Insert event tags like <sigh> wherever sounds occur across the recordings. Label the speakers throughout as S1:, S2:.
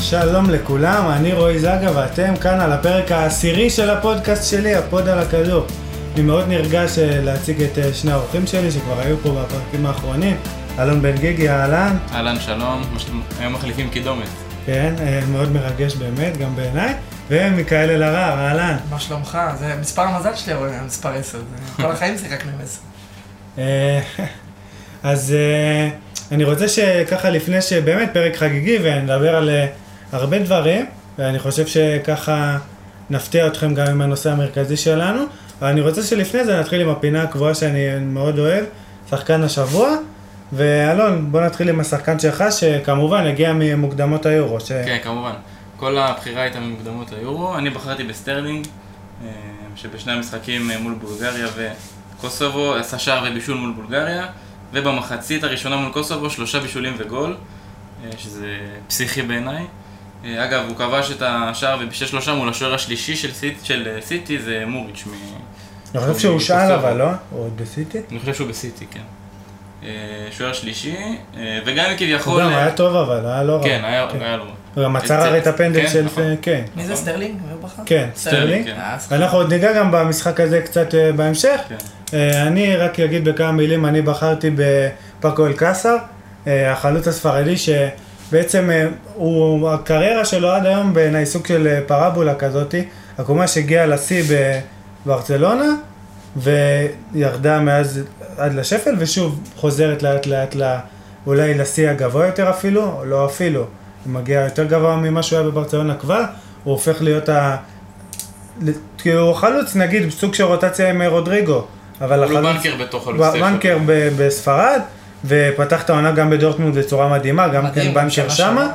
S1: שלום לכולם, אני רועי זגה ואתם כאן על הפרק העשירי של הפודקאסט שלי, הפוד על הכדור. אני מאוד נרגש אה, להציג את אה, שני האורחים שלי שכבר היו פה בפרקים האחרונים, אלון בן גיגי, אהלן,
S2: אהלן שלום, כמו שאתם היום מחליפים קידומת.
S1: כן, אה, מאוד מרגש באמת, גם בעיניי, ומיכאל אלהרר, אהלן.
S3: מה שלומך? זה מספר המזל שלי, אבל המספר 10. זה- כל החיים שיחקנו עם 10.
S1: אה, <laughs> אז אה, אני רוצה שככה לפני שבאמת פרק חגיגי ונדבר על אה, הרבה דברים, ואני חושב שככה נפתיע אתכם גם עם הנושא המרכזי שלנו, אבל אני רוצה שלפני זה נתחיל עם הפינה הקבועה שאני מאוד אוהב, שחקן השבוע, ואלון, בוא נתחיל עם השחקן שלך, שכמובן הגיע ממוקדמות היורו, ש...
S2: כן, כמובן. כל הבחירה הייתה ממוקדמות ליורו. אני בחרתי בסטרלינג, אה, שבשני המשחקים אה, מול בולגריה וקוסובו עשה שער ובישול מול בולגריה, ובמחצית הראשונה מול קוסובו שלושה בישולים וגול, אה, שזה פסיכי בעיניי. אה, אגב, הוא כבש את השער ובישל שלושה מול השוער השלישי של סיט- של אה, סיטי, זה מוריץ' מ...
S1: אני חושב שהוא שאל אבל, לא? הוא עוד בסיטי?
S2: אני חושב שהוא בסיטי, כן. אה, שוער שלישי, אה, וגם
S1: הוא
S2: כביכול...
S1: גם היה טוב אבל, היה לא רע.
S2: אה, כן, היה
S1: כן.
S2: היה לו...
S1: הוא גם עצר הרי את הפנדל
S2: כן,
S1: של...
S2: נכון.
S1: כן.
S3: מי זה סטרלינג? מי הוא בחר?
S1: כן,
S2: סטרלינג,
S1: סטרלינג.
S2: כן.
S3: אה, סליחה.
S1: אנחנו עוד ניגע גם במשחק הזה קצת אה, בהמשך.
S2: כן.
S1: אה, אני רק אגיד בכמה מילים, אני בחרתי בפאקו אלקסר, אה, החלוץ הספרדי שבעצם אה, הוא, הקריירה שלו עד היום בעיניי סוג של אה, פרבולה כזאתי, עקומה שהגיעה לשיא בברצלונה וירדה מאז עד לשפל ושוב חוזרת לאט לאט ל... אולי לשיא הגבוה יותר אפילו, או לא אפילו, הוא מגיע יותר גבוה ממה שהוא היה בברצלונה כבר, הוא הופך להיות ה... כאילו חלוץ נגיד סוג של רוטציה עם אה, רודריגו, אבל
S2: הוא
S1: החלוץ...
S2: בנקר בתוך הלוסטיישן.
S1: בנקר ב- בספרד, ופתח את העונה גם בדורטמונד בצורה מדהימה, גם
S3: מדהים,
S1: כן בנקר
S3: שנה
S1: שמה.
S3: שעברה.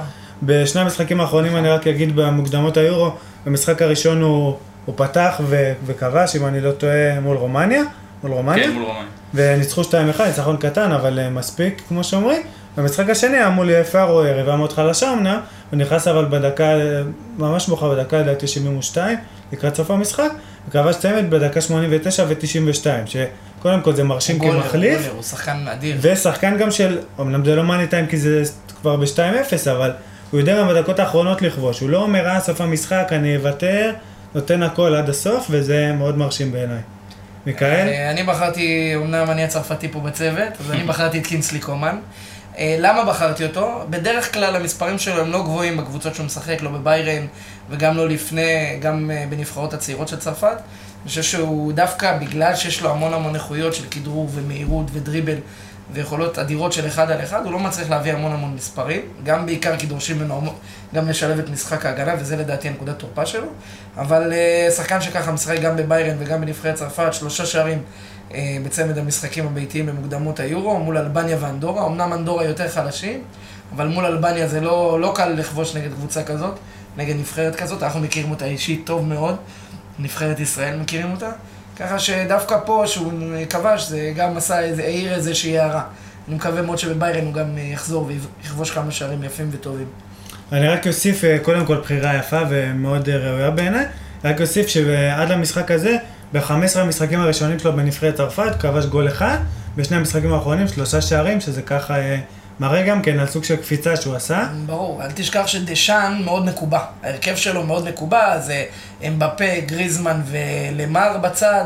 S1: בשני המשחקים האחרונים אני רק אגיד במוקדמות היורו, במשחק הראשון הוא, הוא פתח ו, וכבש, אם אני לא טועה, מול רומניה, מול רומניה,
S2: כן, מול רומן.
S1: וניצחו 2-1, ניצחון קטן, אבל אה, מספיק, כמו שאומרים. במשחק השני היה מול פארו, יריבה מאוד חלשה אמנם, הוא נכנס אבל בדקה, אה, ממש מאוחר בדקה לדעתי 72, לקראת סוף המשחק, וכבש צמד בדקה 89 ו-92, שקודם כל זה מרשים
S3: הוא גולר,
S1: כמחליף,
S3: גולר, הוא שחקן אדיר.
S1: ושחקן גם של, אמנם זה לא מאני טיים כי זה כבר ב-2-0, אבל הוא יודע גם בדקות האחרונות לכבוש, הוא לא אומר אה סוף המשחק, אני אוותר, נותן הכל עד הסוף, וזה מאוד מרשים בעיניי. מיכאל?
S3: אה, אני בחרתי, אמנם אני הצרפתי פה בצוות, אז אני בחרתי את קינסלי קומן. אה, למה בחרתי אותו? בדרך כלל המספרים שלו הם לא גבוהים בקבוצות שהוא משחק, לא בביירן וגם לא לפני, גם אה, בנבחרות הצעירות של צרפת. אני חושב שהוא דווקא בגלל שיש לו המון המון איכויות של כדרור ומהירות ודריבל ויכולות אדירות של אחד על אחד, הוא לא מצליח להביא המון המון מספרים, גם בעיקר כי דורשים ממנו המון- גם לשלב את משחק ההגנה, וזה לדעתי הנקודת תורפה שלו. אבל אה, שחקן שככה משחק גם בביירן וגם בנבחרת צרפת, שלושה שערים אה, בצמד המשחקים הביתיים במוקדמות היורו, מול אלבניה ואנדורה. אמנם אנדורה יותר חלשים, אבל מול אלבניה זה לא, לא קל לכבוש נגד קבוצה כזאת, נגד נבחרת כזאת, אנחנו מכירים אותה אישית טוב מאוד, נבחרת ישראל מכירים אותה, ככה שדווקא פה שהוא כבש, זה גם עשה, איזה, העיר איזושהי הערה. אני מקווה מאוד שבביירן הוא גם אה, יחזור ויכבוש כמה שערים יפים וטובים.
S1: אני רק אוסיף, אה, קודם כל בחירה יפה ומאוד אה, ראויה בעיניי, רק אוסיף שעד למשחק הזה, ב-15 המשחקים הראשונים שלו בנבחרת צרפת, כבש גול אחד, בשני המשחקים האחרונים שלושה שערים, שזה ככה אה, מראה גם כן על סוג של קפיצה שהוא עשה.
S3: ברור, אל תשכח שדשאן מאוד מקובע. ההרכב שלו מאוד מקובע, זה אמבפה, גריזמן ולמר בצד,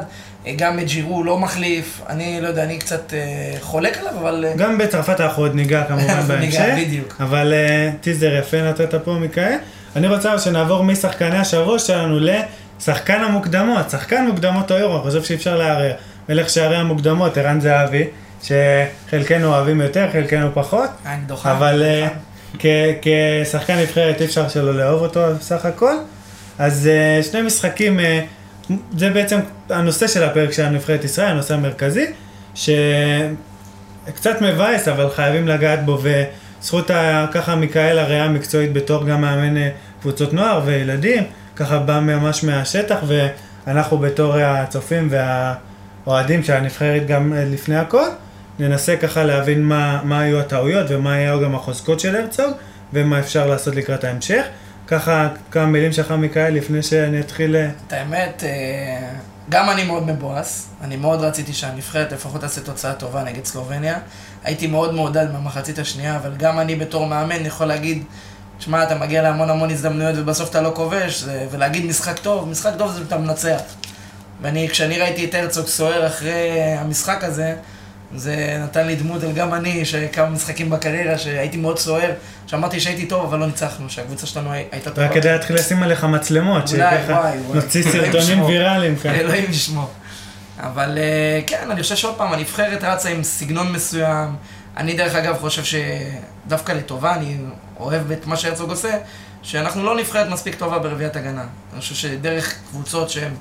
S3: אה, גם את ג'ירו לא מחליף. אני לא יודע, אני קצת אה, חולק עליו, אבל... אה,
S1: גם בצרפת אנחנו עוד ניגע כמובן
S3: <laughs> אנחנו ניגע,
S1: בהמשך,
S3: בדיוק.
S1: אבל אה, טיזר יפה נתת פה מיכאל. אני רוצה שנעבור משחקני השבוע שלנו לשחקן המוקדמות, שחקן מוקדמות היורו, אני חושב שאפשר לערער. מלך שערי המוקדמות, ערן זהבי, שחלקנו אוהבים יותר, חלקנו פחות.
S3: אה, אני דוחה.
S1: אבל אה, כ- כשחקן נבחרת אי אפשר שלא לאהוב אותו בסך הכל. אז אה, שני משחקים, אה, זה בעצם הנושא של הפרק של נבחרת ישראל, הנושא המרכזי, שקצת מבאס, אבל חייבים לגעת בו, וזכות ה- ככה מיכאל הראייה המקצועית בתור גם מאמן אה, קבוצות נוער וילדים, ככה בא ממש מהשטח, ואנחנו בתור הצופים והאוהדים של הנבחרת גם אה, לפני הכל. ננסה ככה להבין מה, מה היו הטעויות ומה היו גם החוזקות של הרצוג ומה אפשר לעשות לקראת ההמשך. ככה כמה מילים שלך מיכאל לפני שאני אתחיל... אה,
S3: את האמת, אה, גם אני מאוד מבואס. אני מאוד רציתי שהנבחרת לפחות תעשה תוצאה טובה נגד סלובניה. הייתי מאוד מעודד מהמחצית השנייה, אבל גם אני בתור מאמן יכול להגיד שמע, אתה מגיע להמון המון הזדמנויות ובסוף אתה לא כובש, זה- ולהגיד משחק טוב, משחק טוב זה אתה מנצח. ואני, כשאני ראיתי את הרצוג סוער אחרי המשחק הזה, זה נתן לי דמות, על גם אני, שכמה משחקים בקריירה, שהייתי מאוד סוער, שאמרתי שהייתי טוב, אבל לא ניצחנו, שהקבוצה שלנו הי- הייתה טובה.
S1: רק כדי להתחיל לשים עליך מצלמות,
S3: אולי,
S1: שככה
S3: וואי, וואי.
S1: נוציא
S3: אלוהים
S1: סרטונים
S3: <laughs> ישמור.
S1: ויראליים כאן.
S3: אלוהים ישמור. אבל אה, כן, אני חושב שעוד פעם, הנבחרת רצה עם סגנון מסוים. אני דרך אגב חושב שדווקא לטובה, אני אוהב את מה שהרצוג עושה, שאנחנו לא נבחרת מספיק טובה ברביעיית הגנה. אני חושב שדרך קבוצות שהן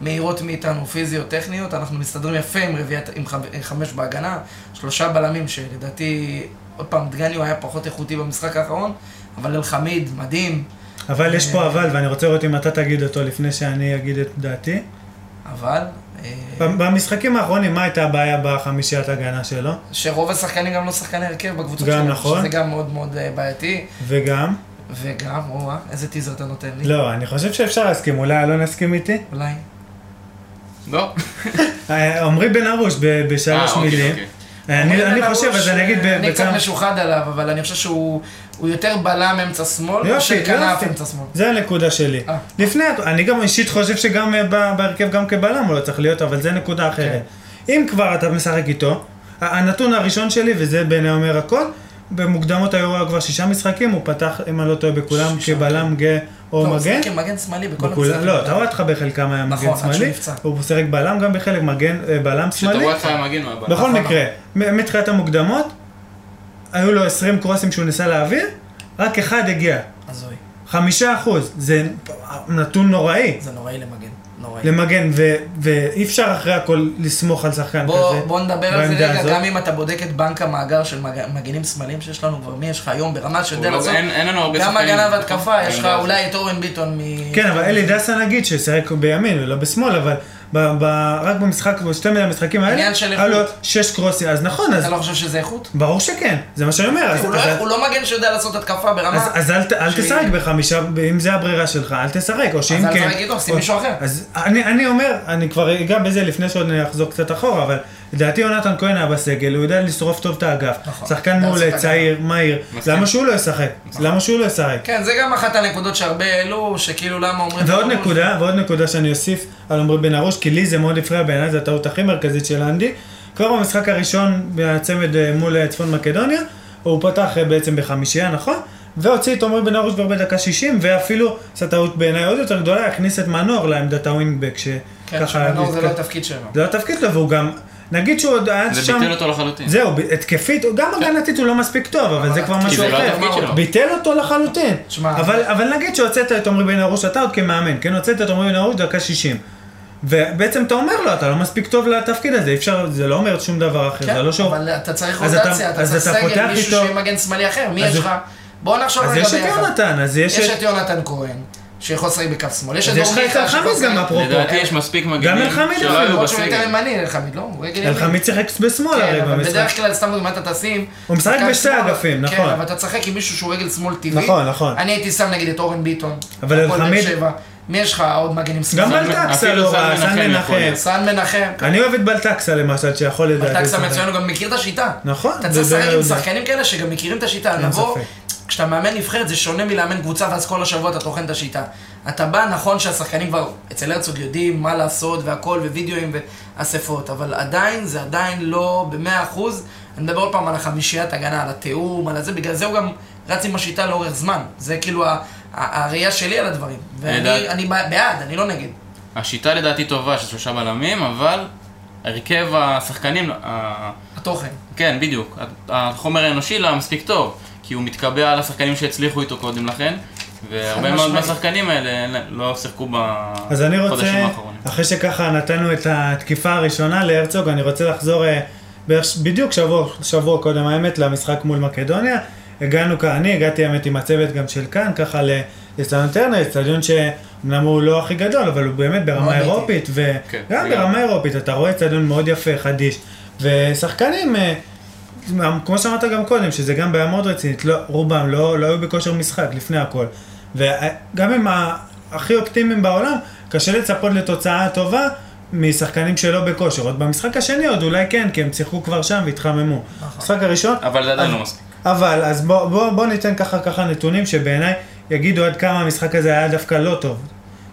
S3: מהירות מאיתנו, פיזיות, טכניות, אנחנו מסתדרים יפה עם, רביעת, עם חמ- חמש בהגנה, שלושה בלמים שלדעתי, עוד פעם, דגניו היה פחות איכותי במשחק האחרון, אבל אלחמיד, מדהים,
S1: אבל יש פה אבל, ואני רוצה לראות אם אתה תגיד אותו לפני שאני אגיד את דעתי.
S3: אבל... אה,
S1: ב- במשחקים האחרונים, מה הייתה הבעיה בחמישיית הגנה שלו?
S3: שרוב השחקנים גם לא שחקני הרכב בקבוצות
S1: גם
S3: שלהם,
S1: נכון.
S3: שזה גם מאוד מאוד אה, בעייתי,
S1: וגם?
S3: וגם, או-אה, איזה טיזר אתה נותן לי.
S1: לא, אני חושב שאפשר להסכים, אולי אלון יסכים איתי?
S3: אולי.
S2: לא?
S1: אה, עמרי בן ארוש ב-
S2: אה,
S1: בשלוש
S2: אוקיי,
S1: מילים.
S2: אוקיי.
S1: אה, אני-
S3: אבל
S1: אני
S3: בן
S1: חושב,
S3: ארוש,
S1: אז אני אגיד
S3: אה, אני קצת
S1: בכמה...
S3: משוחד עליו, אבל אני חושב שהוא הוא יותר בלם אמצע שמאל, מאשר
S1: יופי,
S3: כנף
S1: יופי.
S3: אמצע שמאל.
S1: זה הנקודה שלי.
S3: אה.
S1: לפני, אני גם אישית חושב שגם אה, ב- בהרכב גם כבלם הוא לא צריך להיות, אבל זה
S3: כן.
S1: נקודה אחרת. אם כבר אתה משחק איתו, ה- הנתון הראשון שלי, וזה בעיני אומר הכל, במוקדמות היו כבר שישה משחקים, הוא פתח, אם אני לא טועה, בכולם
S3: שישה.
S1: כבלם גאה או
S3: לא, הוא
S1: מגן.
S3: משחק עם מגן שמאלי בכל
S1: בכולם,
S3: המשחקים.
S1: לא, טוואטחה בחלקם היה
S3: נכון,
S1: מגן
S3: עד שהוא
S1: שמאלי,
S3: נפצע.
S1: הוא שיחק בלם גם בחלק, מגן, אה, בלם שמאלי.
S2: שטוואטחה היה מגן מהבעיה.
S1: בכל
S3: נכון.
S1: מקרה, מ- מתחילת המוקדמות, היו לו 20 קרוסים שהוא ניסה להעביר, רק אחד הגיע.
S3: הזוי.
S1: חמישה אחוז, זה נתון נוראי
S3: זה נוראי למגן. נוראי.
S1: למגן, ו- ואי אפשר אחרי הכל לסמוך על שחקן
S3: בוא,
S1: כזה.
S3: בוא נדבר על זה
S1: בעמדה
S3: רגע,
S1: הזאת.
S3: גם אם אתה בודק את בנק המאגר של מג... מגנים שמאליים שיש לנו כבר, מי יש לך היום ברמה שיודע
S2: הוא לא-
S3: לעשות
S2: אין- אין לנו הרבה
S3: גם
S2: שחקנים.
S3: הגנה והתקפה, יש לך
S2: בעמדה הזאת.
S3: אולי את אורן ביטון מ...
S1: כן, אבל אלי דסה נגיד, ששיחק בימין ולא בשמאל, אבל ב- ב- רק במשחק, בשתי מיני המשחקים האלה,
S3: עניין של
S1: היה לו
S3: איכות.
S1: שש קרוסים, אז נכון, אז
S3: אתה לא חושב שזה איכות?
S1: ברור שכן, זה מה שאני אומר. אז-
S3: הוא לא-
S1: אז-
S3: הוא לא מגן שיודע לעשות התקפה ברמה...
S1: אז, אז אל, ת- אל
S3: שהיא-
S1: תשחק בחמישה, אם זה הברירה שלך, אל תשחק, או שאם כן...
S3: אל תשחק איתו, שים
S1: או-
S3: מישהו אחר.
S1: אז אני, אני אומר, אני כבר אגע בזה לפני שעוד נחזור קצת אחורה, אבל לדעתי יונתן כהן היה בסגל, הוא יודע לשרוף טוב את האגף.
S3: נכון.
S1: שחקן
S3: אתה
S1: מעולה,
S3: עושה את
S1: צעיר, מהיר,
S2: מסכים.
S1: למה שהוא לא ישחק? למה שהוא לא ישחק?
S3: כן, זה גם אחת הנקודות שהרבה העלו, שכאילו למה אומרים...
S1: ועוד
S3: "טוב,
S1: נקודה, ועוד נקודה שאני אוסיף על עמרי בן ארוש, כי לי זה מאוד הפריע בעיניי, זו הטעות הכי מרכזית של אנדי. כבר במשחק הראשון בצמד אה, מול אה, צפון מקדוניה, הוא פתח אה, בעצם בחמישייה, נכון? והוציא את עמרי בן ארוש כבר בדקה 60, ואפילו עשה טעות בעיניי עוד יותר גדולה, הכניס את מנור לעמדת הווינגבק,
S3: כן,
S1: שככה...
S3: שמנור זה לא
S1: התק-
S3: התפקיד שלו.
S1: זה לא התפקיד שלו, והוא גם... נגיד שהוא עוד היה
S2: זה
S1: שם...
S2: ביטל אותו לחלוטין.
S1: זהו, ב- התקפית, גם הגנתית הוא לא מספיק טוב, אבל זה כבר
S3: כי
S2: כי
S1: משהו
S2: זה לא
S1: אחר.
S2: התפקיד שלו.
S1: ביטל אותו לחלוטין.
S3: תשמע,
S1: אבל, אבל נגיד שהוצאת את עמרי בן ארוש, אתה עוד כמאמן, כן? הוצאת את עמרי בן ארוש דקה 60. ובעצם אתה אומר לו, אתה לא מספיק טוב לתפקיד הזה, אי אפשר, זה לא אומר שום דבר אחר,
S3: כן,
S1: זה לא שוב.
S3: אבל אתה צריך
S1: אז אתה-
S3: רוטציה, אתה
S1: אז
S3: צריך
S1: אתה פותח
S3: סגל, מישהו
S1: איתו-
S3: שיהיה מגן שמאלי אחר, מי
S1: אז
S3: יש
S1: זה-
S3: לך? בואו נחשוב
S1: אז
S3: לא רגע
S1: יש את
S3: ביחד.
S1: יונתן, אז יש
S3: יש את
S1: את...
S3: יונתן כהן, שיכול לשחק בכף שמאל. יש את
S1: אז יש לך את
S3: אורביכה, שיכול
S1: אלחמיד גם
S3: לשחק-
S1: אפרופו.
S2: לדעתי יש מספיק מגנים
S1: אלחמיד
S2: שלא
S1: לא,
S2: היו
S3: למרות שהוא יותר
S2: בסגל.
S3: ימני, אלחמיד, לא? הוא רגל ימין.
S1: אלחמיד שיחק בשמאל
S3: כן,
S1: הרי
S3: אבל
S1: במשחק.
S3: בדרך כלל, סתם דוגמא, אתה תשים...
S1: הוא משחק
S3: שחקן
S1: בשתי
S3: שמאל,
S1: האגפים,
S3: כן,
S1: נכון.
S3: אבל אתה תשחק עם מישהו שהוא רגל שמאל טבעי.
S1: נכון, נכון.
S3: אני הייתי שם נגיד את אורן ביטון.
S1: אבל
S3: הפועל באר
S1: אלחמיד-
S3: שבע. מי יש לך עוד
S1: גם
S3: מגנים שמאל?
S1: בלטקסה
S2: אפילו
S1: לא
S2: סן
S1: רע,
S2: מנחם
S1: סן
S2: יכול
S1: מנחם.
S2: להיות.
S3: סן מנחם.
S1: אני אוהב את בלטקסה למשל, שיכול לדעתי.
S3: בלטקסה
S1: לשחק.
S3: מצוין, הוא גם מכיר את השיטה.
S1: נכון,
S3: אתה צריך
S1: זה-
S3: לשחק
S1: זה-
S3: עם
S1: זה-
S3: שחקנים כאלה שגם מכירים את השיטה.
S1: אין
S3: לבוא,
S1: ספק.
S3: כשאתה מאמן נבחרת זה שונה מלאמן קבוצה ואז כל השבוע אתה טוחן את השיטה. אתה בא, נכון שהשחקנים כבר אצל הרצוג יודעים מה לעשות והכל ווידאוים ואספות, אבל עדיין זה עדיין לא במאה אחוז. אני מדבר עוד פעם על החמישיית הגנה, על התיאום, על הזה, בגלל זה הוא גם רץ עם השיטה לאורך זמן. זה כאילו ה- ה- הראייה שלי על הדברים. ואני
S2: לדעת-
S3: אני בעד, אני לא נגד.
S2: השיטה לדעתי טובה של שלושה בלמים, אבל הרכב השחקנים, ה-
S3: התוכן.
S2: כן, בדיוק. החומר האנושי לא היה מספיק טוב, כי הוא מתקבע על השחקנים שהצליחו איתו קודם לכן, והרבה
S3: חד
S2: מאוד
S3: משמעית.
S2: מהשחקנים האלה לא שיחקו בחודשים
S1: אז אני רוצה,
S2: האחרונים.
S1: אחרי שככה נתנו את התקיפה הראשונה להרצוג, אני רוצה לחזור אה, בערך ש- בדיוק שבוע, שבוע קודם האמת למשחק מול מקדוניה. הגענו, כ- אני הגעתי האמת עם הצוות גם של כאן, ככה לאצטדיון טרנר, אצטדיון שאומנם הוא לא הכי גדול, אבל הוא באמת ברמה
S3: מאוד איטי.
S1: אירופית,
S2: כן,
S1: וגם
S2: לגמרי.
S1: ברמה אירופית, אתה רואה אצטדיון מאוד יפה, חדיש, ושחקנים... אה, כמו שאמרת גם קודם, שזה גם בעיה מאוד רצינית, לא, רובם לא, לא היו בכושר משחק לפני הכל. וגם עם ה- הכי אופטימיים בעולם, קשה לצפות לתוצאה טובה משחקנים שלא בכושר. עוד במשחק השני עוד אולי כן, כי הם שיחקו כבר שם והתחממו.
S3: נכון.
S1: המשחק הראשון,
S2: אבל זה עדיין
S1: אז-
S2: לא מספיק.
S1: אבל, אז בואו בוא, בוא ניתן ככה ככה נתונים שבעיניי יגידו עד כמה המשחק הזה היה דווקא לא טוב.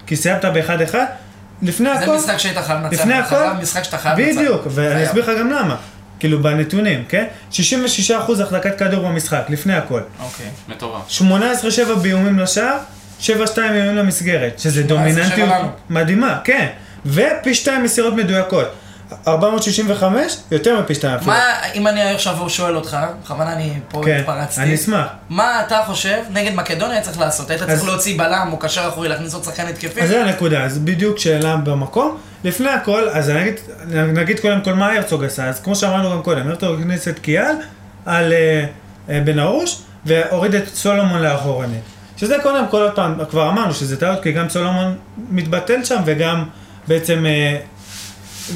S1: כי סיימת ב-1-1, לפני הכל...
S3: זה משחק שהיית חייב לנצח.
S1: לפני
S3: אתה
S1: הכל,
S3: חייב משחק שאתה חייב לנצח.
S1: בדיוק, ואני
S3: חייב.
S1: אסביר לך גם למה. כאילו בנתונים, כן? 66% החזקת כדור במשחק, לפני הכל.
S2: אוקיי, מטורף.
S1: 18-7 באיומים לשער, 7-2 איומים למסגרת, שזה דומיננטיות
S3: שלנו.
S1: מדהימה, כן. ופי 2 מסירות מדויקות. 465, יותר מפי 2 אפילו.
S3: מה, אם אני עכשיו שואל אותך, בכוונה אני פה
S1: כן,
S3: התפרצתי.
S1: אני אשמח.
S3: מה אתה חושב נגד מקדוניה היה צריך לעשות? היית צריך
S1: אז-
S3: להוציא בלם או קשר אחורי, להכניס עוד שחקן התקפי?
S1: אז זה הנקודה, אז בדיוק שאלה במקום. לפני הכל, אז נגיד, נגיד קודם כל מה הרצוג עשה, אז כמו שאמרנו גם קודם, הרצוג הכניס את קיאל על אה, אה, בן ארוש, והוריד את סולומון לאחורנית. שזה קודם כל, עוד פעם, כבר אמרנו שזה טעות, כי גם סולומון מתבטל שם, וגם בעצם אה,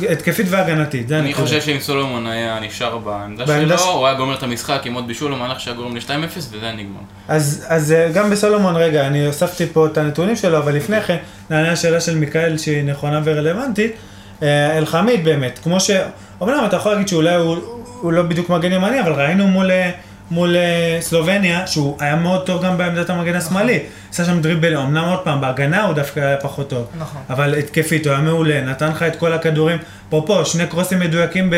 S1: התקפית והגנתית, זה
S2: אני
S1: הנקודה.
S2: חושב שאם סולומון היה נשאר בעמדה
S1: כן, בעמדה
S2: שלו,
S1: ש-
S2: הוא היה גומר את המשחק עם עוד בישול או מהלך שהיה גורם ל-2-0 וזה היה נגמר.
S1: אז, אז אה, גם בסולומון, רגע, אני הוספתי פה את הנתונים שלו, אבל לפני כן, נענה השאלה של מיכאל שהיא נכונה ורלוונטית. אה, אלחמיד באמת, כמו ש... אומנם אתה יכול להגיד שאולי הוא, הוא לא בדיוק מגן ימני, אבל ראינו מול, אה, מול אה, סלובניה, שהוא היה מאוד טוב גם בעמדת המגן השמאלי. עשה שם דריבל, אמנם עוד פעם, בהגנה הוא דווקא היה פחות טוב.
S3: נכון.
S1: אבל התקפית, הוא היה מעולה, נתן לך את כל הכדורים. אפרופו, שני קרוסים מדויקים ב...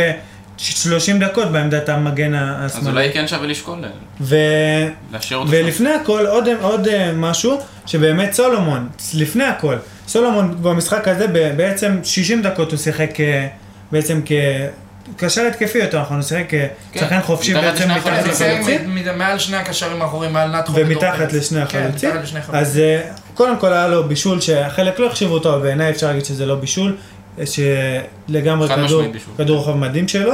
S1: 30 דקות בעמדת המגן השמאלי.
S2: אז אולי כן שווה לשקול אה,
S1: ו...
S2: להשאיר אותו. שם.
S1: ולפני הכל עוד, עוד אה, משהו, שבאמת סולומון, לפני הכל, סולומון במשחק הזה ב- בעצם 60 דקות הוא שיחק אה, בעצם כ... קשר התקפי יותר נכון, הוא שיחק כשחקן חופשי
S2: מתחת
S1: בעצם
S2: לשני
S3: כן,
S1: מתחת
S2: החלוצים.
S1: לחלוצים
S3: מעל שני הקשרים האחוריים, מעל נתחו.
S1: ומתחת לשני החלוצים.
S3: כן, מתחת לשני החלוצים.
S1: אז אה, קודם כל היה לו בישול שחלק לא החשיבו אותו, אבל בעיניי אפשר להגיד שזה לא בישול, אה, שלגמרי
S2: חד
S1: כדור-
S2: משמעית בישול.
S1: כדור רוחב מדהים שלו.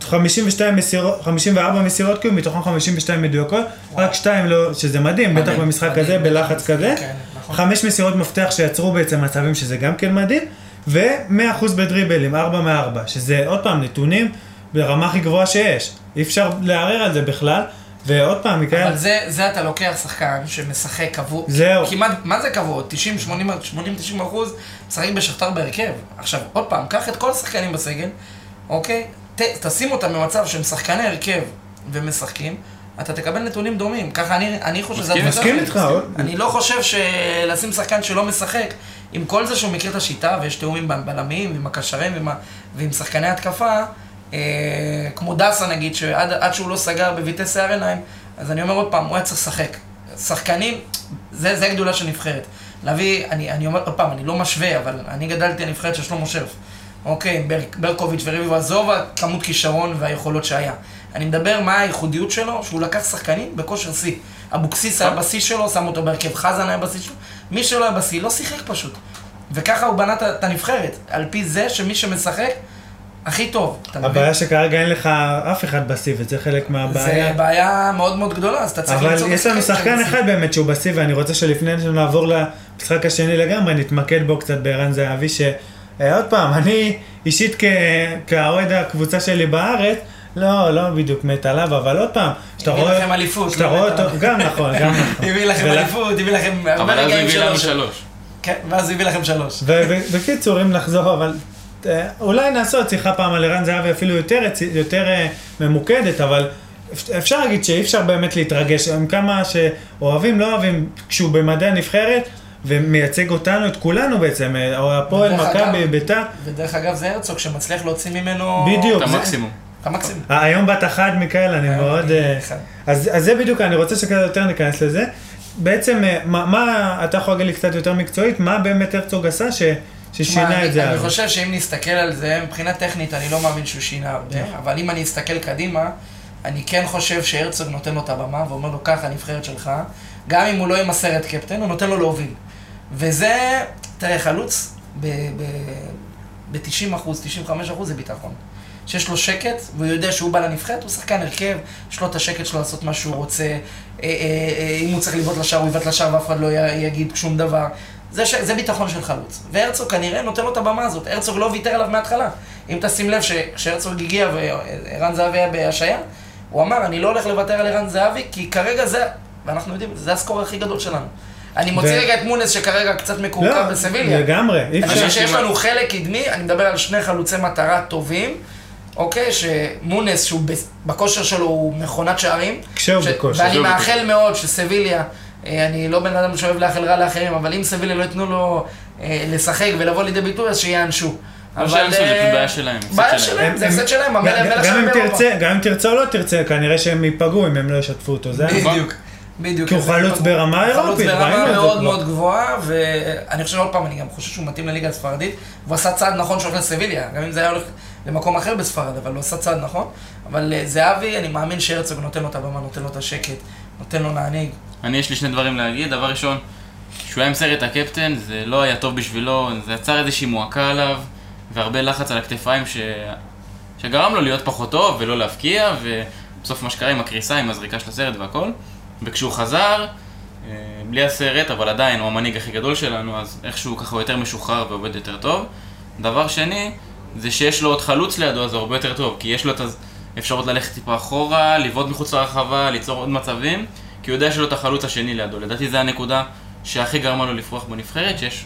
S1: 52 מסירות, 54 מסירות כאילו, מתוכן 52 מדויקות, רק 2 לא, שזה מדהים, בטח
S2: מדהים,
S1: במשחק הזה,
S3: מדהים,
S1: בלחץ
S3: מדהים,
S1: כזה.
S3: כן, נכון.
S1: חמש מסירות מפתח שיצרו בעצם מצבים שזה גם כן מדהים, ו-100% בדריבלים, 4 מ-4, שזה עוד פעם נתונים ברמה הכי גבוהה שיש. אי אפשר לערער על זה בכלל, ועוד פעם, מכאן,
S3: אבל זה, זה אתה לוקח שחקן שמשחק קבוע,
S1: כן. זהו.
S3: כמעט, מה זה קבוע? 90, 80, 80, 90 אחוז, משחק בשכתר בהרכב. עכשיו, עוד פעם, קח את כל השחקנים בסגל, אוקיי? ת, תשים אותם במצב שהם שחקני הרכב ומשחקים, אתה תקבל נתונים דומים. ככה אני, אני חושב שזה...
S2: מסכים,
S3: הדבר
S1: מסכים
S3: הזה.
S1: איתך, עוד-
S3: אני לא חושב שלשים שחקן שלא משחק, עם כל זה שהוא מכיר את השיטה ויש תיאום עם הבלמים, עם הקשרים ועם, ה- ועם שחקני התקפה, אה, כמו דסה נגיד, שעד עד שהוא לא סגר בביטס שיער עיניים, אז אני אומר עוד פעם, הוא היה צריך לשחק. שחקנים, זה, זה הגדולה של נבחרת. להביא, אני, אני אומר עוד פעם, אני לא משווה, אבל אני גדלתי על נבחרת של שלמה שרף. אוקיי, בר, ברקוביץ' ורביבו, עזוב הכמות כישרון והיכולות שהיה. אני מדבר מה הייחודיות שלו, שהוא לקח שחקנים בכושר שיא. אבוקסיס היה בשיא שלו, שם אותו בהרכב, חזן היה בשיא שלו, מי שלא היה בשיא לא שיחק פשוט. וככה הוא בנה את- את הנבחרת, על פי זה שמי שמשחק, הכי טוב. אתה מבין?
S1: הבעיה שכרגע אין לך אף אחד בשיא, וזה חלק
S3: זה
S1: מהבעיה.
S3: בעיה מאוד מאוד גדולה, אז אתה צריך
S1: אבל
S3: למצוא...
S1: יש לנו
S3: משחקים
S1: שחקן
S3: שהם
S1: אחד באמת שהוא בשיא, ואני רוצה שלפני שנעבור למשחק השני לגמרי, נתמקד בו קצת בערן זהבי, ש... אה, עוד פעם, אני אישית כ... כאוהד הקבוצה שלי בארץ, לא, לא בדיוק מת עליו, אבל עוד פעם, כשאתה
S3: הביא
S1: רואה...
S3: לכם אליפות,
S1: כשאתה
S3: לא
S1: רואה
S3: מת
S1: אותו,
S3: עליו.
S1: גם נכון,
S3: <laughs>
S1: גם נכון.
S3: הביא לכם
S1: ול-
S3: אליפות, הביא לכם הרבה
S2: אבל אז הוא
S3: רגעים
S2: הביא
S3: שלו.
S2: לנו
S3: ש-
S2: שלוש.
S3: כן, ואז הוא הביא לכם שלוש.
S1: ובקיצור, אם נחזור, אבל אה, אולי נעשה עוד שיחה פעם על ערן זהבי אפילו יותר, רצי- יותר אה, ממוקדת, אבל אפ- אפשר להגיד שאי אפשר באמת להתרגש, עם כמה שאוהבים, לא אוהבים, כשהוא במדעי הנבחרת, ומייצג אותנו, את כולנו בעצם, אה, או הפועל,
S3: ודרך
S1: מכבי,
S3: אגב-
S1: ביתר,
S3: ודרך אגב, זה הרצוג שמצליח להוציא ממנו...
S1: בדיוק.
S2: את
S1: זה-
S2: המקסימום.
S3: את המקסימום.
S1: אה, היום בת אחת מיכאל, אני
S3: היום
S1: מאוד...
S3: אני
S1: אה,
S3: אחד.
S1: אז, אז זה בדיוק, אני רוצה שקצת יותר ניכנס לזה. בעצם, אה, מה, מה אתה יכול להגיד לי קצת יותר מקצועית, מה באמת הרצוג עשה ש,
S3: מה,
S1: ששינה
S3: אני-
S1: את זה?
S3: אני
S1: אז?
S3: חושב שאם נסתכל על זה, מבחינה טכנית אני לא מאמין שהוא שינה הרבה, אבל אם אני אסתכל קדימה, אני כן חושב שהרצוג נותן לו את הבמה ואומר לו, ככה הנבחרת שלך, גם אם הוא לא ימסר את קפטן, הוא נותן לו להוביל. וזה, תראה, חלוץ ב-90 אחוז, 95 אחוז זה ביטחון. שיש לו שקט, והוא יודע שהוא בא לנבחרת, הוא שחקן הרכב, יש לו את השקט שלו לעשות מה שהוא רוצה, אה, אה, אה, אם הוא צריך לבעוט לשער, הוא יבעט לשער ואף אחד לא י- יגיד שום דבר. זה, ש... זה ביטחון של חלוץ. והרצוג כנראה נותן לו את הבמה הזאת, הרצוג לא ויתר עליו מההתחלה. אם תשים לב שכשהרצוג הגיע וערן זהבי היה בהשעיה, הוא אמר, אני לא הולך לוותר על ערן זהבי, כי כרגע זה, ואנחנו יודעים, זה הסקור הכי גדול שלנו. אני מוציא
S1: ו-
S3: רגע את מונס שכרגע קצת מקורקע
S1: לא,
S3: בסביליה.
S1: לגמרי, אי
S3: אני
S1: אפשר.
S3: חושב שיש לנו חלק קדמי, אני מדבר על שני חלוצי מטרה טובים, אוקיי? שמונס, שהוא ב- בכושר שלו הוא מכונת שערים.
S1: כשהוא בכושר.
S3: ואני
S2: כשהוא
S3: מאחל מאוד שסביליה, אה, אני לא בן אדם שאוהב לאחל רע לאחרים, אבל אם סביליה לא ייתנו לו אה, לשחק ולבוא לידי ביטוי, אז שיענשו.
S2: לא שיענשו, זה
S3: אה,
S2: פשוט בעיה שלהם, הפסד
S3: בעיה
S2: שלהם.
S3: שלהם, זה
S1: הם-
S3: הפסד שלהם,
S1: גם-
S3: המלך
S1: גם-
S3: המלך
S1: גם
S3: שלהם
S1: אם
S3: באירופה.
S1: תרצה, גם אם תרצה או לא תרצה, כנראה שהם ייפגעו אם הם לא ישתפו אותו, זה
S2: נכון.
S3: בדיוק, בדיוק.
S1: כי הוא
S3: אז זה
S1: חלוץ
S3: פגעו.
S1: ברמה
S3: חלוץ
S1: אירופית, ראינו את
S3: ברמה
S1: זה
S3: מאוד
S1: כבר.
S3: מאוד גבוהה, ואני חושב עוד פעם, אני גם חושב שהוא מתאים לליגה הספרדית. הוא עשה צעד נכון שהולך לסביליה, גם אם זה היה הולך למקום אחר בספרד, אבל הוא עשה צעד נכון. אבל אה, זהבי, אני מאמין שהרצוג נותן לו את הבמה, נותן לו את השקט, נותן לו להנהיג.
S2: אני יש לי שני דברים להגיד, דבר ראשון, שהוא היה עם סרט הקפטן, זה לא היה טוב בשבילו, זה יצר איזושהי מועקה עליו, והרבה לחץ על הכתפיים ש... שגרם לו להיות פחות טוב ולא להבקיע, ובסוף מה שקרה עם הקריסה, עם הזריקה של הסרט והכל, וכשהוא חזר, אה, בלי הסרט, אבל עדיין הוא המנהיג הכי גדול שלנו, אז איכשהו ככה הוא יותר משוחרר ועובד יותר טוב. דבר שני, זה שיש לו עוד חלוץ לידו, אז זה הרבה יותר טוב, כי יש לו את האפשרות ללכת טיפה אחורה, לבעוט מחוץ לרחבה, ליצור עוד מצבים, כי הוא יודע שיש לו את החלוץ השני לידו. לדעתי זה הנקודה שהכי גרמה לו לפרוח בנבחרת, שיש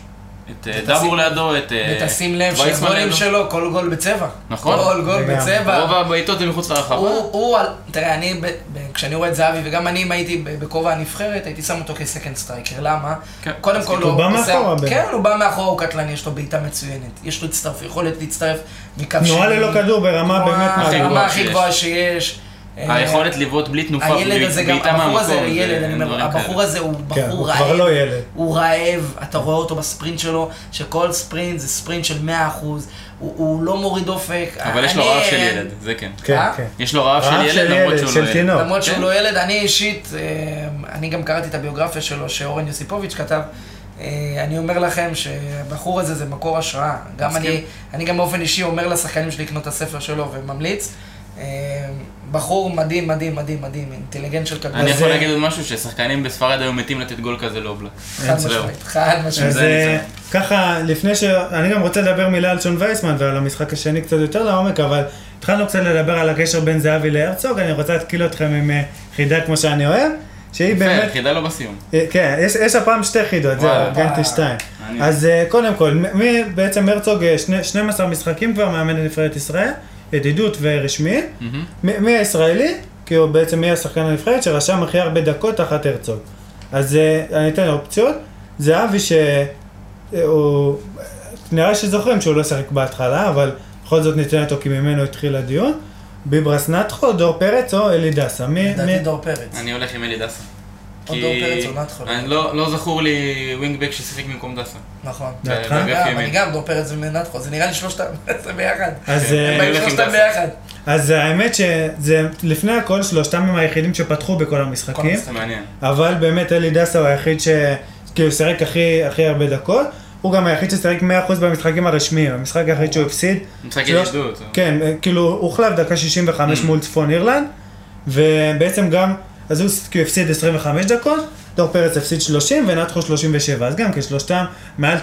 S2: את אה,
S3: ותשים-
S2: דבור לידו, את אה,
S3: ותשים לב
S2: ויצמן
S3: שהגולים
S2: לידו.
S3: שלו, לא כל גול בצבע.
S2: נכון.
S3: כל גול
S1: לגמרי.
S3: בצבע.
S2: רוב הבעיטות זה מחוץ לרחבה.
S3: הוא, הוא, על- תראה, אני, ב, ב, כשאני רואה את זהבי, וגם אני, אם הייתי ב- בכובע הנבחרת, הייתי שם אותו כסקנד סטרייקר, למה?
S2: כן.
S3: קודם כל, לא-
S1: הוא בא
S3: עושה-
S1: מאחורה באמת.
S3: כן, הוא בא מאחורה, הוא קטלני, יש לו בעיטה מצוינת. יש לו הצטרף, יכולת להצטרף מקו
S1: תנועה ללא כדור ברמה
S3: תנועה
S1: באמת
S2: הכי
S1: מדהימה.
S3: ברמה
S2: גבוהה
S3: הכי
S2: שיש.
S3: גבוהה שיש. אה,
S2: היכולת לבעוט בלי תנופה,
S3: הילד
S2: בלי-
S3: הזה גם,
S2: בעיטה
S3: הבחור הזה,
S2: מהמקום,
S3: ילד,
S2: זה-
S3: אני אומר,
S2: דברים כאלה.
S3: הבחור הזה הוא
S1: כן, הוא
S3: בחור רעב.
S1: כבר לא ילד.
S3: הוא רעב, אתה רואה אותו בספרינט שלו, שכל ספרינט זה ספרינט של 100%, הוא, הוא לא מוריד אופק.
S2: אבל יש לו
S3: אני-
S2: רעב של ילד, זה כן.
S1: כן,
S3: אה?
S1: כן.
S2: יש לו רעב של
S1: רעב
S2: ילד, למרות שהוא לא
S1: של
S2: ילד.
S1: תינוק.
S3: למרות שהוא
S2: כן.
S3: לא ילד, אני אישית, אה, אני גם קראתי את הביוגרפיה שלו שאורן יוסיפוביץ' כתב. אה, אני אומר לכם שהבחור הזה זה מקור השראה. גם
S2: מסכים.
S3: אני, אני גם באופן אישי אומר לשחקנים שלי לקנות את הספר שלו וממליץ. אה, בחור מדהים, מדהים, מדהים, מדהים, אינטליגנט של כדור.
S2: אני
S1: אז אה,
S2: יכול
S1: זה-
S2: להגיד עוד משהו, ששחקנים בספרד היו מתים לתת גול כזה לאובלק.
S3: חד
S2: זהו.
S3: משמעית, חד משמעית.
S1: אז
S2: זה
S1: אה,
S2: אני
S1: ככה, לפני ש... אני גם רוצה לדבר מילה על שון וייסמן ועל המשחק השני קצת יותר לעומק, אבל התחלנו קצת לדבר על הקשר בין זהבי להרצוג, אני רוצה להתקיל אתכם עם אה, חידה כמו שאני אוהב, שהיא
S2: יפה,
S1: באמת...
S2: חידה לא בסיום.
S1: אה, כן, יש, יש הפעם שתי חידות, זהו,
S2: וואלה.
S1: ארגנטי שתיים.
S2: מעניין.
S1: אז אה, קודם כל, מ- מי בעצם הרצוג, אה, שני, 12 משחקים כבר מאמן לנבחרת ישראל, ידידות ורשמי.
S2: מהמם.
S1: מ- מי הישראלי? כי הוא בעצם מי השחקן הנבחרת שרשם הכי הרבה דקות תחת הרצוג. אז אה, אני אתן אופציות. זה אבי שהוא... נראה שזוכרים שהוא לא שיחק בהתחלה, אבל בכל זאת ניתן אותו כי ממנו התחיל הדיון. ביברס נטחו, דור פרץ או אלי דסה. מי...
S3: לדעתי
S1: מי-
S3: דור פרץ.
S2: אני הולך עם אלי דסה.
S3: או דור פרץ או נתחו.
S2: אני לא לא זכור לי ווינגבק ששיחק במקום דסה.
S3: נכון.
S1: דעתך?
S2: באגף
S3: גם, אני
S2: ימין.
S3: גם דור פרץ ומנתחו, זה נראה לי שלושתם, <laughs> זה ביחד.
S1: אז, אה,
S3: הם באים
S2: הולך עם
S3: שלושתם
S2: דסה.
S3: ביחד.
S1: אז האמת שזה לפני הכל שלושתם הם היחידים שפתחו בכל
S3: כל
S1: המשחקים,
S3: המשחק.
S2: זה מעניין.
S1: אבל באמת אלי דסה הוא היחיד שכאילו שיחק הכי, הכי הרבה דקות, הוא גם היחיד ששיחק 100% במשחקים הרשמיים, המשחק היחיד שהוא הפסיד,
S2: משחק
S1: שלוש-
S2: ידידות. אה.
S1: כן, כאילו הוחלף דקה 65 מול צפון אירלנד, ובעצם גם, אז הוא כאילו הפסיד 25 דקות, דור פרץ הפסיד 30 ונתחו 37, אז גם כשלושתם מעל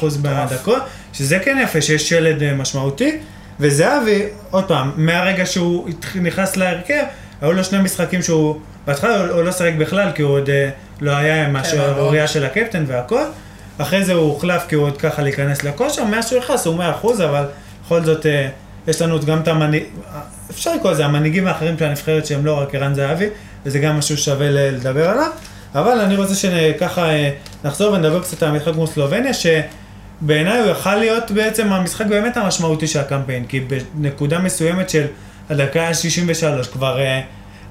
S1: 98% מהדקות, שזה כן יפה, שיש שלד אה, משמעותי, וזהבי, עוד פעם, מהרגע שהוא התח- נכנס להרכב, היו לו שני משחקים שהוא, בהתחלה הוא- הוא לא שיחק בכלל, כי הוא עוד אה, לא היה עם
S3: אבל הוא-
S1: השערורייה של הקפטן והכל. אחרי זה הוא הוחלף כי הוא עוד ככה להיכנס לכושר, מאז שהוא נכנס הוא 100%, אבל בכל זאת אה, יש לנו גם את המנהיג, אפשר לקרוא לזה המנהיגים האחרים של הנבחרת שהם לא רק ערן זהבי, וזה גם משהו ששווה ל- לדבר עליו. אבל אני רוצה שככה אה, נחזור ונדבר קצת על המשחק מול סלובניה, שבעיניי הוא יכל להיות בעצם המשחק באמת המשמעותי של הקמפיין, כי בנקודה מסוימת של הדקה ה-63 כבר... אה,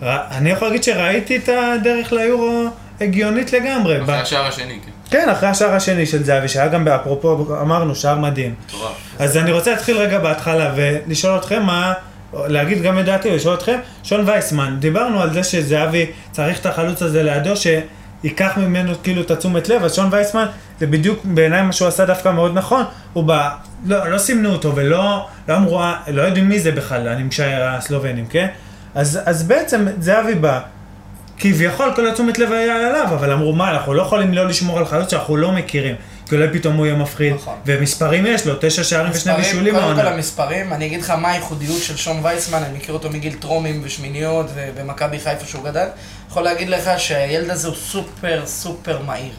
S1: ר- אני יכול להגיד שראיתי את הדרך ליורו הגיונית לגמרי.
S2: אחרי השער השני, כן.
S1: כן, אחרי השער השני של זהבי, שהיה גם, אפרופו, אמרנו, שער מדהים.
S2: מטורף.
S1: אז אני רוצה להתחיל רגע בהתחלה ולשאול אתכם מה, להגיד גם את דעתי ולשאול אתכם, שון וייסמן, דיברנו על זה שזהבי צריך את החלוץ הזה לידו, שייקח ממנו כאילו את התשומת לב, אז שון וייסמן זה בדיוק בעיניי מה שהוא עשה דווקא מאוד נכון, הוא בא, לא, לא סימנו אותו ולא לא אמרו, "אה, לא יודעים מי זה בכלל, אני משער הסלובנים, כן? אז, אז בעצם זהבי בא, כביכול כל התשומת לב היה עליו, אבל אמרו מה, אנחנו לא יכולים לא לשמור על חלוץ שאנחנו לא מכירים. כי אולי פתאום הוא יהיה מפחיד,
S3: נכון.
S1: ומספרים יש לו, תשע שערים ושני
S3: מספרים,
S1: בישולים
S3: קודם כל
S1: העונה.
S3: המספרים, אני אגיד לך מה הייחודיות של שון וייסמן, אני מכיר אותו מגיל טרומים ושמיניות ובמכבי חיפה שהוא גדל. יכול להגיד לך שהילד הזה הוא סופר סופר מהיר.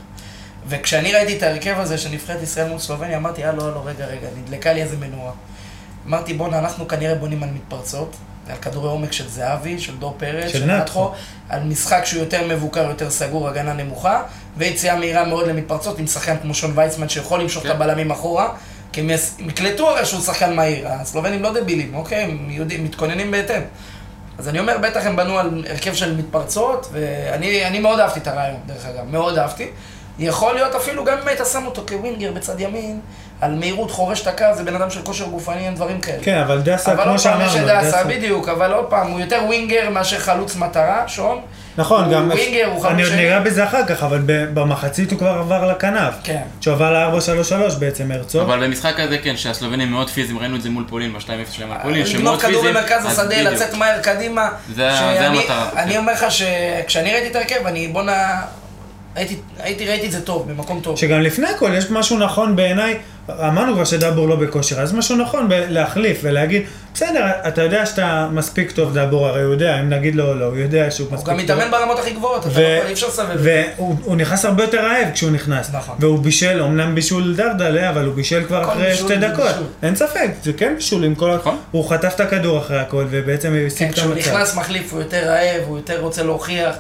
S3: וכשאני ראיתי את ההרכב הזה של נבחרת ישראל מול סלובניה, אמרתי, הלו, הלו, רגע, רגע, נדלקה לי איזה מנורה. אמרתי, בואנה, אנחנו כנראה בונים על מתפרצות, על כדורי עומק של זהבי, של דור פרץ,
S1: של נתחו.
S3: על משחק שהוא יותר מבוקר, יותר סגור, הגנה נמוכה, ויציאה מהירה מאוד למתפרצות עם שחקן כמו שון ויצמן שיכול למשוך
S2: כן.
S3: את הבלמים אחורה, כי הם יס- הם יקלטו הרי שהוא שחקן מהיר, הסלובנים לא דבילים, אוקיי? הם יודעים, מתכוננים בהתאם. אז אני אומר, בטח הם בנו על הרכב של מתפרצות, ואני אני מאוד אהבתי את הרעיון, דרך אגב, מאוד אהבתי. יכול להיות אפילו, גם אם היית שם אותו כווינגר בצד ימין, על מהירות חורש את הקו, זה בן אדם של כושר גופני, אין דברים כאלה.
S1: כן, אבל דסה,
S3: אבל
S1: כמו
S3: עוד פעם, יש
S1: שאמרנו,
S3: את דסה,
S1: דסה.
S3: בדיוק, אבל עוד פעם, הוא יותר ווינגר מאשר חלוץ מטרה, שון.
S1: נכון,
S3: הוא
S1: גם...
S3: ווינגר, הוא חלוץ
S1: אני עוד
S3: שני.
S1: ניגע בזה אחר כך, אבל ב- במחצית הוא כבר עבר לכנף.
S3: כן.
S1: שהוא עבר ל-4-3-3 בעצם, הרצוג.
S2: אבל במשחק הזה כן, שהסלובנים מאוד פיזיים, ראינו את זה מול פולין ב-2-0 שלהם
S1: אה,
S2: על פולין, שהם
S3: לגנוב
S2: מאוד
S3: כדור
S2: פיזיים.
S3: במרכז
S2: אז
S3: השדה,
S2: בדיוק.
S3: לצאת מהר קדימה.
S2: זה ה-
S3: שאני-
S2: זה המטרה,
S3: אני
S2: כן.
S3: אומר לך שכשאני ראיתי את ההרכב, אני בואנה... הייתי- הייתי ראיתי את זה טוב, במקום טוב.
S1: שגם לפני הכל יש משהו נכון בעיניי, אמרנו כבר שדאבור לא בכושר, אז משהו נכון ב- להחליף ולהגיד, בסדר, אתה יודע שאתה מספיק טוב דאבור, הרי הוא יודע, אם נגיד לו לא, הוא יודע שהוא
S3: הוא
S1: מספיק טוב.
S3: גם מתאמן ברמות הכי גבוהות, אתה
S1: ו-
S3: לא יכול- אי אפשר לסבב. את זה.
S1: והוא הוא נכנס הרבה יותר רעב כשהוא נכנס.
S3: נכון.
S1: והוא בישל, אמנם בישול דרדלה, אבל הוא בישל כבר
S3: כל
S1: אחרי
S3: בישול
S1: שתי
S3: הוא
S1: דקות.
S3: בישול.
S1: אין ספק, זה כן בישול עם כל... ה-
S2: נכון.
S1: הוא חטף את הכדור אחרי הכל, ובעצם
S3: כן,
S1: הפסיק את
S3: כשהוא
S1: המצב.
S3: נכנס מחליף, הוא יותר רעב, הוא יותר רוצה להוכיח.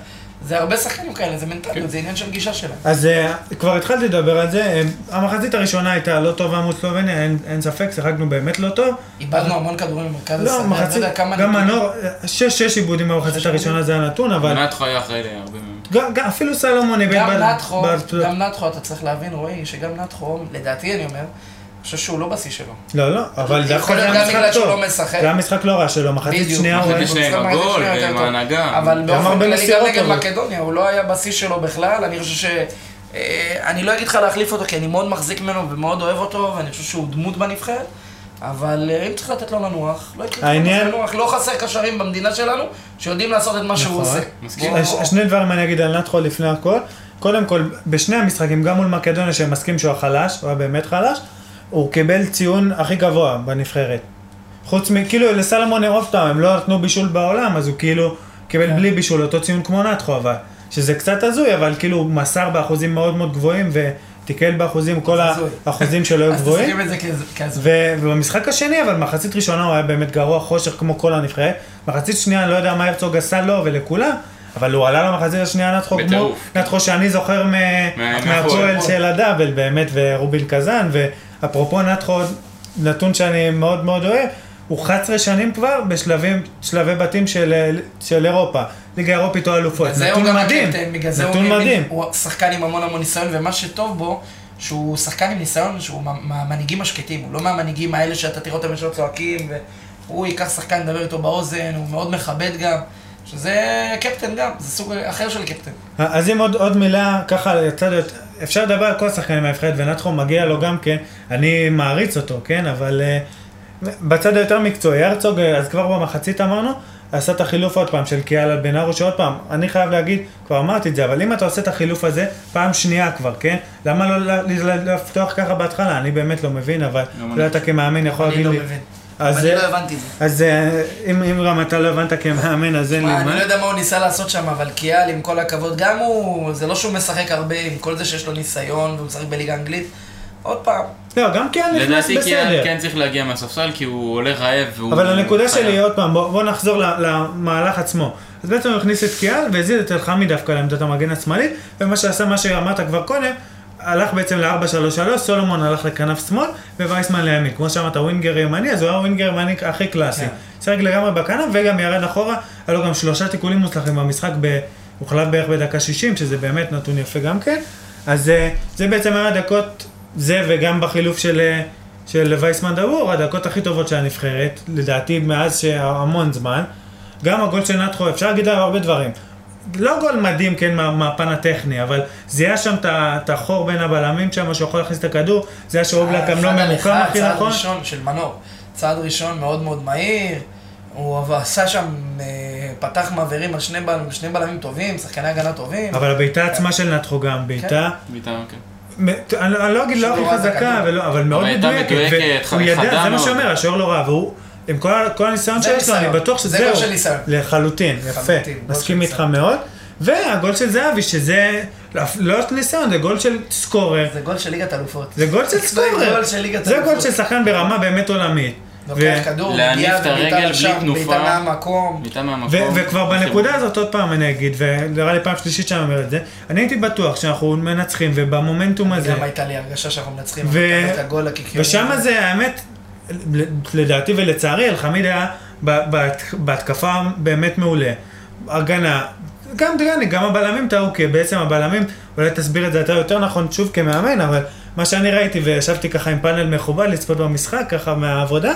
S3: זה הרבה שחקנים כאלה, זה
S1: כן.
S3: מנטליות, זה עניין של גישה שלהם.
S1: אז אה, כבר התחלתי לדבר על זה, אה, המחצית הראשונה הייתה לא טובה מול סלובניה, אין- אין ספק, שיחקנו באמת לא טוב.
S3: איבדנו המון כדורים במרכז השדה,
S1: לא,
S3: אני לא
S1: מחצית,
S3: יודע כמה...
S1: גם
S3: נתונים.
S1: מנור, שש, שש עיבודים במחצית הראשונה זה הנתון, אבל
S2: מנת חיה אחראי להרבה מהם.
S1: גם- גם- אפילו סלומון איבד
S3: גם
S1: ב-
S3: נתחו,
S1: ב-
S3: גם נתחו, אתה צריך להבין, רועי, שגם נתחו, לדעתי אני אומר, אני חושב שהוא לא בשיא שלו.
S1: לא, לא, אבל דווקא
S3: יכול
S1: זה
S3: להיות
S1: היה
S3: גם
S1: משחק
S3: בגלל שהוא
S1: טוב.
S3: לא משחק.
S1: זה היה משחק לא רע שלו, מחצית
S3: בדיוק,
S1: שנייה הוא
S2: מחצית
S1: היה...
S3: אבל
S2: שנייה עם
S3: גם
S2: הגול
S3: שנייה
S2: ועם
S3: יותר טוב.
S2: ההנהגה.
S3: אבל
S2: גם
S3: באופן
S1: הרבה
S3: כללי גם
S1: מסירות,
S3: נגד
S1: אבל.
S3: מקדוניה, הוא לא היה בשיא שלו בכלל, אני חושב ש... אה, אני לא אגיד לך להחליף אותו, כי אני מאוד מחזיק ממנו ומאוד אוהב אותו, ואני חושב שהוא דמות בנבחרת, אבל אה, אם צריך לתת לו לנוח, לא יקרה
S1: העניין-
S3: לנוח, לא חסר קשרים במדינה שלנו, שיודעים לעשות את מה שהוא
S1: נכון.
S3: עושה.
S2: מסכים.
S3: בוא-
S1: הש- שני דברים אני אגיד על נתחו לפני הכל. קודם כל, בשני המשחקים, גם מול מקדוניה, שהם מסכים שהוא החלש, הוא היה באמת חלש, הוא קיבל ציון הכי גבוה בנבחרת. חוץ מ... כאילו, לסלמון עוד פעם, הם לא נתנו בישול בעולם, אז הוא כאילו קיבל
S3: כן.
S1: בלי בישול אותו ציון כמו נתחו, אבל... שזה קצת הזוי, אבל כאילו, הוא מסר באחוזים מאוד מאוד גבוהים, ותיקל באחוזים, כל
S3: הזוי.
S1: האחוזים שלו היו
S3: אז
S1: גבוהים.
S3: תסכים את זה כזה- כזה.
S1: ו- ובמשחק השני, אבל מחצית ראשונה הוא היה באמת גרוע, חושך כמו כל הנבחרת. מחצית שנייה, אני לא יודע מה הרצוג עשה לו ולכולם, אבל הוא עלה למחצית השנייה נתחו כמו...
S2: בטירוף.
S1: נתחו שאני זוכר מ-
S2: מה-
S1: מהפועל
S2: מהפועל.
S1: של הדאבל, באמת, ורובין קזאן, ואפרופו נתחו, נתון שאני מאוד מאוד אוהב, הוא 11 שנים כבר בשלבים, שלבי בתים של, של אירופה. ליגה אירופית או אלופות.
S3: בגלל זה הוא
S1: נתון
S3: גם
S1: מדהים.
S3: הקפטן, בגלל זה
S1: נתון
S3: הוא,
S1: מדהים.
S3: הוא שחקן עם המון המון ניסיון, ומה שטוב בו, שהוא שחקן עם ניסיון, שהוא מה- מהמנהיגים השקטים, הוא לא מהמנהיגים האלה שאתה תראה אותם ישר צועקים, והוא ייקח שחקן, ידבר איתו באוזן, הוא מאוד מכבד גם, שזה קפטן גם, זה סוג אחר של קפטן.
S1: אז אם עוד, עוד מילה, ככה לצד, אפשר לדבר על כל השחקנים מהנבחרת, ונתחו מגיע לו גם כן, אני מעריץ אותו, כן, אבל uh, בצד היותר מקצועי, הרצוג, אה, אז כבר במחצית אמרנו, עשה את החילוף עוד פעם של קיאלה בן ארו, שעוד פעם, אני חייב להגיד, כבר אמרתי את זה, אבל אם אתה עושה את החילוף הזה, פעם שנייה כבר, כן, למה לא ל- ל- לפתוח ככה בהתחלה, אני באמת לא מבין, אבל
S2: גם
S1: אולי אתה כמאמן יכול
S3: אני
S1: להגיד
S3: לא
S1: לי.
S3: מבין.
S1: אז,
S3: אני לא
S1: אה,
S3: הבנתי את זה.
S1: אז אה, אם, אם גם אתה לא הבנת כמאמן, אז אין לי
S3: מה,
S1: מה.
S3: אני לא יודע מה הוא ניסה לעשות שם, אבל קיאל, עם כל הכבוד, גם הוא, זה לא שהוא משחק הרבה, עם כל זה שיש לו ניסיון, והוא משחק בליגה האנגלית. עוד פעם,
S1: לא, גם קיאלה נכנס
S2: לדעתי
S1: בסדר.
S2: כן- כן צריך להגיע מהספסל, כי הוא עולה רעב והוא...
S1: אבל הנקודה
S2: חייב.
S1: שלי היא עוד פעם, בוא, בוא נחזור ל- למהלך עצמו. אז בעצם הוא הכניס את קיאל והזיז את אלחמי דווקא לעמדת המגן השמאלית, ומה שעשה, מה שאמרת כבר קודם, הלך בעצם ל-4-3-3, סולומון הלך לכנף שמאל, ווייסמן לימין. כמו שאמרת, ווינגר ימני, אז הוא היה ווינגר ימני הכי קלאסי. שיחק לגמרי בכנף וגם ירד אחורה, היה לו גם שלושה תיקולים מוצלחים במשחק, ב... הוחלף בערך בדקה 60, שזה באמת נתון יפה גם כן. אז אה, זה בעצם היה הדקות, זה וגם בחילוף של... אה, של וייסמן דבור, הדקות הכי טובות של הנבחרת, לדעתי מאז שהמון זמן. גם הגול של נתחו, אפשר להגיד עליו הרבה דברים. לא גול מדהים, כן, מה- מהפן הטכני, אבל זיהה שם את ה- את החור בין הבלמים שם, שיכול להכניס את הכדור, זיהה שאובלק גם לא
S3: אה, אחד על
S1: ממוקם
S3: אחד,
S1: הכי נכון.
S3: צעד ראשון של מנור. צעד ראשון מאוד מאוד מהיר. הוא אבל עשה שם, אה, פתח מעברים על שני, בל, שני בלמים טובים, שחקני הגנה טובים.
S1: אבל הבעיטה עצמה של נתחו גם, בעיטה,
S2: בעיטה, כן.
S1: מ- ת- אני לא אני לא אגיד לא הכי
S3: שהוא ראה את
S1: חזקה,
S3: הכדור.
S1: ולא- אבל מאוד
S2: אבל הייתה
S1: מדויקת.
S2: מדויקת,
S1: והוא ידע,
S2: חדה
S1: זה מה
S2: מאוד.
S1: שאומר, השוער לא רע, והוא, עם כל ה- כל הניסיון
S3: זה
S1: שיש לו, אני
S3: ניסיון.
S1: בטוח
S3: זה
S1: שזהו.
S3: גול של ניסיון.
S1: לחלוטין, יפה.
S3: לחלוטין, גול
S1: מסכים
S3: של
S1: איתך
S3: ניסיון.
S1: מאוד. והגול של זהבי, שזה לא- לא ניסיון, זה גול של סקורר.
S3: זה גול של ליגת אלופות.
S1: זה גול של
S3: זה
S1: סקורר.
S3: גול של ליגת
S1: זה גול
S3: אלופות.
S1: של שחקן ברמה באמת עולמית.
S3: לוקח כדור,
S2: להניף
S3: מגיע
S2: את
S3: ובעיטה
S2: הרגל
S3: לשם,
S2: בלי תנופה.
S3: בעיטה מהמקום.
S2: בעיטה מהמקום.
S1: ו- וכבר
S2: חיבור.
S1: בנקודה הזאת, עוד פעם אני אגיד, ונראה לי פעם שלישית שאני אומר את זה, אני הייתי בטוח שאנחנו מנצחים, ובמומנטום הזה,
S3: גם הייתה לי הרגשה שאנחנו מנצחים,
S1: ו-
S3: אבל את הגול הקיקיוני.
S1: ושם זה האמת, לדעתי ולצערי, אלחמיד היה ב- בהת- בהתקפה באמת מעולה. הגנה, גם דגני, גם הבלמים טעו, כי בעצם הבלמים, אולי תסביר את זה אתה יותר נכון, שוב כמאמן, אבל מה שאני ראיתי, וישבתי ככה עם פאנל מכובד לצפות במשחק, ככה מהעבודה,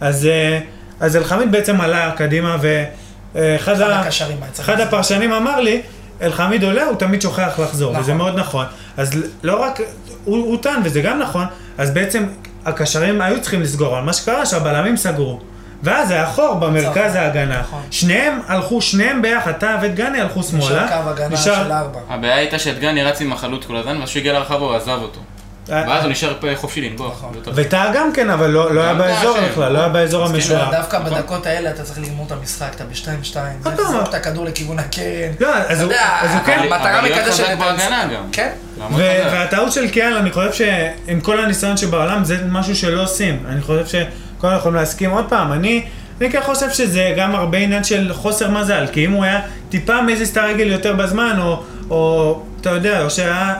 S1: אז, אה, אז אלחמיד בעצם עלה קדימה, ואחד
S3: אחד הקשרים היה צריך
S1: אחד
S3: לעשות.
S1: הפרשנים אמר לי, אלחמיד עולה, הוא תמיד שוכח לחזור,
S3: נכון.
S1: נכון. וזה מאוד נכון. אז ל- לא רק, הוא, הוא טען, וזה גם נכון, אז בעצם הקשרים היו צריכים לסגור, אבל מה שקרה שהבלמים סגרו. ואז היה חור במרכז
S3: נכון.
S1: ההגנה.
S3: נכון.
S1: שניהם הלכו, שניהם ביחד, אתה ודגני הלכו שמאלה.
S3: נשאר קו הגנה
S1: נשאר-
S3: של ארבע.
S2: הבעיה הייתה שדגני רץ עם החלוץ כל הזמן, ואז כשהוא הגיע לרחבה הוא עזב אותו.
S1: אה,
S2: ואז הוא נשאר פה חופשי לנבוח.
S3: נכון.
S2: זה טוב.
S1: וטעה גם כן, אבל לא, לא היה
S2: גם
S1: באזור
S2: טעה,
S1: בכלל,
S2: כן.
S1: לא היה באזור
S2: מסכים,
S1: המשוער.
S3: דווקא
S2: נכון.
S3: בדקות האלה אתה צריך לגמור את המשחק, אתה בשתיים-שתיים.
S1: עוד פעם.
S3: תזרוק את הכדור לכיוון הקרן.
S1: לא, אז
S3: אתה
S1: הוא-
S3: יודע,
S1: אז הוא כן-
S3: המטרה
S2: אבל להיות
S3: מקדשת
S2: חזק
S3: את
S2: בהגנה
S3: המשחק.
S2: גם.
S3: כן.
S2: לעמוד
S1: ו-
S2: חזק.
S1: והטעות של קיאל, אני חושב שעם כל הניסיון שבעולם, זה משהו שלא עושים. אני חושב שכולם יכולים להסכים. עוד פעם, אני, אני כן חושב שזה גם הרבה עניין של חוסר מזל, כי אם הוא היה טיפה מזיז את הרגל יותר בזמן, או, או אתה יודע, או שהיה...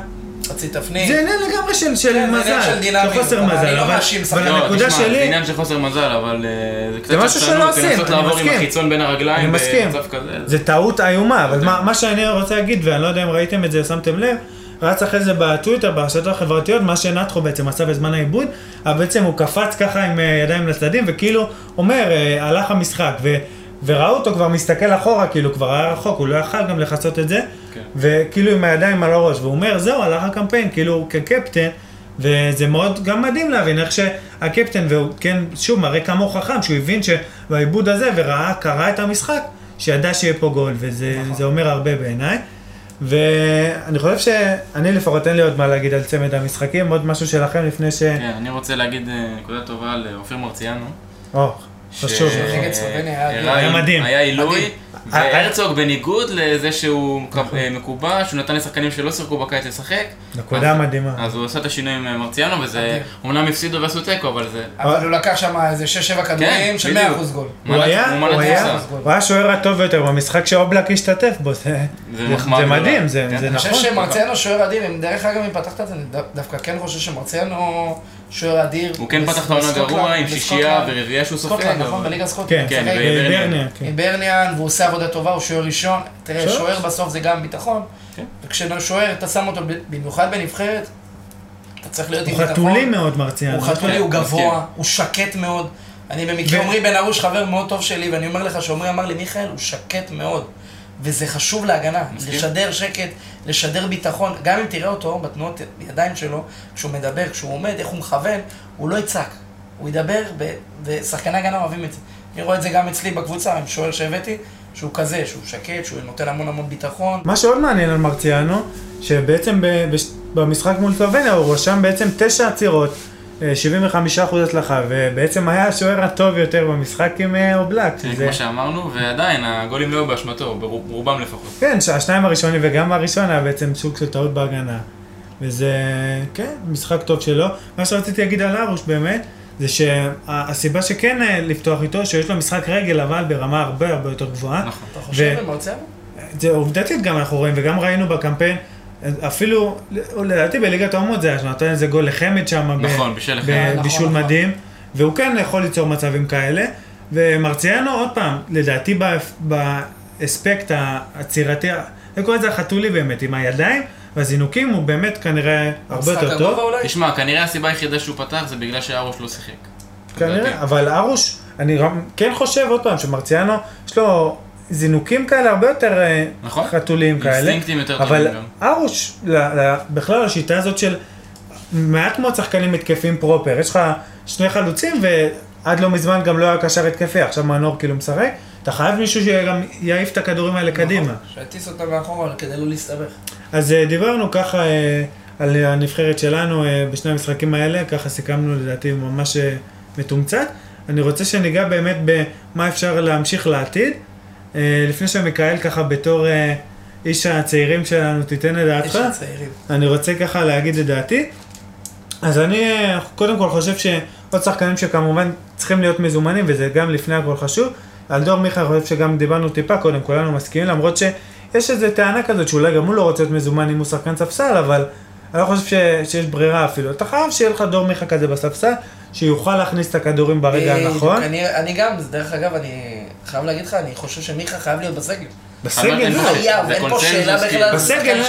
S3: חצי תפנית.
S1: זה עניין לגמרי של, של
S3: כן, זה
S1: מזל,
S3: עניין של דינמיות,
S1: חוסר
S3: אבל
S1: מזל,
S3: אני לא
S1: אבל,
S3: מאשים
S1: אבל
S3: שחקן.
S2: לא,
S1: הנקודה
S2: תשמע, זה
S1: שלי,
S2: עניין של חוסר מזל, אבל אה, זה קצת
S1: משהו שלא
S2: עצלנות
S1: עושים,
S2: לנסות
S1: אני
S2: לעבור עם
S1: מסכים.
S2: החיצון בין
S1: אני
S3: אה,
S2: הרגליים
S1: מסכים,
S2: במצב כזה.
S1: זה טעות איומה, אבל מה, מה שאני רוצה להגיד, ואני לא יודע אם ראיתם את זה, שמתם לב, רץ אחרי זה בטוויטר, ברשתות החברתיות, מה שנטחו בעצם עשה בזמן העיבוד, אבל בעצם הוא קפץ ככה עם אה, ידיים לצדדים, וכאילו אומר, אה, הלך המשחק, ו, וראו אותו כבר מסתכל אחורה, כאילו כבר היה רחוק, הוא לא יכל גם לכסות את זה,
S2: כן.
S1: וכאילו עם הידיים על הראש, והוא אומר, זהו, הלך הקמפיין, כאילו כקפטן. וזה מאוד גם מדהים להבין איך שהקפטן, והוא כן, שוב, מראה כמה הוא חכם, שהוא הבין שבעיבוד הזה, וראה, קרא את המשחק, שידע שיהיה פה גול, וזה נכון. אומר הרבה בעיניי. ואני חושב שאני לפחות אין לי עוד מה להגיד על צמד המשחקים, עוד משהו שלכם לפני ש... כן.
S2: כן, אני רוצה להגיד אה, נקודה טובה לאופיר מרציאנו.
S1: או,
S2: ש-
S1: חשוב.
S3: נכון. נגד סלובניה היה
S2: הראה-
S1: היה מדהים. אה,
S2: היה עילוי,
S3: מדהים.
S2: והרצוג בניגוד לזה שהוא
S1: נכון.
S2: מקב- אה, מקובע, שהוא נתן לשחקנים שלא שיחקו בקיץ לשחק.
S1: נקודה
S2: אז-
S1: מדהימה.
S2: אז הוא עשה את השינוי עם אה, מרציאנו, וזה
S3: מדהים.
S2: אומנם הפסידו ועשו תיקו, אבל זה...
S3: אבל הוא לקח שם איזה 6-7 כדורים
S2: כן,
S3: של 100%
S2: בדיוק.
S3: גול.
S1: הוא
S2: מנת-
S1: היה,
S2: מנת
S1: הוא היה,
S2: מוצא.
S1: הוא היה שוער הטוב ביותר במשחק שאובלק השתתף בו, זה,
S2: זה מחמאה
S1: זה
S2: גדולה.
S1: מדהים, זה,
S2: כן,
S1: זה
S2: אני
S3: אני
S1: נכון.
S3: חושב שמרציאנו שוער אדיר, אם דרך אגב אם פתחת את זה, אני דו- דווקא כן חושב שמרציאנו שוער אדיר.
S2: הוא כן
S3: בס-
S2: פתח את העונה
S3: בסקוטלנד-
S2: גרוע עם שישייה
S3: בסקוטלנד.
S2: ורביעייה שהוא סופג.
S3: סקוטלנד,
S2: אבל-
S3: נכון? בליגה הסקוטלנד.
S1: כן,
S2: כן,
S3: משחק
S1: בברניה, כן.
S3: עם ברניאן, והוא עושה עבודה טובה, הוא שוער ראשון. תראה,
S1: שוער?
S3: שוער בסוף זה גם ביטחון.
S2: כן.
S3: וכששוער, אתה שם אותו ב- במיוחד בנבחרת, אתה צריך להיות עם
S1: הוא
S3: ביטחון.
S1: חתולי מאוד מרציאנו.
S3: הוא חתולי, הוא
S2: מסכים.
S3: גבוה, הוא שקט מאוד. אני במקרה
S1: כן, ו-
S3: עמרי בן ארוש חבר מאוד טוב שלי, ואני אומר לך שעמרי אמר לי, מיכאל, הוא שקט מאוד. וזה חשוב להגנה,
S2: מסכים.
S3: לשדר שקט, לשדר ביטחון. גם אם תראה אותו בתנועות ידיים שלו, כשהוא מדבר, כשהוא עומד, איך הוא מכוון, הוא לא יצעק. הוא ידבר, ב- ושחקני הגנה אוהבים את זה. אני רואה את זה גם אצלי בקבוצה, עם שוער שהבאתי, שהוא כזה, שהוא שקט, שהוא נותן המון המון ביטחון.
S1: מה שעוד מעניין על מרציאנו, שבעצם ב, בש, במשחק מול סלובניה הוא רשם בעצם תשע עצירות, אה, 75% הצלחה, ובעצם היה השוער הטוב יותר במשחק עם אה, אובלק.
S2: כן,
S1: שזה-
S2: כמו שאמרנו, ועדיין, הגולים לא היו באשמתו, ברוב- רובם לפחות.
S1: כן, שה- השניים הראשונים וגם הראשון היה בעצם סוג של טעות בהגנה. וזה, כן, משחק טוב שלו. מה שרציתי להגיד על ארוש באמת, זה שהסיבה שכן אה, לפתוח איתו, שיש לו משחק רגל, אבל ברמה הרבה הרבה יותר גבוהה.
S2: נכון.
S3: אתה חושב,
S1: ו-
S3: במרצה?
S1: זה עובדתית גם אנחנו רואים, וגם ראינו בקמפיין, אפילו, לדעתי בליגת האומות זה היה, שנתן איזה גול לחמד שם, ב-
S2: נכון, בשל אחד.
S3: נכון,
S1: בבישול
S3: נכון.
S1: מדהים, והוא כן יכול ליצור מצבים כאלה, ומרציאנו עוד פעם, לדעתי באפ- באספקט העצירתי, אני קורא לזה החתולי באמת, עם הידיים, והזינוקים הוא באמת כנראה הרבה יותר
S3: משחק הגובה
S1: טוב,
S3: אולי?
S2: תשמע, כנראה הסיבה היחידה שהוא פתח זה בגלל שהרוש לא שיחק. לדעתי.
S1: כנראה, אבל ארוש, אני גם כן חושב עוד פעם שמרציאנו, יש לו זינוקים כאלה הרבה יותר אה,
S2: נכון.
S1: חתוליים כאלה.
S2: אינסטינקטים יותר
S1: אבל
S2: טובים גם.
S1: ארוש, ל- ל- בכלל השיטה הזאת של מעט מאוד שחקנים התקפיים פרופר, יש לך שני חלוצים ועד לא מזמן גם לא היה קשר התקפי, עכשיו מנור כאילו משחק, אתה חייב מישהו שגם יעיף את הכדורים האלה
S2: נכון.
S1: קדימה.
S3: נכון, שיטיס אותה מאחורה כדי לא להסתבך.
S1: אז אה, דיברנו ככה אה, על הנבחרת שלנו אה, בשני המשחקים האלה, ככה סיכמנו לדעתי ממש אה, מתומצת. אני רוצה שניגע באמת במה אפשר להמשיך לעתיד. אה, לפני שמיכאל ככה בתור אה, איש הצעירים שלנו תיתן את דעתך.
S3: יש הצעירים.
S1: אני רוצה ככה להגיד לדעתי, אז אני אה, קודם כל חושב שעוד שחקנים שכמובן צריכים להיות מזומנים, וזה גם לפני הכל חשוב. על דור מיכה, אני חושב שגם דיברנו טיפה קודם, כולנו מסכימים, למרות שיש איזו טענה כזאת שאולי גם הוא לא רוצה להיות מזומן אם הוא שחקן ספסל, אבל אני לא חושב ש... שיש ברירה אפילו. אתה חייב שיהיה לך דור מיכה כזה בספסל, שיוכל להכניס את הכדורים ברגע
S3: בדיוק.
S1: הנכון.
S3: אני, אני גם, זה דרך אגב, אני חייב להגיד לך, אני חושב שמיכה חייב להיות בסגל.
S1: בסגל,
S2: אמרתם,
S1: לא.
S2: זה
S3: חייב, אין פה
S2: קונצנזוס,
S3: שאלה
S2: כאילו.
S3: בכלל. זה
S1: בסגל,
S3: שחקן
S1: אה?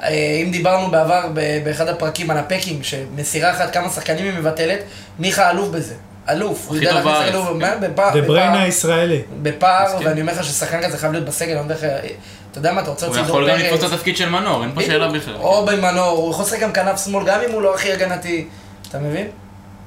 S3: ש- אה, אם דיברנו בעבר ב- באחד הפרקים על הפקינג, שמסירה אחת כמה שחקנים היא מבטלת, מיכה אלוף בזה. אלוף. הוא
S2: הכי
S3: יודע
S2: טוב
S3: להכניס
S2: בארץ,
S3: אלוף,
S2: כן.
S3: מה? בפער,
S1: דה בריינה
S3: בפער,
S1: הישראלי.
S3: בפער,
S2: מסכים.
S3: ואני אומר לך ששחקן כזה חייב להיות בסגל, אני אומר לך, אה, אתה יודע מה, אתה רוצה
S2: הוא
S3: להוציא דור
S2: יכול גם
S3: פרץ?
S2: לתפוס את התפקיד של מנור, אין פה שאלה
S3: בדיוק.
S2: בכלל.
S3: או במנור, הוא יכול לשחק גם כנף שמאל, גם אם הוא לא הכי הגנתי. אתה מבין?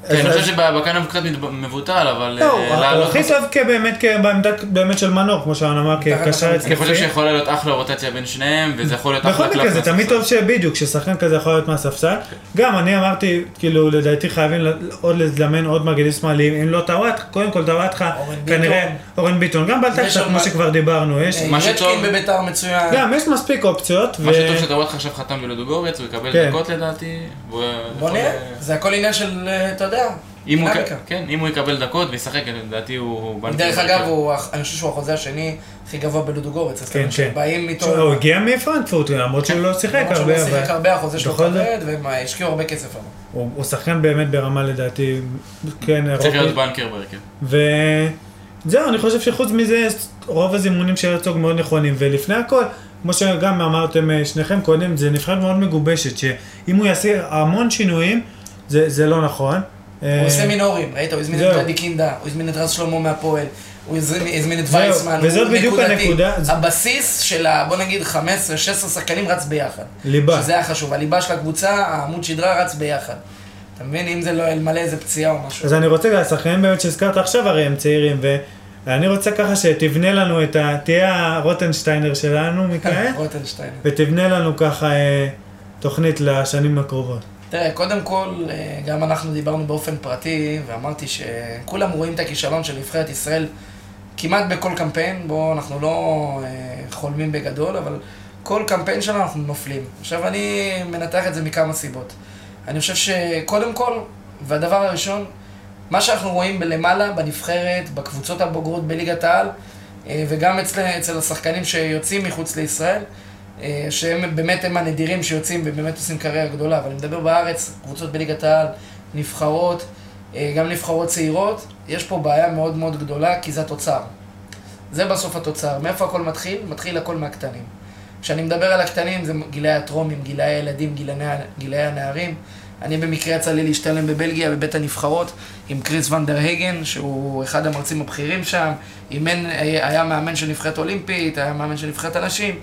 S2: כן, אני
S1: אז-
S2: חושב שבכאן הוא קצת מתב- מבוטל, אבל...
S1: לא,
S2: אה,
S1: אבל
S2: לעלות-
S1: הכי טוב כבאמת, בעמדה באמת של מנור, כמו שאמרנו, אמר,
S3: מתחת
S1: כקשר
S3: לחלוץ.
S2: אני חושב
S1: התקפי.
S2: שיכולה להיות אחלה רוטציה בין שניהם, וזה יכול להיות אחלה
S1: בכל מקרה,
S2: קלף
S1: זה
S2: מהספסל.
S1: תמיד טוב שבדיוק, ששחקן כזה יכול להיות מהספסל. גם אני אמרתי, כאילו, לדעתי חייבים ל- עוד לזמן עוד מגנים שמאליים, אם לא טוואטחה, קודם כל טוואטחה,
S3: אורן ביטון.
S1: כנראה אורן ביטון, גם בלטקסה,
S3: ושרמן.
S1: כמו שכבר דיברנו, יש.
S2: מה
S3: אה, רדקין
S2: שטוב-
S3: בביתר מצוין.
S1: גם, יש מספיק אופציות,
S2: מה
S1: ו-
S2: שטוב שטוואטחה עכשיו חתם ולודוגורץ, הוא
S1: כן.
S2: יקבל דקות לדעתי. והוא
S3: בוא
S2: יכול-
S3: נראה, זה הכל עניין של, אה, אתה יודע,
S2: אוקיי. אם הוא-
S3: דינמיקה.
S2: כן, אם הוא יקבל דקות וישחק, לדעתי הוא- הוא... בנקי
S3: דרך
S2: בהרכב.
S3: אגב, הוא הח- אני חושב שהוא החוזה השני הכי גבוה בלודוגורץ, אז
S1: כן, כן.
S3: שבאים איתו,
S1: הוא הגיע מפרנקפורט, למרות שהוא לא שיחק
S3: למרות שהוא
S1: הרבה,
S3: לא שיחק
S1: אבל
S3: הרבה, החוזה שלו
S1: בכל זאת.
S3: כבד, והם השקיעו הרבה כסף עליו.
S1: הוא הוא שחקן באמת ברמה לדעתי, כן,
S2: צריך
S1: אירופית.
S2: להיות בנקר בהרכב.
S1: וזהו, אני חושב שחוץ מזה, רוב הזימונים של הרצוג מאוד נכונים, ולפני הכל, כמו שגם אמרתם אה, שניכם קודם, זה נבחרת מאוד מגובשת, שאם הוא יעשה המון שינויים, זה, זה לא נכון.
S3: הוא עושה מינורים, ראית? הוא הזמין את
S1: זהו.
S3: גדי קינדה, הוא הזמין את רז שלמה מהפועל, הוא הזמין הזמין את
S1: זהו,
S3: וייסמן,
S1: וזאת
S3: הוא
S1: בדיוק
S3: נקודתי.
S1: הנקודה. זה-
S3: הבסיס של ה... בוא נגיד 15-16 שחקנים רץ ביחד.
S1: ליבה.
S3: שזה היה חשוב, הליבה של הקבוצה, העמוד שדרה רץ ביחד. אתה מבין? אם זה לא אלמלא איזה פציעה או משהו.
S1: אז
S3: <laughs>
S1: אני רוצה, גם, השחקנים באמת שהזכרת עכשיו, הרי הם צעירים, ואני רוצה ככה שתבנה לנו את ה... תהיה הרוטנשטיינר שלנו
S3: כן,
S1: מכאן,
S3: רוטנשטיין.
S1: ותבנה לנו ככה אה, תוכנית לשנים הקרובות.
S3: תראה, קודם כל, אה, גם אנחנו דיברנו באופן פרטי, ואמרתי שכולם רואים את הכישלון של נבחרת ישראל כמעט בכל קמפיין, בו אנחנו לא אה, חולמים בגדול, אבל כל קמפיין שלנו אנחנו נופלים. עכשיו, אני מנתח את זה מכמה סיבות. אני חושב שקודם כל, והדבר הראשון, מה שאנחנו רואים למעלה, בנבחרת, בקבוצות הבוגרות בליגת העל, אה, וגם אצל, אצל השחקנים שיוצאים מחוץ לישראל, אה, שהם באמת הם הנדירים שיוצאים ובאמת עושים קריירה גדולה, אבל אני מדבר בארץ, קבוצות בליגת העל, נבחרות, אה, גם נבחרות צעירות, יש פה בעיה מאוד מאוד גדולה, כי זה התוצר. זה בסוף התוצר. מאיפה הכל מתחיל? מתחיל הכל מהקטנים. כשאני מדבר על הקטנים, זה גילאי הטרומים, גילאי הילדים, גילאי, גילאי הנערים. אני במקרה יצא לי להשתלם בבלגיה, בבית הנבחרות, עם קריס ונדר הגן, שהוא אחד המרצים הבכירים שם, אימן, היה מאמן של נבחרת אולימפית, היה מאמן של נבחרת הנשים,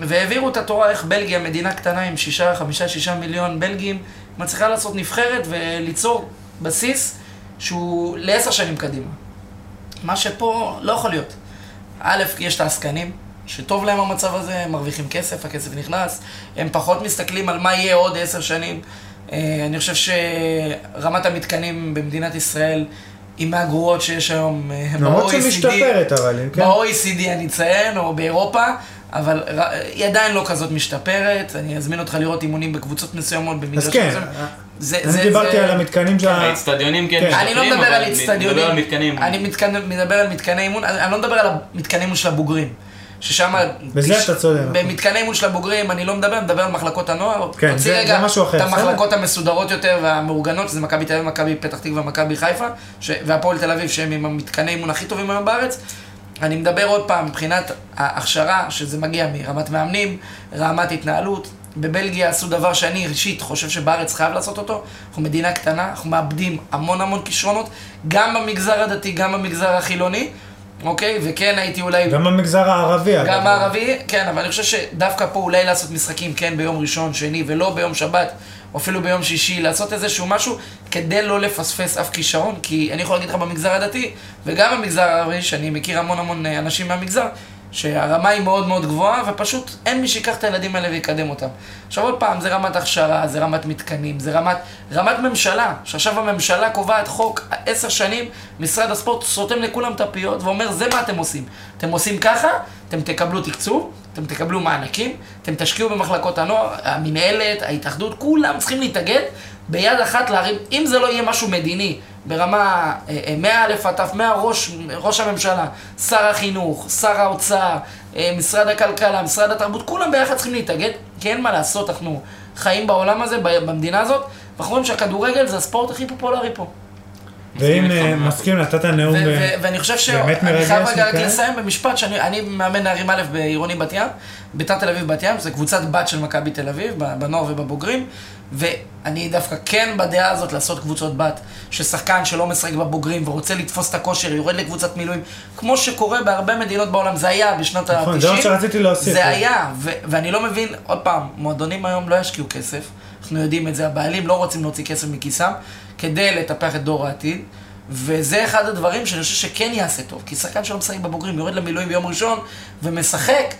S3: והעבירו את התורה איך בלגיה, מדינה קטנה עם שישה, חמישה, שישה מיליון בלגים, מצליחה לעשות נבחרת וליצור בסיס שהוא לעשר שנים קדימה. מה שפה לא יכול להיות. א', יש את העסקנים, שטוב להם המצב הזה, הם מרוויחים כסף, הכסף נכנס, הם פחות מסתכלים על מה יהיה עוד עשר שנים. אה, אני חושב שרמת המתקנים במדינת ישראל היא מהגרועות שיש היום אה, ב-OECD.
S1: למרות שהיא משתפרת, אבל אם כן.
S3: ב-OECD E אני אציין, או באירופה, אבל ר- היא עדיין לא כזאת משתפרת, אני אזמין אותך לראות אימונים בקבוצות מסוימות, במגרש
S1: אז כן,
S3: מסוים. זה,
S1: אני דיברתי על המתקנים של ה...
S2: האיצטדיונים כן
S1: כן.
S2: משתפרים,
S3: אני לא מדבר
S2: אבל
S3: על
S2: אני
S3: אצטדיונים.
S2: מדבר על מתקנים.
S3: אני מתקנ- מדבר על מתקני אימון, אני אני לא מדבר על מתקני אימון של הבוגרים. ששם...
S1: בזה
S3: תש-
S1: אתה צודק.
S3: במתקני אימון של הבוגרים אני לא מדבר, אני מדבר על מחלקות הנוער.
S1: כן,
S3: תוציא
S1: זה-
S3: רגע
S1: זה משהו אחר,
S3: את
S1: בסדר.
S3: המחלקות המסודרות יותר והמאורגנות, שזה מכבי תל אביב, מכבי פתח תקווה, מכבי חיפה, ש- והפועל תל אביב, שהם עם המתקני אימון הכי טובים היום בארץ. אני מדבר עוד פעם, מבחינת ההכשרה, שזה מגיע מרמת מאמנים, רמת התנהלות. בבלגיה עשו דבר שאני אישית חושב שבארץ חייב לעשות אותו. אנחנו מדינה קטנה, אנחנו מאבדים המון המון כישרונות, גם במגזר הדתי, גם במגזר החילוני, אוקיי? וכן, הייתי אולי...
S1: גם במגזר הערבי, אגב.
S3: גם הערבי, כן, אבל אני חושב שדווקא פה אולי לעשות משחקים, כן, ביום ראשון, שני, ולא ביום שבת, או אפילו ביום שישי, לעשות איזשהו משהו כדי לא לפספס אף כישרון, כי אני יכול להגיד לך במגזר הדתי, וגם במגזר הערבי, שאני מכיר המון המון אה, אנשים מהמגזר, שהרמה היא מאוד מאוד גבוהה, ופשוט אין מי שיקח את הילדים האלה ויקדם אותם. עכשיו עוד פעם, זה רמת הכשרה, זה רמת מתקנים, זה רמת, רמת ממשלה, שעכשיו הממשלה קובעת חוק עשר שנים, משרד הספורט סותם לכולם את הפיות ואומר, זה מה אתם עושים. אתם עושים ככה, אתם תקבלו תקצוב, אתם תקבלו מענקים, אתם תשקיעו במחלקות הנוער, המינהלת, ההתאחדות, כולם צריכים להתאגד ביד אחת להרים, אם זה לא יהיה משהו מדיני, ברמה אה, אה, מא' עד ת', מהראש, ראש הממשלה, שר החינוך, שר האוצר, אה, משרד הכלכלה, משרד התרבות, כולם ביחד צריכים להתאגד, כי אין מה לעשות, אנחנו חיים בעולם הזה, ב- במדינה הזאת, ואנחנו רואים שהכדורגל זה הספורט הכי פופולרי פה.
S2: מסכים
S1: ואם
S2: איתך,
S1: אה,
S2: מאה
S1: מסכים, נתת נאום...
S3: ו-
S1: ב-
S3: ו- ואני חושב ש...
S1: אה, באמת
S3: אני
S1: מרגש
S3: חייב רגע רק
S1: מכאן.
S3: לסיים במשפט, שאני אני מאמן נערים א' בעירוני בת ים, ביתר תל אביב בת ים, זו קבוצת בת של מכבי תל אביב, ב- בנוער ובבוגרים, ואני דווקא כן בדעה הזאת לעשות קבוצות בת, ששחקן שלא משחק בבוגרים ורוצה לתפוס את הכושר, יורד לקבוצת מילואים, כמו שקורה בהרבה מדינות בעולם, זה היה בשנות ה-90.
S1: נכון, זה מה שרציתי להוסיף.
S3: זה היה, ו- ואני לא מבין, עוד פעם, מועדונים היום לא ישקיעו כסף, אנחנו יודעים את זה, הבעלים לא רוצים להוציא כסף מכיסם כדי לטפח את דור העתיד, וזה אחד הדברים שאני חושב שכן יעשה טוב, כי שחקן שלא משחק בבוגרים, יורד למילואים ביום ראשון ומשחק,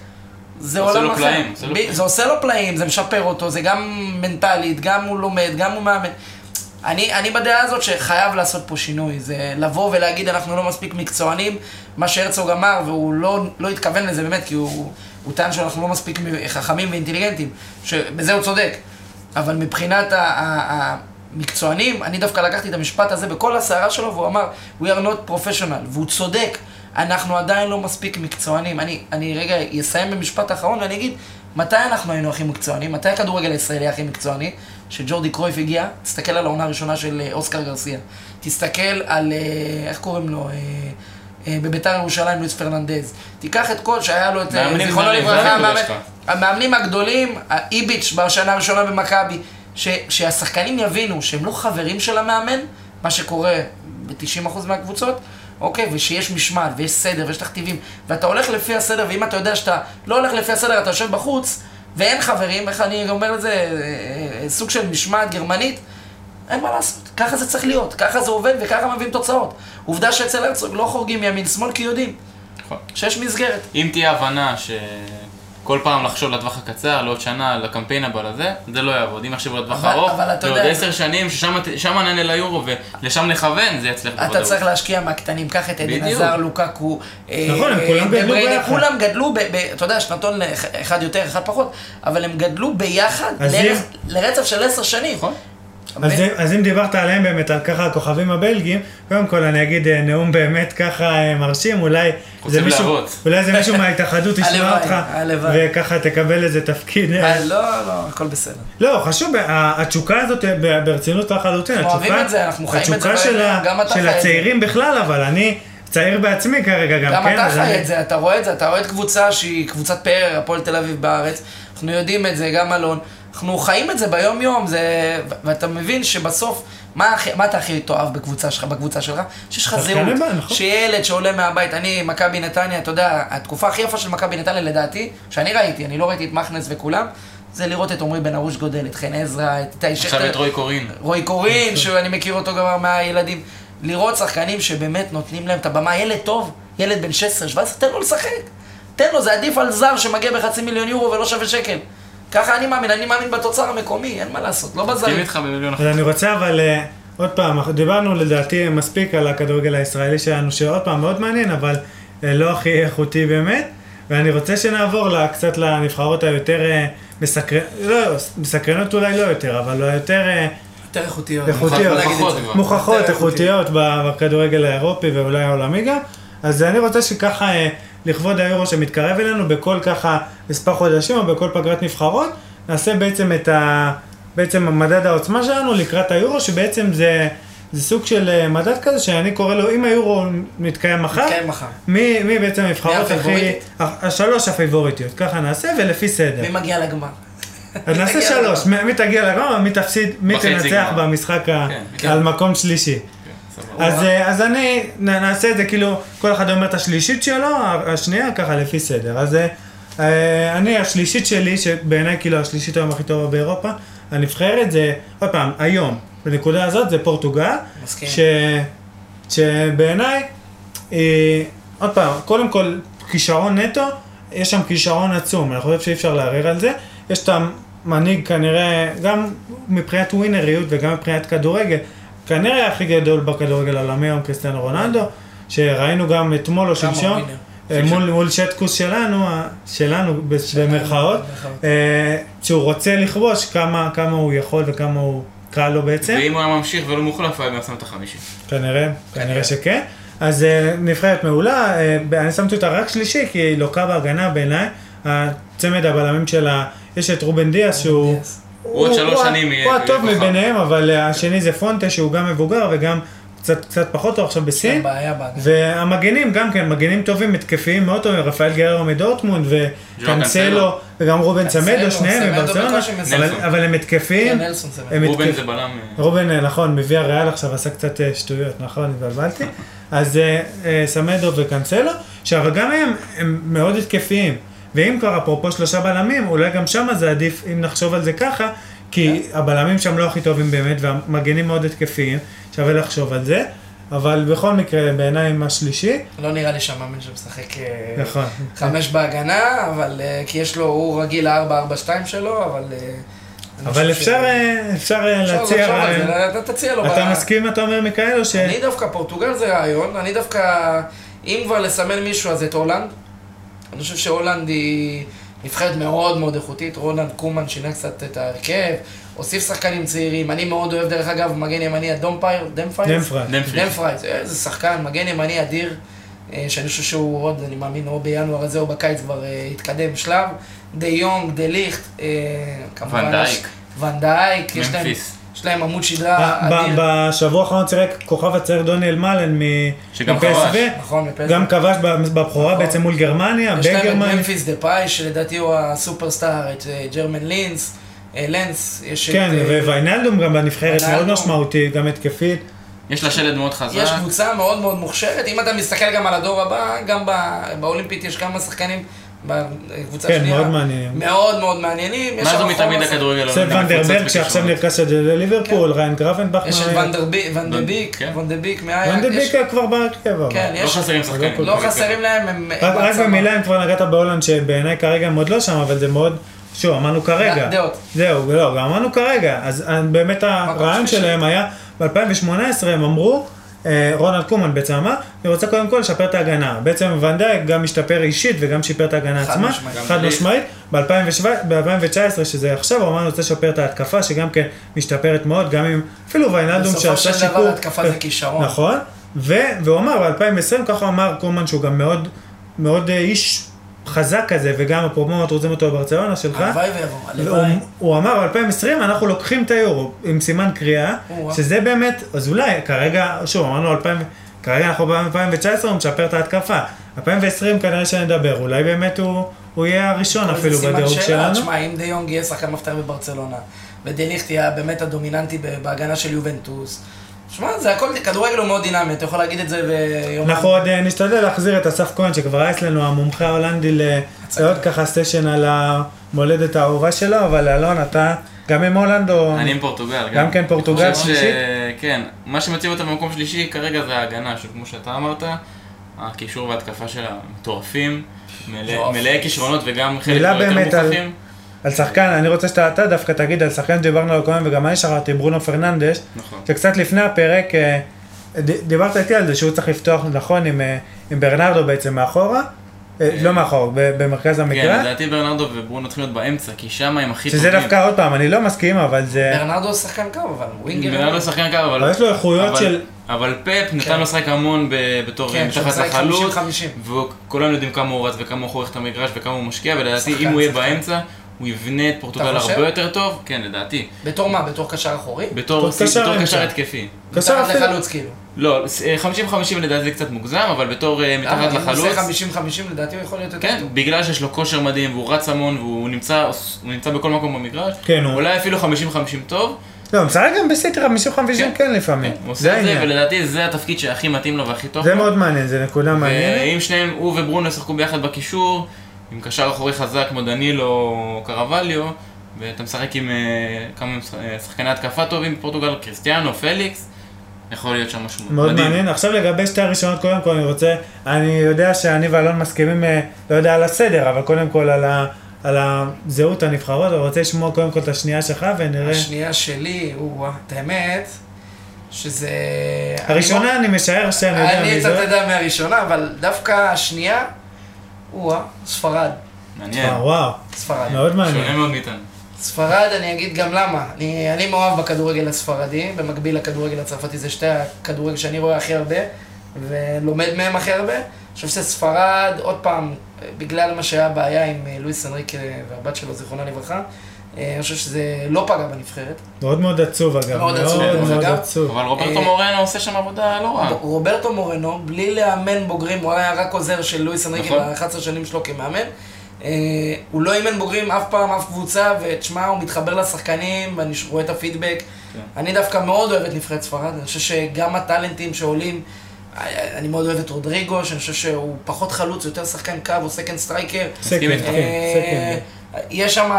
S3: זה
S2: עושה
S3: עולם
S2: לו
S3: אחר.
S2: פלאים, עושה לו
S3: ב-
S2: פלאים.
S3: זה עושה לו פלאים, זה משפר אותו, זה גם מנטלית, גם הוא לומד, גם הוא מאמן. אני, אני בדעה הזאת שחייב לעשות פה שינוי, זה לבוא ולהגיד אנחנו לא מספיק מקצוענים, מה שהרצוג אמר, והוא לא, לא התכוון לזה באמת, כי הוא, הוא טען שאנחנו לא מספיק חכמים ואינטליגנטים, שבזה הוא צודק, אבל מבחינת ה- ה- המקצוענים, אני דווקא לקחתי את המשפט הזה בכל הסערה שלו, והוא אמר, We are not professional, והוא צודק, אנחנו עדיין לא מספיק מקצוענים. אני, אני רגע אסיים במשפט אחרון ואני אגיד, מתי אנחנו היינו הכי מקצוענים? מתי הכדורגל הישראלי הכי מקצועני? שג'ורדי קרויף הגיע, תסתכל על העונה הראשונה של אה, אוסקר גרסיה. תסתכל על, אה, איך קוראים לו? אה, אה, בביתר ירושלים, לואיס פרננדז. תיקח את כל שהיה לו את... אה,
S2: מאמנים
S3: זיכרונו
S2: זרים, זה
S3: לברכה,
S2: הנקודה
S3: המאמן-
S2: שלך.
S3: המאמנים הגדולים, האיביץ' בשנה הראשונה במכבי, ש- שהשחקנים יבינו שהם לא חברים של המאמן, מה שקורה ב-90% מהקבוצות, אוקיי, ושיש משמעת, ויש סדר, ויש תכתיבים, ואתה הולך לפי הסדר, ואם אתה יודע שאתה לא הולך לפי הסדר, אתה יושב בחוץ, ואין חברים, איך אני אומר את זה, אה, אה, אה, סוג של משמעת גרמנית, אין מה לעשות, ככה זה צריך להיות, ככה זה עובד וככה מביאים תוצאות. עובדה שאצל הרצוג לא חורגים ימין-שמאל כי יודעים
S2: נכון.
S3: שיש מסגרת.
S2: אם תהיה הבנה שכל פעם לחשוב לטווח הקצר, לעוד שנה, לקמפיין הבא לזה, זה לא יעבוד. אם יחשבו לטווח
S3: אבל-
S2: ארוך,
S3: אבל אתה
S2: לעוד
S3: יודע-
S2: עשר שנים, ששם ששם נענה ליורו ולשם נכוון, זה יצליח
S3: אתה
S2: בוודאות.
S3: צריך להשקיע מהקטנים, קח את עדן
S2: בדיוק.
S3: עזר, לוקקו, אה,
S1: נכון, הם
S3: אה,
S1: כולם
S3: דה
S1: גדלו
S3: בריינה,
S1: ביחד.
S3: כולם גדלו, ב- ב- אתה יודע, שנתון אה, אחד יותר, אחד פחות, אבל הם גדלו ביחד
S1: אז
S3: לערך-
S1: אם-
S3: לרצף של עשר שנים.
S2: נכון?
S1: אז, זה, אז אם דיברת עליהם באמת, על ככה הכוכבים הבלגים, קודם כל אני אגיד אה, נאום באמת ככה אה, מרשים, אולי
S2: רוצים
S1: זה מישהו,
S2: להראות.
S1: אולי זה מישהו
S3: <laughs>
S1: מההתאחדות ישמע
S3: הלוואי,
S1: אותך,
S3: הלוואי.
S1: וככה תקבל איזה
S3: <laughs>
S1: תפקיד. אה,
S3: אה, לא, לא, הכל בסדר.
S1: לא, חשוב, ה- התשוקה הזאת אה, ב- ברצינות לחלוטין.
S3: אנחנו אוהבים
S1: התשוקה-
S3: את זה, אנחנו חיים את זה
S1: התשוקה
S3: בעיניים,
S1: של, ה-
S3: גם אתה חי
S1: של
S3: את זה.
S1: הצעירים בכלל, אבל אני צעיר בעצמי כרגע גם,
S3: גם
S1: כן?
S3: אתה
S1: אז אני-
S3: חי את זה, אתה רואה את זה, אתה אוהד קבוצה שהיא קבוצת פאר, הפועל תל אביב בארץ, אנחנו יודעים את זה, גם אלון, אנחנו חיים את זה ביום יום, זה... ו- ואתה מבין שבסוף, מה, הכי- מה אתה הכי תאהב בקבוצה שלך, בקבוצה שלך? שיש לך
S1: שחקני
S3: זהות,
S1: בעל, נכון.
S3: שילד שעולה מהבית, אני מכבי נתניה, אתה יודע, התקופה הכי יפה של מכבי נתניה לדעתי, שאני ראיתי, אני לא ראיתי את מכנס וכולם, זה לראות את עמרי בן ארוש גודל, את חן עזרא, את איתי
S2: עכשיו את רוי קורין.
S3: רועי קורין, שאני מכיר אותו גם מהילדים. לראות שחקנים שבאמת נותנים להם את הבמה, ילד טוב, ילד בן 16-17, תן לו לשחק. תן לו, זה עדיף על זר שמגיע בחצי מיליון יורו ולא שווה שקל. ככה אני מאמין, אני מאמין בתוצר המקומי, אין מה לעשות, לא
S2: מסכים
S3: בזרים.
S2: איתך במיליון אחוז.
S1: אז אני רוצה אבל, אה, עוד פעם, דיברנו לדעתי מספיק על הכדורגל הישראלי שלנו, שעוד פעם מאוד מעניין, אבל אה, לא הכי איכותי באמת. ואני רוצה שנעבור לה, קצת לנבחרות היותר אה, מסקרנ... לא, מסקרנות אולי לא יותר, אבל היותר אה,
S3: יותר איכותיות.
S1: איכותיות. מוכחות,
S3: יותר
S1: איכותיות ב- בכדורגל האירופי ואולי העולמי גם. אז אני רוצה שככה, אה, לכבוד היורו שמתקרב אלינו, בכל ככה מספר חודשים או בכל פגרת נבחרות, נעשה בעצם את ה... בעצם המדד העוצמה שלנו לקראת היורו, שבעצם זה, זה סוג של אה, מדד כזה שאני קורא לו, אם היורו מתקיים מחר,
S3: כן, מחר.
S1: מי, מי בעצם הנבחרות הכי...
S3: הפיבוריטית?
S1: ה- השלוש הפיבוריטיות, ככה נעשה ולפי סדר.
S3: מי מגיע לגמר?
S1: אז נעשה
S3: תגיע
S1: שלוש, מי מי תגיע לגמר, מי תפסיד, מי
S2: בחצי
S1: תנצח
S2: גמר.
S1: במשחק ה-
S2: כן, כן.
S1: על מקום שלישי. אז, אה, אז אני, נ- נעשה את זה כאילו, כל אחד אומר את השלישית שלו, ה- השנייה ככה לפי סדר. אז אה, אה, אני, השלישית שלי, שבעיניי כאילו השלישית היום הכי טובה באירופה, הנבחרת זה, עוד פעם, היום, בנקודה הזאת זה פורטוגל,
S3: מסכים.
S1: ש, שבעיניי, אה, עוד פעם, קודם כל, כישרון נטו, יש שם כישרון עצום, אני חושב שאי אפשר לערער על זה. יש את המנהיג כנראה, גם מבחינת ווינריות וגם מבחינת כדורגל, כנראה הכי גדול בכדורגל העולמי היום, קריסטיאנו רונלדו, שראינו גם אתמול או
S3: כמה הוא
S1: שלשום,
S3: ווינר.
S1: אה, מול, מול שטקוס שלנו, ה- שלנו בש- במרכאות,
S3: במרכאות.
S1: אה, שהוא רוצה לכבוש כמה, כמה הוא יכול וכמה הוא קל לו בעצם.
S2: ואם הוא היה ממשיך ולא מוחלף, הוא היה גם שם את החמישי.
S1: כנראה,
S3: כן.
S1: כנראה שכן. אז אה, נבחרת מעולה, אה, אני שמתי אותה רק שלישי כי היא לוקה בהגנה בעיניי. הצמד הבלמים שלה, יש את רובן דיאס שהוא...
S3: דיאס.
S2: הוא עוד שלוש
S1: ה-
S2: שנים יהיה-
S1: הוא
S2: יהיה
S1: הטוב
S2: כוכב.
S1: מביניהם, אבל אה, השני זה פונטה שהוא גם מבוגר וגם קצת קצת פחות טוב עכשיו
S3: יש להם
S1: בסין.
S3: בעיה בהגנה.
S1: והמגנים גם כן, מגנים טובים, התקפיים מאוד טובים, רפאל גררו מדורטמונד וקנסלו,
S2: קנסלו.
S1: וגם רובן צמדו,
S3: קנסלו,
S1: שניהם
S3: סמדו
S1: הם ברצלונה,
S3: בקושי
S1: אבל-
S2: מסיים.
S1: אבל הם
S3: כן,
S1: התקפיים,
S3: נלסון זה
S1: הם
S2: רובן
S1: התקפ-
S2: זה בלם. אה,
S1: רובן, אה, נכון, מביא הריאל עכשיו עשה קצת אה, שטויות, נכון,
S3: <laughs>
S1: התבלבלתי. אז אה, אה, סמדו וקנסלו, עכשיו גם הם, הם מאוד התקפיים. ואם כבר, אפרופו שלושה בלמים, אולי גם שמה זה עדיף, אם נחשוב על זה ככה, כי
S3: כן.
S1: הבלמים שם לא הכי טובים באמת, והמגנים מאוד התקפיים, שווה לחשוב על זה. אבל בכל מקרה, בעיניי הם השלישי,
S3: לא נראה לי שהמאמן שמשחק אה,
S1: נכון.
S3: חמש בהגנה, אבל אה, כי יש לו, הוא רגיל ל-4-4-2 שלו, אבל... אה, אני
S1: אבל
S3: חושב
S1: אפשר,
S3: ש-
S1: אה, אפשר אה,
S3: אפשר
S1: להציע
S3: לחשוב על
S1: רעיון.
S3: זה, אתה תציע לו.
S1: אתה
S3: ב-
S1: מסכים, אתה אומר, מיכאלו, ש...
S3: אני דווקא, פורטוגל זה רעיון, אני דווקא, אם כבר לסמן מישהו אז את הולנד. אני חושב שהולנד היא נבחרת מאוד מאוד איכותית, הולנד קומן שינה קצת את ההרכב, הוסיף שחקנים צעירים, אני מאוד אוהב דרך אגב מגן ימני אדום פייר, דם פייר?
S1: דמפרד.
S2: דמפרי.
S3: דם פרייז, איזה שחקן, מגן ימני אדיר, אה, שאני חושב שהוא עוד, אני מאמין, או בינואר הזה או בקיץ כבר אה, התקדם שלב. דה יונג, דה ליכט, אה, כמובן.
S2: ון
S3: יש-
S2: דייק.
S3: ון דייק, יש להם-
S2: ממפיס.
S3: יש להם עמוד שדרה
S1: ב- ב-
S3: אדיר.
S1: בשבוע האחרון צירק כוכב הצעיר דוני אלמלן
S2: שגם
S1: מפסו,
S3: נכון, מפסו.
S1: גם כבש ב- בבכורה
S3: נכון.
S1: בעצם מול גרמניה,
S3: יש להם את
S1: בגרמניה,
S3: ממפיס דה פאי, שלדעתי הוא הסופרסטאר, את אה, ג'רמן לינס, אה, לנס, יש את...
S1: כן,
S3: אה,
S1: וויינלדום גם בנבחרת מאוד
S3: ויינלדום. לא,
S1: משמעותי, גם התקפית,
S2: יש לה שלד מאוד חזק.
S3: יש קבוצה מאוד מאוד מוכשרת, אם אתה מסתכל גם על הדור הבא, גם ב- באולימפית יש כמה שחקנים בקבוצה
S1: כן,
S3: השנייה.
S1: מאוד מעניינים.
S3: מאוד מאוד מעניינים. יש
S2: מה זה
S3: שם
S2: מתמיד
S3: חומר-
S2: הכדורגל? לא
S1: סט
S3: לא,
S2: העולמי?
S1: ונדרברג
S2: קבוצת
S1: שעכשיו
S2: בכישרונות.
S1: נרכש על ידי ליברפול, ריין גרפנבך,
S3: כן. יש את ונדרביק, ונדביק,
S2: כן.
S3: ונדביק מאיין.
S1: ונדביק כבר בהרכב, אבל.
S3: כן,
S2: לא
S3: יש.
S2: חסרים שחקנים.
S3: לא חסרים להם, הם...
S1: רק-
S3: הם
S1: רק
S3: עצמה.
S1: במילה, אם כבר נגעת בהולנד, שבעיניי כרגע הם עוד לא שם, אבל זה מאוד, שוב, אמרנו כרגע.
S3: דעות.
S1: זהו, לא, גם אמרנו כרגע. אז אה, באמת הרעיון
S3: שלישי.
S1: שלהם היה, ב-2018 הם אמרו, אה, רונלד קומן בעצם אמר, אני רוצה קודם כל לשפר את ההגנה. בעצם ונדייק גם השתפר אישית וגם שיפר את ההגנה
S3: חד
S1: עצמה.
S3: משמעית.
S2: גם
S1: חד
S2: בלי-
S1: משמעית. ב-2019, שזה עכשיו, הוא אמר, אני רוצה לשפר את ההתקפה, שגם כן משתפרת מאוד, גם אם אפילו ויינלדום
S3: בסופו
S1: שעשה
S3: של דבר
S1: שיקור.
S3: התקפה זה כישרון.
S1: נכון, ו, והוא אמר ב-2020, ככה אמר קומן שהוא גם מאוד, מאוד אה, איש חזק כזה, וגם אפרופו מאוד רוצים אותו בברצלונה שלך.
S3: הלוואי ויבוא,
S1: והוא-
S3: הלוואי.
S1: לא, הוא אמר ב-2020 אנחנו לוקחים את היורו עם סימן קריאה,
S3: או-אה.
S1: שזה באמת, אז אולי כרגע, שוב אמרנו 2000, כרגע אנחנו ב-2019 הוא משפר את ההתקפה, 2020 כנראה שנדבר, אולי באמת הוא, הוא יהיה הראשון אפילו
S3: זה סימן
S1: בדירוג
S3: שאלה.
S1: שלנו.
S3: תשמע, אם דה יונג יהיה שחקן מפתח בברצלונה, ודליכט יהיה באמת הדומיננטי ב- בהגנה של יובנטוס, שמע, זה הכל, כדורגל הוא מאוד דינמי, אתה יכול להגיד את זה ביום...
S1: אנחנו עוד אה, נשתדל להחזיר את אסף כהן, שכבר היה אצלנו המומחה ההולנדי ל- לעוד ככה סשן על המולדת האהובה שלו, אבל אלון, אתה גם עם הולנד או...
S2: אני עם פורטוגל.
S1: גם כן פורטוגל
S2: אני חושב ש-
S1: שלישית?
S2: כן, מה שמציב אותה במקום שלישי כרגע זה ההגנה, שכמו שאתה אמרת, הקישור וההתקפה שלה מטורפים, מלא-
S3: מטורף.
S2: מלאי כישרונות וגם חלק
S1: מילה
S2: לא יותר
S1: באמת על-
S2: מוכחים.
S1: על שחקן, אני רוצה שאתה אתה דווקא תגיד על שחקן שדיברנו עליו קודם, וגם אני שכחתי, ברונו פרננדש,
S2: נכון.
S1: שקצת לפני הפרק, אה, ד- דיברת איתי על זה שהוא צריך לפתוח, נכון, עם, אה, עם ברנרדו בעצם מאחורה, אה, לא מאחורה, ב- במרכז
S2: כן,
S1: המגרש,
S2: לדעתי ברנרדו וברונו צריכים להיות באמצע, כי שם הם הכי
S1: שזה דווקא, עוד פעם, אני לא מסכים, אבל זה...
S3: ברנרדו הוא שחקן קו, אבל הוא ווינגר. לא.
S2: ברנרדו לא שחקן קו, אבל...
S1: אבל יש לו איכויות
S2: אבל-
S1: של-
S2: אבל פפ נתן לו לשחק המון ב- בתור
S3: כן, שהוא
S2: מתחת
S3: משחק
S2: לחלוץ,
S3: 50-50.
S2: וכולם יודעים כמה הוא רץ וכמה הוא חורך את המגרש וכמה הוא משקיע, ולדעתי
S3: שחקן,
S2: אם הוא יהיה
S3: שחקן.
S2: באמצע, הוא יבנה את פורטוגל
S3: אתה חושב?
S2: הרבה יותר טוב, כן, לדעתי.
S3: בתור מה? בתור קשר אחורי?
S2: בתור
S1: בתור קשר
S2: בתור
S1: אמצע.
S2: קשר התקפי.
S1: קשר
S3: מתחת
S1: אפילו-
S3: לחלוץ כאילו.
S2: לא, ס- אה, 50-50 לדעתי זה קצת מוגזם, אבל בתור אה, מתחת לחלוץ,
S3: למה? אם הוא עושה 50-50 לדעתי הוא יכול להיות יותר
S2: כן,
S3: טוב. בגלל...
S2: בגלל שיש לו כושר מדהים והוא רץ המון והוא נמצא הוא נמצא בכל מקום במגרש,
S1: כן, הוא-
S2: אולי אפילו 50-50 טוב,
S1: לא, הוא משחק גם בסיטרה, מישהו חמישים
S2: כן.
S1: כן לפעמים,
S2: הוא
S1: זה
S2: עושה את זה,
S1: העניין.
S2: ולדעתי זה התפקיד שהכי מתאים לו והכי טוב
S1: זה
S2: לו.
S1: מאוד מעניין, זה נקודה מעניינת.
S2: ואם שניהם, הוא וברונו ישחקו ביחד בקישור, עם קשר אחורי חזק כמו דנילו או קרווליו, ואתה משחק עם אה, כמה מש- אה, שחקני התקפה טובים בפורטוגל, קריסטיאנו, פליקס, יכול להיות שם משהו
S1: מאוד
S2: מדהים.
S1: מעניין. עכשיו לגבי שתי הראשונות, קודם כל אני רוצה, אני יודע שאני ואלון מסכימים, אה, לא יודע על הסדר, אבל קודם כל על, ה, על הזהות הנבחרות, אבל רוצה לשמוע קודם כל את השנייה שלך ונראה.
S3: השנייה שלי, הוא, את האמת, שזה...
S1: הראשונה אני משער שאני יודע
S3: אני
S1: מי
S3: קצת
S1: זאת.
S3: יודע מהראשונה, אבל דווקא השנייה, או-אה, ספרד.
S2: מעניין.
S1: אה, וואו,
S3: ספרד.
S1: מאוד מעניין.
S2: שונה מאוד מאיתנו.
S3: ספרד, אני אגיד גם למה. אני, אני מאוהב בכדורגל הספרדי, במקביל לכדורגל הצרפתי, זה שתי הכדורגל שאני רואה הכי הרבה, ולומד מהם הכי הרבה. אני חושב שספרד, עוד פעם, בגלל מה שהיה הבעיה עם אה, לואיס אנריק אה, והבת שלו, זיכרונה לברכה, אה, אני חושב שזה לא פגע בנבחרת.
S1: מאוד מאוד עצוב אגב,
S3: מאוד
S1: מאוד
S3: עצוב, דרך
S1: מאוד
S3: אגב.
S1: עצוב.
S2: אבל רוברטו
S3: אה,
S2: מורנו עושה שם עבודה לא רעה.
S3: רוברטו מורנו, בלי לאמן בוגרים, הוא היה רק עוזר של לואיס אנריקי
S2: נכון.
S3: ב-11 שנים שלו כמאמן. אה, הוא לא אימן בוגרים אף פעם, אף קבוצה, ותשמע, הוא מתחבר לשחקנים, ואני ש- רואה את הפידבק.
S2: כן.
S3: אני דווקא מאוד אוהב את נבחרת ספרד, אני חושב שגם הטאלנטים שעולים, אה, אני מאוד אוהב את רודריגו, שאני חושב שהוא פחות חלוץ, יותר שחקן קו, הוא סקנד סטרייקר.
S1: סקנד,
S2: איתך.
S1: כן,
S3: אה,
S1: סקנד.
S3: יש שם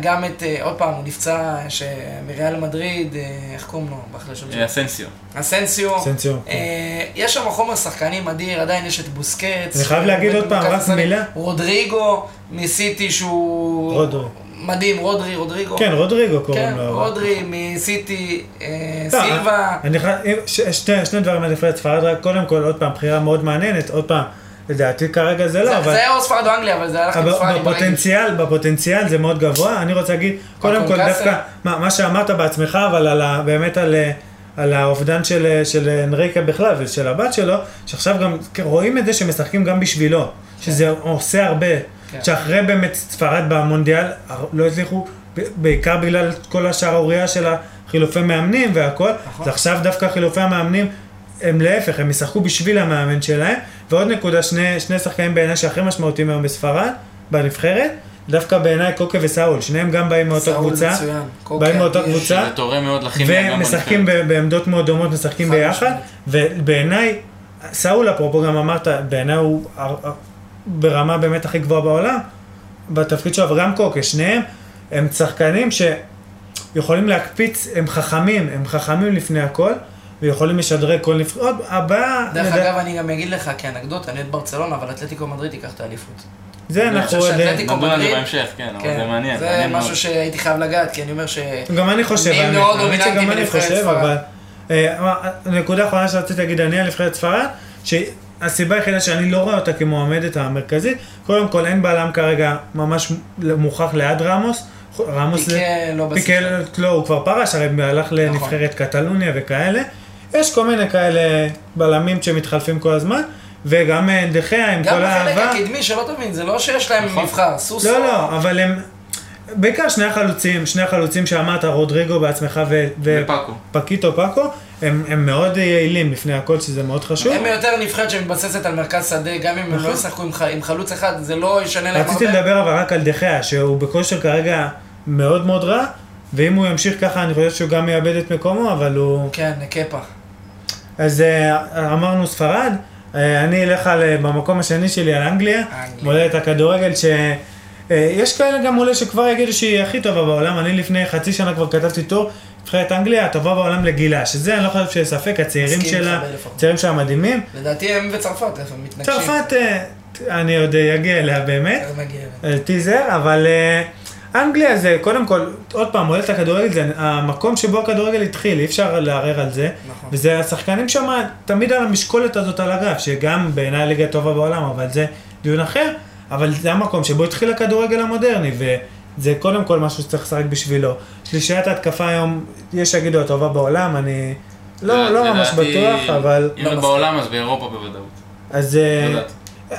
S3: גם את, אה, עוד פעם, הוא נפצע ש- מריאל מדריד, אה, איך קוראים לו? באחלה שם
S2: אה, אסנסיו.
S3: אסנסיו.
S1: סנסיון. כן.
S3: אה, יש שם חומר שחקנים אדיר, עדיין יש את בוסקץ.
S1: אני חייב להגיד עוד פעם, רק מילה.
S3: רודריגו מסיטי שהוא...
S1: רודרי.
S3: מדהים, רודרי, רודריגו.
S1: כן, רודריגו
S3: כן,
S1: קוראים לו. לא,
S3: רודרי מסיטי, אה,
S1: טוב,
S3: סילבה.
S1: אני חי- אם- ש- שתי- שני דברים על נבחרת ספרד, רק קודם כל, עוד פעם, בחירה מאוד מעניינת, עוד פעם, לדעתי כרגע זה
S3: זה
S1: לא, אבל
S3: זה היה או ספרד או אנגליה, אבל זה הלך
S1: אבל
S3: לספרד. עם
S1: בפוטנציאל, בפוטנציאל זה מאוד גבוה, אני רוצה להגיד, קודם כל
S3: קונקסיה.
S1: דווקא, מה מה שאמרת בעצמך, אבל על ה- באמת על... אה, על האובדן של, של אנריקה בכלל ושל הבת שלו, שעכשיו גם רואים את זה שמשחקים גם בשבילו, שזה עושה הרבה,
S3: כן.
S1: שאחרי באמת ספרד במונדיאל הר- לא הצליחו, ב- בעיקר בגלל כל השערורייה של החילופי מאמנים והכל,
S3: נכון.
S1: אז עכשיו דווקא חילופי המאמנים הם להפך, הם ישחקו בשביל המאמן שלהם. ועוד נקודה, שני, שני שחקנים בעיניי שהכי משמעותיים היום בספרד, בנבחרת, דווקא בעיניי קוקה וסאול, שניהם גם באים מאותה
S3: סאול
S1: קבוצה,
S3: מצוין, קוקה
S1: באים מאותה
S3: אדיר.
S1: קבוצה,
S2: שזה תורם מאוד לכימיה. כן, גם
S1: ומשחקים
S2: בנבחרת.
S1: ב- בעמדות מאוד דומות, משחקים
S3: חד
S1: ביחד, ובעיניי, סאול אפרופו גם אמרת, בעיניי הוא הר- הר- ברמה באמת הכי גבוהה בעולם, בתפקיד שלו, אבל גם קוקה, שניהם, הם שחקנים שיכולים להקפיץ, הם חכמים, הם חכמים לפני הכל, ויכולים לשדרג כל נבחרות, הבעיה,
S3: דרך
S1: לדע-
S3: אגב, אני גם אגיד לך כאנקדוטה, אני את ברצלונה, אבל אתלטיקו מדריד תיקח את האליפות.
S1: זה
S2: אני
S1: אנחנו
S3: חושב
S1: עוד... אה,
S3: שאתלטיקו-
S2: נדון על זה
S3: מדריד.
S2: בהמשך, כן, אבל זה
S3: כן.
S2: מעניין.
S3: זה
S2: מעניין מאוד.
S3: משהו שהייתי חייב לגעת, כי אני אומר ש...
S1: גם אני לא חושב,
S3: מי
S1: האמת.
S3: מאוד
S1: האמת
S3: דומיננטי
S1: שגם אני
S3: בנבחרת
S1: חושב,
S3: ספרד?
S1: אבל... אה, מה, הנקודה האחרונה שרציתי להגיד, אני על נבחרת ספרד, שהסיבה היחידה שאני לא רואה אותה כמועמדת המרכזית, קודם כל אין בלם כרגע ממש מוכח ליד רמוס, רמוס זה-
S3: פיקה לא נכון. בסיפור.
S1: פיקל, לא, הוא כבר פרש, הרי הלך לנבחרת קטלוניה וכאלה. יש כל מיני כאלה בלמים שמתחלפים כל הזמן, וגם אה, דחיה עם
S3: גם
S1: כל
S3: בחלק
S1: האהבה.
S3: הקדמי, שלא תבין, זה לא שיש להם
S2: נכון.
S3: מבחר, סוסו.
S1: לא, לא, אבל הם... בעיקר שני החלוצים, שני החלוצים שאמרת, רודריגו בעצמך ו... ו-
S2: ופאקו.
S1: פקיטו פאקו, הם, הם מאוד יעילים לפני הכל, שזה מאוד חשוב.
S3: הם יותר נבחרת שמתבססת על מרכז שדה, גם אם הם לא ישחקו עם ח- עם חלוץ אחד, זה לא ישנה להם
S1: נכון. רציתי
S3: הרבה.
S1: לדבר אבל רק על דחיה, שהוא בכושר כרגע מאוד מאוד רע, ואם הוא ימשיך ככה, אני חושב שהוא גם יאבד את מקומו, אבל הוא...
S3: כן, קפה.
S1: אז אה, אמרנו ספרד, אה, אני אלך על, אה, במקום השני שלי על אנגליה,
S3: אנגליה.
S1: מולדת הכדורגל, ש... אה, יש כאלה גם אולי שכבר יגידו שהיא הכי טובה בעולם, אני לפני חצי שנה כבר כתבתי טור, נבחרת אנגליה הטובה בעולם לגילה, שזה אני לא חושב שיש ספק, הצעירים
S3: מסכים
S1: שלה,
S3: איתך באלף אחוז.
S1: הצעירים שלה מדהימים.
S3: לדעתי הם וצרפת, איפה הם מתנגשים.
S1: צרפת, אה, אני עוד אגיע אליה באמת.
S3: אז נגיע
S1: אה,
S3: אליהם.
S1: טיזר, אבל אה, אנגליה זה, קודם כל, עוד פעם, מולדת הכדורגל זה המקום שבו הכדורגל התחיל, אי אפשר לערער על זה.
S3: נכון.
S1: וזה השחקנים שם תמיד על המשקולת הזאת על הגרף, שגם בעיניי הליגה טובה בעולם, אבל זה דיון אחר, אבל זה המקום שבו התחיל הכדורגל המודרני, וזה קודם כל משהו שצריך לשחק בשבילו. שלישיית ההתקפה היום, יש שיגידו הטובה בעולם, אני לא, לא ממש
S2: לדעתי,
S1: בטוח, אבל...
S2: אם
S3: לא
S2: לא
S3: מסכים.
S2: בעולם, אז באירופה בוודאות. לא
S1: אז... אה,
S2: יודעת.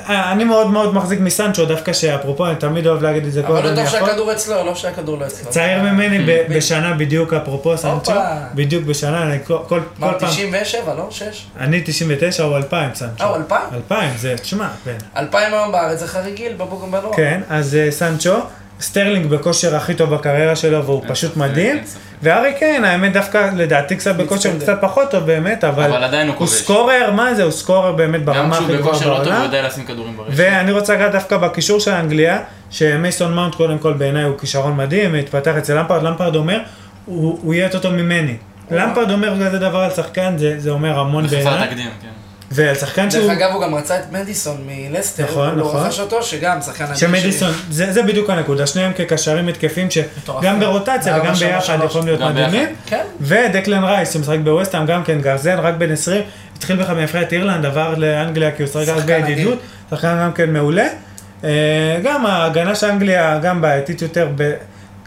S1: אה, אני מאוד מאוד מחזיק מסנצ'ו, דווקא שאפרופו, אני תמיד אוהב להגיד את זה כל
S3: אבל
S1: הזמן,
S3: לא טוב
S1: אני יכול.
S3: שהכדור אצלו, לא שהכדור לא אצלו.
S1: צעיר ממני ב-
S3: <laughs>
S1: בשנה בדיוק, אפרופו סנצ'ו, בדיוק בשנה, אני כל כל- כל
S3: מה,
S1: פעם,
S3: 97, לא? 6?
S1: אני 99 או 2000 סנצ'ו.
S3: אה, הוא 2000?
S1: 2000, זה, תשמע, כן.
S3: 2000 היום בארץ זה חריגיל, בבוגן בנוער.
S1: כן, אז אה, סנצ'ו, סטרלינג בכושר הכי טוב בקריירה שלו, והוא
S2: אין
S1: פשוט
S2: ספק,
S1: מדהים.
S2: אין ספק.
S1: והארי קיין, האמת דווקא, לדעתי קצת בכושר
S3: מצטנדר.
S1: קצת פחות טוב באמת,
S2: אבל
S1: אבל
S2: עדיין הוא
S1: הוא
S2: כובש.
S1: סקורר, מה זה, הוא סקורר באמת
S2: גם
S1: ברמה
S2: כשהוא
S1: הכי
S2: בכושר
S1: גבוהה
S2: לא טוב, הוא
S1: בעולם.
S2: יודע לשים כדורים ברשת.
S1: ואני רוצה לגעת דווקא בקישור של אנגליה, שמייסון מאונט קודם כל בעיניי הוא כישרון מדהים, התפתח אצל למפרד, למפרד אומר, הוא הוא יהיה יותר טוב ממני. למפרד אומר כזה דבר על שחקן, זה זה אומר המון
S2: זה חסר
S1: בעיניי,
S2: תקדים, כן.
S1: ועל שחקן
S3: דרך
S1: שהוא,
S3: אגב, הוא גם רצה את מדיסון מלסטר.
S1: נכון,
S3: הוא
S1: נכון.
S3: רכש אותו, שגם שחקן אדיר.
S1: שמדיסון, זה זה בדיוק הנקודה, שניהם כקשרים התקפים
S3: מטורפים.
S1: שגם ברוטציה
S3: גם
S1: וגם
S3: בשלוש,
S1: ביחד
S3: שלוש.
S1: יכולים להיות
S2: גם
S1: מדהימים.
S2: ביחד.
S3: כן.
S1: ודקלן רייס שמשחק בווסטהאם גם כן גרזן, רק בן 20, התחיל בכלל מנבחרת אירלנד, עבר לאנגליה כי הוא שחק רק
S3: שחקן אדיר.
S1: בידידות, שחקן גם כן מעולה. אה, גם ההגנה של אנגליה גם בעייתית יותר, ב...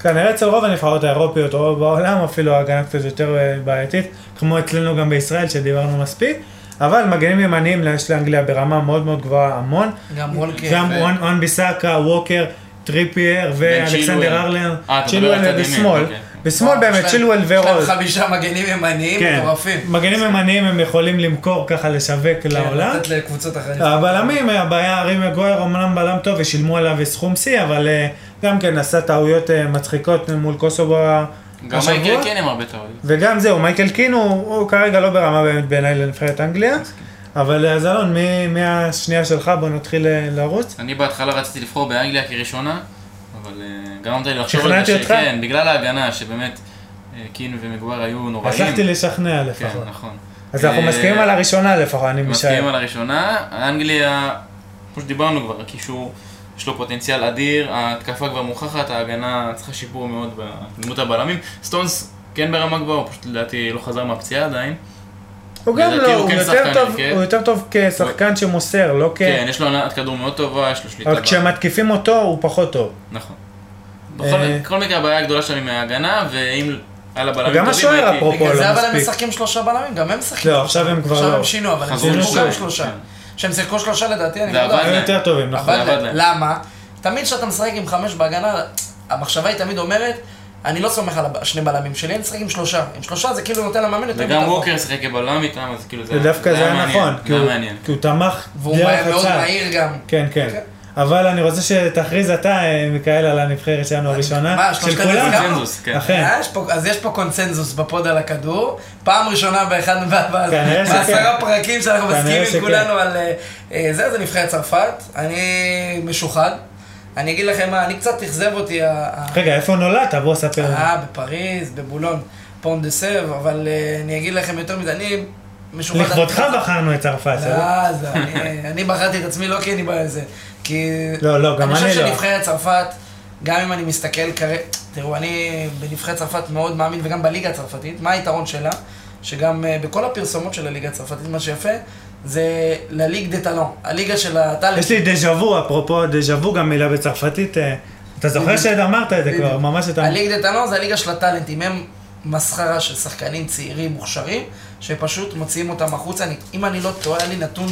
S1: כנראה אצל רוב הנבחרות האירופיות, או בעולם אפילו ההגנה קצת יותר אה, בעייתית, כמו אצלנו גם בישראל שדיברנו מספיק, אבל מגנים ימניים יש לאנגליה ברמה מאוד מאוד גבוהה המון,
S3: גם וולקר.
S1: גם
S2: כן, ו-
S1: און- און ביסאקה, ווקר, טריפייר
S2: וצ'ילואל.
S1: ואלכסנדר ארלר,
S2: אה, אתה מדבר על
S1: צ'ילואל
S2: צד ימין,
S1: בשמאל,
S2: אוקיי.
S1: בשמאל באמת, צ'ילואל
S3: יש להם
S1: ורול.
S3: חמישה מגנים ימניים
S1: כן.
S3: מטורפים. כן,
S1: מגנים ימניים הם יכולים למכור ככה לשווק לעולם. אה,
S3: לתת לקבוצות אחרות.
S1: הבלמים, הבעיה, רימי גויר אומנם בלם טוב ושילמו עליו סכום שיא, אבל אה, גם כן עשה טעויות אה, מצחיקות מול קוסובו
S2: גם
S1: השבוע.
S2: מייקל כן עם הרבה טעויות.
S1: וגם זהו, מייקל קין הוא הוא כרגע לא ברמה באמת בעיניי לנבחרת אנגליה. אבל אה, אז אלון, מי- מהשנייה שלך בוא נתחיל אה, לרוץ.
S2: אני בהתחלה רציתי לבחור באנגליה כראשונה, אבל אה, גרמת לי לחשוב על
S1: שכנעתי
S2: זה
S1: אותך?
S2: שכן, בגלל ההגנה, שבאמת אה, קין ומגואר היו נוראים.
S1: הצלחתי לשכנע
S2: כן,
S1: לפחות.
S2: נכון.
S1: אז אנחנו
S2: אה,
S1: מסכימים על הראשונה לפחות, אני
S2: מסכימים
S1: משער.
S2: על הראשונה. אנגליה, כמו שדיברנו כבר, הקישור, יש לו פוטנציאל אדיר, ההתקפה כבר מוכחת, ההגנה צריכה שיפור מאוד בדמות הבלמים. סטונס כן ברמה גבוהה, הוא פשוט לדעתי לא חזר מהפציעה עדיין.
S1: הוא גם
S2: לדעתי
S1: לא,
S2: הוא
S1: הוא
S2: כן
S1: יותר
S2: שחקן
S1: טוב-
S2: הרכב.
S1: הוא יותר טוב כשחקן שמוסר, לא כ...
S2: כן, יש לו הנעת כדור מאוד טובה, יש לו שליטה.
S1: אבל
S2: ב-
S1: כשמתקיפים אותו הוא פחות טוב.
S2: נכון.
S1: אה.
S2: בכל בכל מקרה הבעיה הגדולה שלנו היא מההגנה, ואם על הבלמים
S1: גם
S2: טובים,
S1: השוער,
S2: הייתי-
S1: אפרופו. פה
S3: בגלל
S1: לא
S3: זה אבל הם
S1: מספיק.
S3: משחקים שלושה בלמים, גם הם משחקים.
S1: לא, עכשיו הם כבר
S3: עכשיו
S1: לא.
S3: הם שינו, אבל הם
S2: חזרו
S3: שיחקו
S1: לשלוש.
S3: גם שלושה.
S2: כן.
S3: כשהם שיחקו שלושה לדעתי, אני
S2: זה
S3: מאוד
S2: עבד.
S1: הם יותר טובים, נכון.
S3: עבד
S2: עבד
S3: להם.
S2: להם.
S3: למה? תמיד כשאתה משחק עם חמש בהגנה, המחשבה היא תמיד אומרת, אני לא סומך על הב- שני בלמים שלי, אני משחק עם שלושה. עם שלושה זה כאילו נותן למאמן יותר
S2: וגם
S3: ביטחון.
S2: ווקר שיחק כבלם איתם, אז כאילו זה
S1: זה דווקא זה היה
S2: מעניין,
S1: נכון, כי
S2: זה היה
S1: הוא-
S2: מעניין.
S1: כי הוא תמך
S3: והוא
S1: דרך
S3: מאוד
S1: הצעד.
S3: מהיר גם.
S1: כן, כן.
S3: כן.
S1: אבל אני רוצה שתכריז אתה, אה, מיכאל, על הנבחרת שלנו הראשונה,
S3: מה,
S1: של
S3: שלושתנו
S1: כולם.
S3: הסכמנו?
S2: קונצנזוס, כן.
S1: אכן.
S3: אה, יש פה- אז יש פה קונצנזוס בפוד על הכדור, פעם ראשונה באחד מה-
S1: כנראה שכן.
S3: בעשרה פרקים שאנחנו
S1: כנראה
S3: מסכימים
S1: שכן.
S3: עם כולנו על אה, אה, זה, זה נבחרת צרפת, אני משוחד, אני אגיד לכם מה, אני קצת אכזב אותי, ה- ה-
S1: רגע, איפה נולדת? בוא ספר. לנו.
S3: אה, בפריז, בבולון, פונד דה סב, אבל אה, אני אגיד לכם יותר מזה, אני משוחד...
S1: לכבודך בחרנו את צרפת.
S3: לא,
S1: אה?
S3: זה אני- אני בחרתי את עצמי לא כי אני בזה, כי...
S1: לא, לא, גם
S3: אני
S1: אני
S3: חושב
S1: לא.
S3: שנבחרת צרפת, גם אם אני מסתכל כרגע, תראו, אני בנבחרת צרפת מאוד מאמין, וגם בליגה הצרפתית, מה היתרון שלה? שגם אה, בכל הפרסומות של הליגה הצרפתית, מה שיפה, זה לליג דה טלון, הליגה של הטאלנט.
S1: יש לי דז'ה וו, אפרופו דז'ה וו, גם מילה בצרפתית. אה, אתה זוכר
S3: בדיוק.
S1: שאמרת את זה כבר,
S3: בדיוק.
S1: ממש אתה...
S3: הליגה דה טלון זה הליגה של הטאלנטים, הם מסחרה של שחקנים צעירים מוכשרים, שפשוט מוציאים אותם החוצה. אני, אם אני לא טועה, היה לי נתון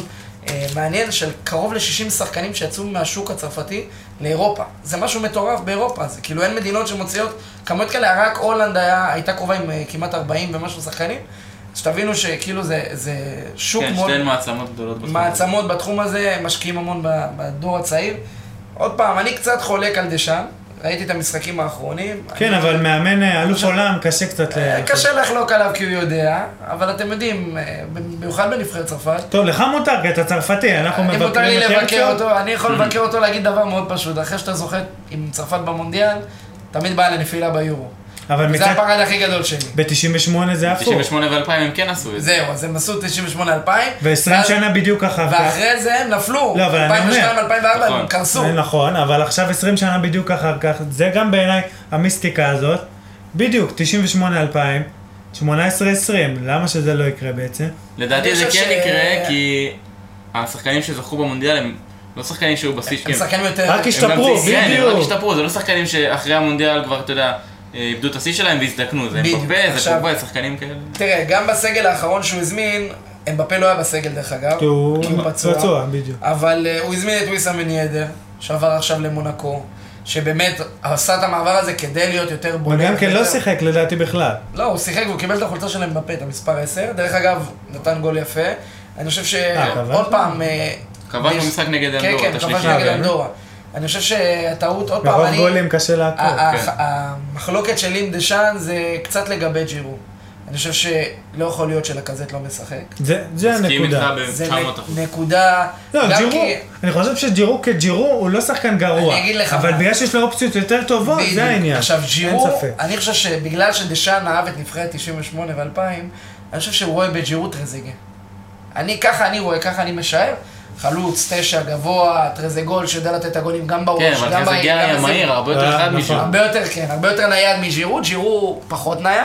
S3: אה, מעניין של קרוב ל-60 שחקנים שיצאו מהשוק הצרפתי לאירופה. זה משהו מטורף באירופה, זה כאילו אין מדינות שמוציאות כמות כאלה, רק הולנד היה, הייתה קרובה עם אה, כמעט 40 ומשהו שחקנים. שתבינו שכאילו זה, זה שוק
S2: כן,
S3: מאוד...
S2: שתיהן מעצמות גדולות בתחום. הזה.
S3: מעצמות בתחום הזה, משקיעים המון ב- בדור הצעיר. עוד פעם, אני קצת חולק על דשאן, ראיתי את המשחקים האחרונים.
S1: כן,
S3: אני-
S1: אבל מאמן אה, אלוף עולם, קשה קצת... ל-
S3: אה, קשה לחלוק עליו כי הוא יודע, אבל אתם יודעים, אה, במיוחד בנבחרת צרפת,
S1: טוב, לך מותר, כי אתה צרפתי, אנחנו
S3: אה, אם מותר
S1: מבקרים
S3: לי
S1: את
S3: לבקר
S1: הרצוג.
S3: אותו, אני
S1: <clears throat>
S3: יכול לבקר אותו להגיד דבר מאוד פשוט, אחרי שאתה זוכר עם צרפת במונדיאל, תמיד באה לנפילה ביורו.
S1: אבל
S3: זה
S1: מצד...
S3: הפחד הכי גדול שלי.
S1: ב-98 זה הפוך.
S2: 98 ו-2000 הם כן עשו את זה.
S3: זהו, אז הם עשו 98-2000,
S1: ו-20 שנה בדיוק אחר כך.
S3: ואחרי זה הם נפלו,
S1: לא, אבל אני אומר-
S3: 2002-2004 הם
S2: נכון.
S3: קרסו.
S1: זה נכון, אבל עכשיו 20 שנה בדיוק אחר כך, זה גם בעיניי המיסטיקה הזאת. בדיוק, 98-2000, 18-20, למה שזה לא יקרה בעצם?
S2: לדעתי
S3: אני
S2: זה
S3: חושב
S2: כן
S3: ש-
S2: יקרה, כי השחקנים שזכו במונדיאל הם לא שחקנים שהיו בשיא
S3: הם
S2: שלהם.
S3: שחקנים יותר...
S1: רק
S2: הם גם
S1: השתפרו,
S2: כן, הם רק
S1: בדיוק.
S2: השתפרו, זה לא שחקנים שאחרי המונדיאל כבר, אתה יודע, אה, איבדו את השיא שלהם והזדקנו, זה
S3: בדיוק.
S2: אמבפה, זה
S3: עכשיו-
S2: פוגבה, שחקנים כאלה.
S3: תראה, גם בסגל האחרון שהוא הזמין, אמבפה לא היה בסגל דרך אגב,
S1: כי הוא פצוע, בדיוק.
S3: אבל אה, הוא הזמין את ויסאם בן ידר, שעבר עכשיו למונקו, שבאמת עשה את המעבר הזה כדי להיות יותר בולט.
S1: וגם כן לא
S3: יותר-
S1: שיחק לדעתי בכלל.
S3: לא, הוא שיחק והוא קיבל את החולצה של אמבפה, את המספר 10. דרך אגב, נתן גול יפה. אני חושב ש...
S1: כבש?
S3: עוד פעם... אה,
S2: כבש
S3: יש-
S2: במשחק נגד
S3: כן,
S2: אנדורה,
S3: כן,
S2: את
S3: כבש
S2: השלישי.
S1: אה,
S3: נגד
S1: באמת?
S3: אנדורה. אני חושב שהטעות, עוד פעם,
S1: מרוב
S3: אני... אה,
S1: גולים קשה לעקוב.
S3: ה- ה-
S2: כן.
S3: המחלוקת שלי עם דשאן זה קצת לגבי ג'ירו. אני חושב שלא יכול להיות שלקזט לא משחק.
S1: זה- זה
S2: מסכים איתך
S1: הנקודה.
S3: זה
S2: ב-900 אחוז.
S3: נקודה...
S1: לא,
S3: גם
S1: ג'ירו,
S3: כי-
S1: אני חושב שג'ירו כג'ירו הוא לא שחקן גרוע.
S3: אני אגיד לך
S1: אבל
S3: מה.
S1: בגלל שיש לו אופציות יותר טובות,
S3: בדיוק.
S1: זה העניין.
S3: עכשיו, ג'ירו,
S1: אין ספק.
S3: אני חושב שבגלל שדשאן אהב את נבחרת 98 ו-2000, אני חושב שהוא רואה בג'ירו טרזגה. אני, ככה אני רואה, ככה אני משער. חלוץ, תשע, גבוה, טרזגול, שיודע לתת את הגולים גם בראש,
S2: כן,
S3: גם
S2: אבל זה
S3: בעיר, גם
S2: היה
S3: בזה.
S2: מהיר, הרבה
S1: אה,
S2: יותר חד
S1: נכון.
S2: משהו.
S3: הרבה יותר, כן, הרבה יותר נייד מג'ירו, ג'ירו פחות נייד,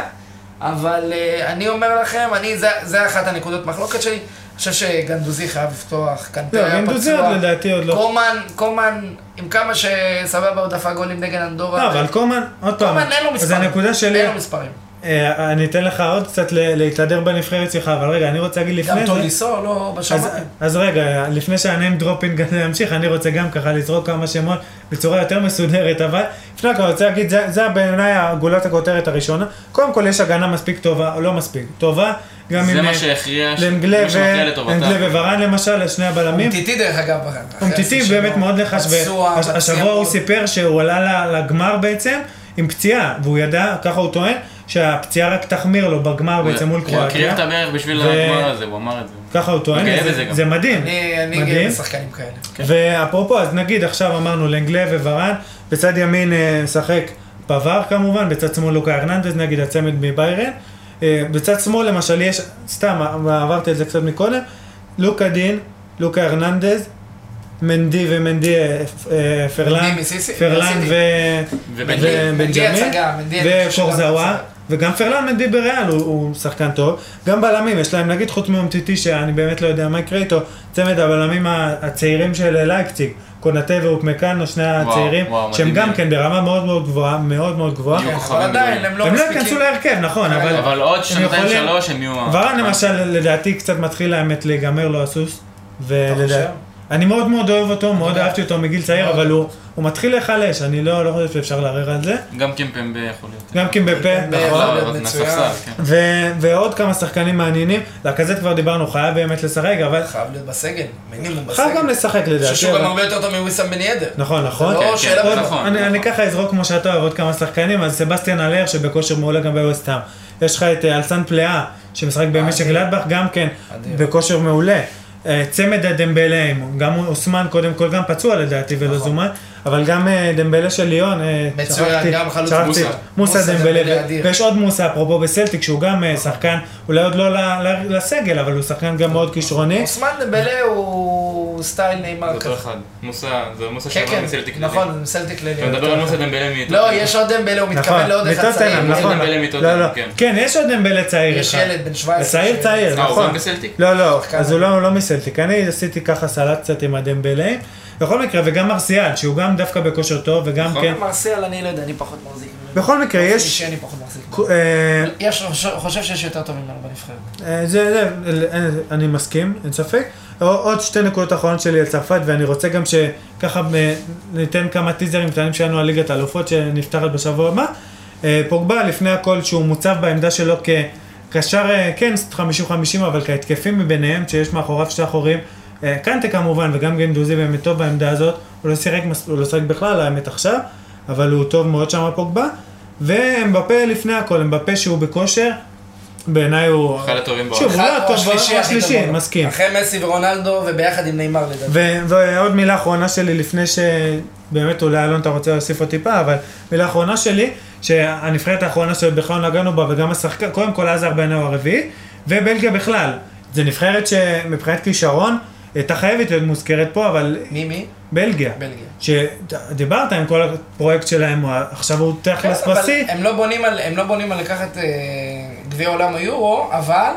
S3: אבל אה, אני אומר לכם, אני, זה, זה אחת הנקודות מחלוקת שלי. חושב שגנדוזי חייב לפתוח, קנטה
S1: לא,
S3: היה
S1: אינדוזי עוד
S3: פצוע.
S1: לדעתי עוד לא.
S3: קומן, קומן, עם כמה שסבבה הוא דפק גולים נגד אנדורה.
S1: לא, אבל קומן, עוד פעם,
S3: קומן אין לו
S1: אז
S3: מספרים.
S1: הנקודה שלי,
S3: אין לו מספרים.
S1: אה, אני אתן לך עוד קצת ל- להתהדר בנבחרת שלך, אבל רגע, אני רוצה להגיד
S3: גם
S1: לפני זה,
S3: טוליסו לא
S1: אז,
S3: בשמיים.
S1: אז רגע, לפני שהניים דרופינג הזה ימשיך, אני רוצה גם ככה לזרוק כמה שמות בצורה יותר מסודרת, אבל לפני הכל אני רוצה להגיד, זה, זה בעיניי גולת הכותרת הראשונה. קודם כל יש הגנה מספיק טובה, או לא מספיק, טובה, גם
S2: זה
S1: עם
S2: מה
S1: אה,
S2: שהכריע, ש-
S1: לנגלה
S2: מי
S1: ו-
S2: שמכריע לטובתה.
S1: לנגלה וברן למשל, לשני הבלמים.
S3: אומטיטי דרך אגב. אחרי
S1: אומטיטי
S3: השיא
S1: באמת
S3: שלו.
S1: מאוד נחש,
S3: פצוע, פציע,
S1: והשבוע הוא
S3: כאילו.
S1: סיפר שהוא עלה ל- לגמר בעצם עם פציעה, והוא ידע, ככה הוא טוען, שהפציעה רק תחמיר לו בגמר בעצם מול
S2: הוא הקריב
S1: קרואטיה.
S2: את הברך בשביל
S1: ו-
S2: הגמר הזה, הוא אמר את זה.
S1: ככה הוא טוען,
S2: הוא גאה
S1: זה-
S2: בזה גם.
S1: זה מדהים.
S3: אני אני
S1: מדהים.
S3: גאה בשחקנים כאלה.
S1: ואפרופו, אז נגיד עכשיו אמרנו לנגלה וברן, בצד ימין אה, משחק פבר כמובן, בצד שמאל לוקה ארננדז, נגיד הצמד מביירן. אה, בצד שמאל למשל יש, סתם, אה, עברתי את זה קצת מקודם, לוקה דין, לוקה ארננדז, מנדי ומנדי אה, פ- אה, פרלן,
S3: מנדי מסיסי-
S1: פרלן
S3: מסיסי.
S1: ו...
S2: ובן
S3: ו-
S2: גביר.
S3: מנדי
S1: ובנג'מין,
S3: הצגה, מנדי אני חושב שגם
S1: וקורזאווה,
S3: הצגה.
S1: וגם פרלן מנדי בריאל הוא, הוא שחקן טוב. גם בלמים, יש להם נגיד חוץ מאומטיטי שאני באמת לא יודע מה יקרה איתו, צמד הבלמים ה- הצעירים של לייפציג, קונאטה ואופמקאנו, שני הצעירים,
S2: וואו,
S1: שהם
S2: מדהימים.
S1: גם כן ברמה מאוד מאוד גבוהה, מאוד מאוד גבוהה.
S2: יהיו אה,
S3: כן, אבל
S2: כוכבים
S3: עדיין,
S2: גדולים.
S3: הם לא
S1: הם לא
S3: מספיקים.
S1: ייכנסו להרכב, נכון, אבל...
S2: אבל עוד שנתיים
S1: יכולים-
S2: שלוש הם יהיו... ה-
S1: ורן למשל, לדעתי קצת מתחיל האמת להיגמר לו הסוס.
S3: חושב?
S1: ולדעתי... אני מאוד מאוד אוהב אותו, מאוד
S3: יודע.
S1: אהבתי אותו מגיל צעיר,
S3: מאוד.
S1: אבל הוא הוא מתחיל להיחלש, אני לא לא חושב שאפשר לערער על זה.
S2: גם אה, קימפמבה יכול להיות.
S1: גם קימבפה,
S3: קימבפה,
S1: נכון.
S3: יכול להיות
S2: אבל
S3: מצוין.
S2: מהספסל, כן.
S1: ו- ועוד כמה שחקנים מעניינים, לכזה כבר דיברנו, חייב באמת לשחק, אבל
S3: חייב להיות בסגל, מינימום בסגל.
S1: חייב גם לשחק לדעתי.
S3: ששוב
S1: אבל-
S3: גם הרבה יותר טוב מוויסאם בן ידר.
S1: נכון, נכון.
S3: זה לא
S2: כן,
S3: שאלה
S2: כן,
S1: עוד-
S3: בכלל.
S2: נכון.
S1: אני אני ככה אזרוק כמו שאתה אוהב עוד כמה שחקנים, אז סבסטיאן אלר שבכושר מעולה גם בווסטהאם. יש לך את אה, אלסן פלאה, שמשחק במשק
S3: אדיר.
S1: גלדבך, גם כן
S3: אדיר.
S1: בכושר מעולה. אה, צמד הדמבלאים, גם אוסמן קודם כל גם פצוע לדעתי ולא זומן, אבל גם אה, דמבלה של ליאון, אה,
S3: נכון. מצוין,
S1: שכחתי-
S3: גם חלוץ
S1: שכחתי,
S2: מוסא.
S1: מוסא
S3: מוסא
S1: דמבלה,
S3: דמבלה
S1: ו-
S3: אדיר. נכון.
S1: ויש עוד מוסא אפרופו בסלטיק שהוא גם אה, שחקן, אולי עוד לא ל- ל- לסגל, אבל הוא שחקן גם
S3: נכון.
S1: מאוד כישרוני.
S3: אוסמן דמבלה הוא סטייל
S2: זה
S3: נאמר
S2: אותו
S3: כזה.
S2: אחד. מוסה, זה מוסה
S3: כן,
S2: שעבר
S3: כן,
S2: מסלטיק.
S3: נכון, מסלטיק כללי.
S2: אתה מדבר על מוסה דמבלה מאיתנו.
S3: לא, יש עוד דמבלה, הוא מתכוון לעוד אחד צעיר.
S1: מטוטנהאם,
S2: יש
S1: נכון.
S2: דמבלה מטוטנהאם,
S1: לא, לא.
S2: כן.
S1: כן, יש עוד דמבלה צעיר
S3: יש
S1: אחד.
S3: ילד בן 17.
S1: צעיר
S3: ש-
S1: צעיר,
S2: אה, הוא
S1: נכון.
S2: גם בסלטיק?
S1: לא, לא,
S3: שחקן.
S1: אז הוא לא לא מסלטיק. אני עשיתי ככה סלט קצת עם הדמבלאים. בכל מקרה, וגם מרסיאל, שהוא גם דווקא בכושר טוב, וגם
S2: נכון.
S1: כן.
S3: מרסיאל, אני לא יודע, אני פחות מחזיק. ממנו.
S1: בכל מקרה,
S3: באופן
S1: יש...
S3: אישי, אני פחות מחזיק. ממנו.
S1: אה,
S3: יש, חושב שיש יותר טובים ממנו בנבחרת.
S1: אה, זה, זה, אה, אני מסכים, אין ספק. עוד שתי נקודות אחרונות שלי על צרפת, ואני רוצה גם שככה אה, ניתן כמה טיזרים קטנים שלנו על ליגת האלופות שנפתחת בשבוע הבא. אה, פוגבה לפני הכל שהוא מוצב בעמדה שלו כקשר, אה, כן, 50-50, אבל כהתקפים מביניהם, שיש מאחוריו שתי אחורים. אה, קנטה כמובן, וגם גנדוזי באמת טוב בעמדה הזאת. הוא לא שיחק, מס- הוא לא שיחק בכלל, האמת עכשיו, אבל הוא טוב מאוד שם פוגבה. ואמבפה לפני הכל, אמבפה שהוא בכושר, בעיניי הוא...
S2: אחד הטובים בעולם.
S1: שוב, הוא לא
S3: אחד או
S1: הטוב,
S3: השלישי
S1: הוא
S3: הכי
S1: השלישי,
S3: גבוה.
S1: מסכים.
S3: אחרי מסי ורונלדו, וביחד עם נאמר לדעתי.
S1: ו- ועוד מילה אחרונה שלי לפני שבאמת אולי אלון אתה רוצה להוסיף עוד טיפה, אבל מילה אחרונה שלי, שהנבחרת האחרונה שבכלל לא נגענו בה וגם השחקן, קודם כל עזר בעיניו הרביעי, ובלגיה בכלל. זו נבחרת שמבחינת כישרון הייתה חייבת להיות מוזכרת פה, אבל
S3: מי מי?
S1: בלגיה.
S3: בלגיה.
S1: שדיברת עם כל הפרויקט שלהם, הוא- עכשיו הוא תכלס
S3: כן, אבל
S1: בשיא.
S3: הם לא בונים על, הם לא בונים על לקחת אה, גביע עולם או יורו, אבל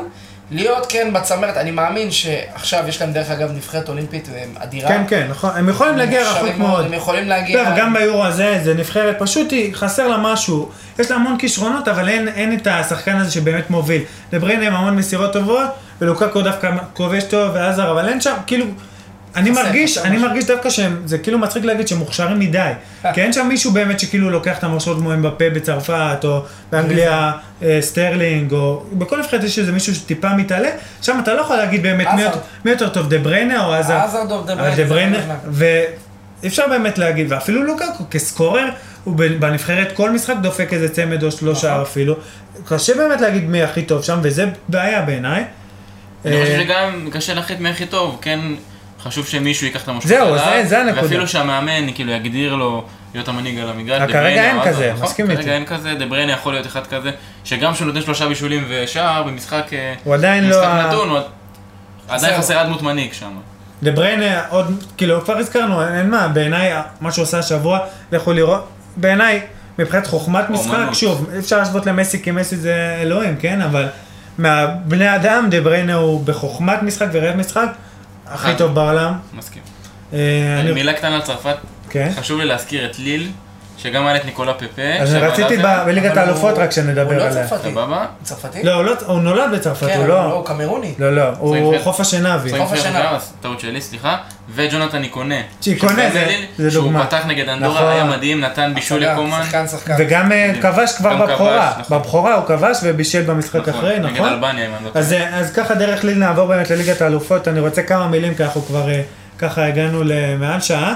S3: להיות כן בצמרת, אני מאמין שעכשיו יש להם דרך אגב נבחרת אולימפית אה, אדירה.
S1: כן, כן, נכון. הם יכולים
S3: הם
S1: להגיע
S3: מוכשרים
S1: רחוק מאוד.
S3: הם יכולים להגיע...
S1: טוב, גם ביורו הזה, זה נבחרת, פשוט היא, חסר לה משהו. יש לה המון כישרונות, אבל אין, אין את השחקן הזה שבאמת מוביל. לבריין עם המון מסירות טובות, ולוקקו דווקא כובש טוב ועזר, אבל אין שם, כאילו... אני
S3: חסר,
S1: מרגיש,
S3: חסר
S1: אני
S3: משהו. אה.
S1: מרגיש דווקא שהם, זה כאילו מצחיק להגיד שהם מוכשרים מדי. כי אין שם מישהו באמת שכאילו לוקח את המרשות כמו אמבפה בצרפת, או באנגליה אה, סטרלינג, או בכל נבחרת יש איזה מישהו שטיפה מתעלה, שם אתה לא יכול להגיד באמת מי
S3: עזר.
S1: יותר- מי יותר טוב, דה בריינה או עזר.
S3: עזרד או דה בריינה,
S1: אבל
S3: זה
S1: דה בריינה,
S3: לא נכנס.
S1: ואי אפשר באמת להגיד, ואפילו לוקקו כסקורר, הוא ב- בנבחרת כל משחק דופק איזה צמד או שלושה אפילו. קשה באמת להגיד מי הכי טוב שם, וזה בעיה בעיניי.
S2: אני חושב
S1: אה,
S2: שגם קשה להחליט מי הכי טוב, כן חשוב שמישהו ייקח את המושכות
S1: זהו, זה- זה הנקודה.
S2: ואפילו שהמאמן כאילו יגדיר לו להיות המנהיג על המגרש.
S1: רק
S2: דה בריינה
S1: כרגע אין
S2: או עזר,
S1: כזה,
S2: נכון?
S1: מסכים איתי.
S2: כרגע אין כזה, דה בריינה יכול להיות אחד כזה, שגם כשהוא נותן שלושה בישולים ושער במשחק אה,
S1: הוא עדיין לא...
S2: משחק
S1: ה-
S2: נתון, הוא עדיין
S3: זהו.
S2: חסרה דמות מנהיג שם.
S1: דה בריינה עוד, כאילו כבר הזכרנו, אין- אין מה, בעיניי מה שהוא עושה השבוע, לכו לראות, בעיניי, מבחינת חוכמת משחק,
S2: אומנות.
S1: שוב, אי אפשר להשוות למסי, כי מסי זה אלוהים, כן, אבל מהבני אדם, דה בריינה הוא בחוכמת משחק וראיית משחק, הכי
S2: אחד.
S1: טוב בעולם.
S2: מסכים.
S1: אה, אני-
S2: מילה קטנה על צרפת,
S1: כן.
S2: חשוב לי להזכיר את ליל, שגם היה את ניקולה פפה.
S1: אז
S2: שעבד
S1: רציתי
S2: עליה.
S1: ב- בליגת
S3: אבל הוא-
S1: האלופות רק שנדבר
S3: הוא לא
S1: עליה.
S3: צרפתי.
S2: סבבה?
S3: הוא צרפתי?
S1: לא, הוא לא- הוא נולד בצרפת,
S3: כן,
S1: הוא
S3: אבל
S1: לא...
S3: הוא קמרוני.
S1: לא, לא, הוא
S2: צרפת.
S1: חוף השנהבי.
S2: סורים
S3: חוף
S2: פרח
S3: השנה.
S2: גם, אז טעות שלי, סליחה. וג'ונתן איקונה.
S1: איקונה
S2: שזה
S1: זה-
S2: ליל,
S1: זה
S2: שהוא
S1: דוגמה.
S2: פתח נגד
S1: נכון.
S2: אנדורה, היה מדהים, נתן בישול
S3: שחקן,
S2: לקומן.
S3: שחקן, שחקן.
S1: וגם אה,
S2: בדיוק.
S1: כבש כבר
S2: גם כבש,
S1: בבכורה.
S2: נכון.
S1: בבכורה הוא כבש ובישל במשחק
S2: נכון,
S1: אחרי,
S2: נגד
S1: נכון?
S2: אלבניה, אם אני לא טועה.
S1: אז, אה, אז ככה דרך ליל נעבור באמת לליגת האלופות, אני רוצה כמה מילים כי אנחנו כבר אה, ככה הגענו למעל שעה.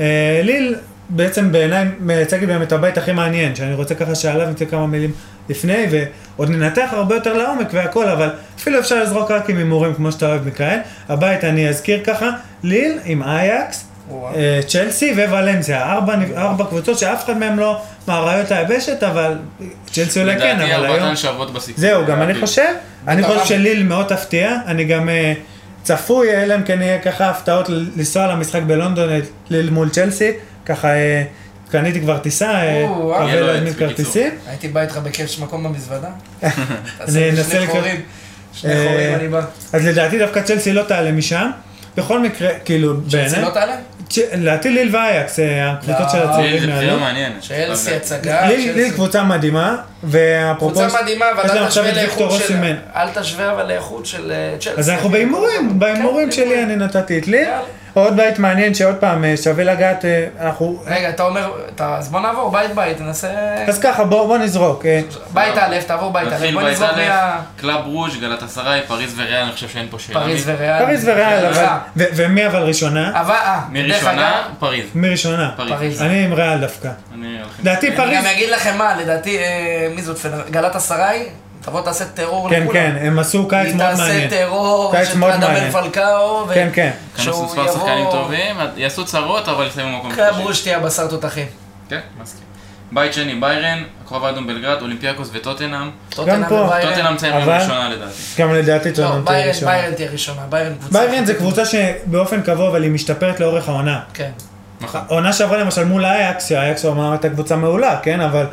S1: אה, ליל בעצם בעיניי מייצגת בהם את הבית הכי מעניין, שאני רוצה ככה שעליו נצא כמה מילים לפני, ועוד ננתח הרבה יותר לעומק והכל, אבל אפילו אפשר לזרוק רק עם הימורים כמו שאתה אוהב מיכאל. הבית אני אזכיר ככה, ליל עם אייקס,
S3: וואו.
S1: אה, צ'לסי ווולנסיה, ארבע, נב- ארבע קבוצות שאף אחד מהם לא מאריות היבשת, אבל צ'לסי אולי כן,
S2: לדעתי
S1: אבל היום...
S2: ארבעתן שוות בסיכוי.
S1: זהו, גם אני חושב. אני חושב
S3: אבל-
S1: שליל מאוד תפתיע, אני גם אה, צפוי, אלא אם כן יהיה ככה הפתעות ל- לנסוע למשחק בלונדון, אה, ליל מול צ'לסי, ככה אה, קניתי כבר טיסה, אה,
S3: או,
S1: מקווה
S2: יהיה לו
S1: להזמין
S2: עץ, בקיצור.
S1: כרטיסים.
S3: הייתי בא איתך בקש מקום במזוודה?
S1: <laughs> אז אני אנסה
S3: שני
S1: לקרוא-
S3: חורים. שני
S1: אה,
S3: חורים אני בא.
S1: אז לדעתי דווקא צ'לסי לא תעלה משם. בכל מקרה, כאילו,
S3: צ'לסי
S1: בעיניי,
S3: לא תעלה?
S1: צ'- לדעתי ליל ואייקס, אה, הקבוצות של
S3: לא.
S2: ליל זה
S1: הצעירים
S2: בחירה
S1: יעלו.
S2: מעניינת.
S3: צ'לסי
S2: אבל-
S3: הצגה.
S1: ליל- ליל
S3: צ'לסי.
S1: קבוצה מדהימה, ואפרופו,
S3: קבוצה מדהימה,
S1: יש
S3: אבל
S1: להם
S3: אל
S1: עכשיו
S3: תשווה
S1: את ויקטור
S3: לאיכות של...
S1: אוסימן.
S3: אל תשווה אבל לאיכות של אה, צ'לסי.
S1: אז אנחנו בהימורים, בהימורים
S3: כן,
S1: שלי
S3: הימורים.
S1: אני נתתי את ליל.
S3: יאללה.
S1: עוד בית מעניין שעוד פעם אה, שווה לגעת, אה, אנחנו...
S3: רגע, אתה אומר, אתה- אז בוא נעבור בית בית, ננסה...
S1: אז ככה, בוא בוא נזרוק. אה,
S3: בית א', תעבור בית א',
S2: נתחיל
S3: בוא
S2: בית
S3: נזרוק מה...
S2: א', קלאב רוז', גלת אסריי, פריז וריאל, אני חושב שאין פה שאלה.
S3: פריז
S2: מי-
S3: וריאל.
S1: פריז וריאל, אבל...
S3: סליחה.
S1: ו- ומי אבל ראשונה?
S3: אבל, אה,
S2: מי
S3: דרך אגב,
S2: ראשונה? פריז.
S1: מי ראשונה?
S3: פריז.
S1: אני עם ריאל דווקא.
S2: אני הולך עם-
S1: לדעתי
S3: אני
S1: פריז...
S3: גם אגיד לכם מה, לדעתי, אה, מי זאת, פנר- גלת אסריי? תבוא תעשה טרור
S1: כן,
S3: לכולם.
S1: כן, הם עשו קיץ
S3: היא
S1: מאוד
S3: תעשה
S1: מעניין.
S3: טרור,
S1: קיץ מאוד מעניין.
S3: שתדבר פלקאו, ו-
S1: כן, כן.
S2: כנסו
S3: שהוא
S2: מספר שחקנים
S3: יבוא-
S2: טובים, יעשו צרות, אבל יסיימו מקום
S3: קרב רוש תהיה הבשר תותחים.
S2: כן, מסכים. בית שני, ביירן, הכוכב האדום בלגרד, אולימפיאקוס וטוטנאם.
S3: טוטנהאם
S1: פה.
S3: וביירן-
S2: טוטנאם תסיים
S1: אבל-
S2: פעם ראשונה לדעתי.
S1: גם לדעתי
S3: לא,
S1: טוטנאם תהיה
S3: ביירן-
S1: ראשונה.
S3: ביירן תהיה ראשונה, ביירן קבוצה.
S1: ביירן זה קבוצה שבאופן קבוע, אבל היא משתפרת לאורך העונה.
S3: כן.
S2: נכון.
S1: העונה שעברה למשל מול אייקס, שאייקס אמנם הייתה קבוצה מעולה, כן? אבל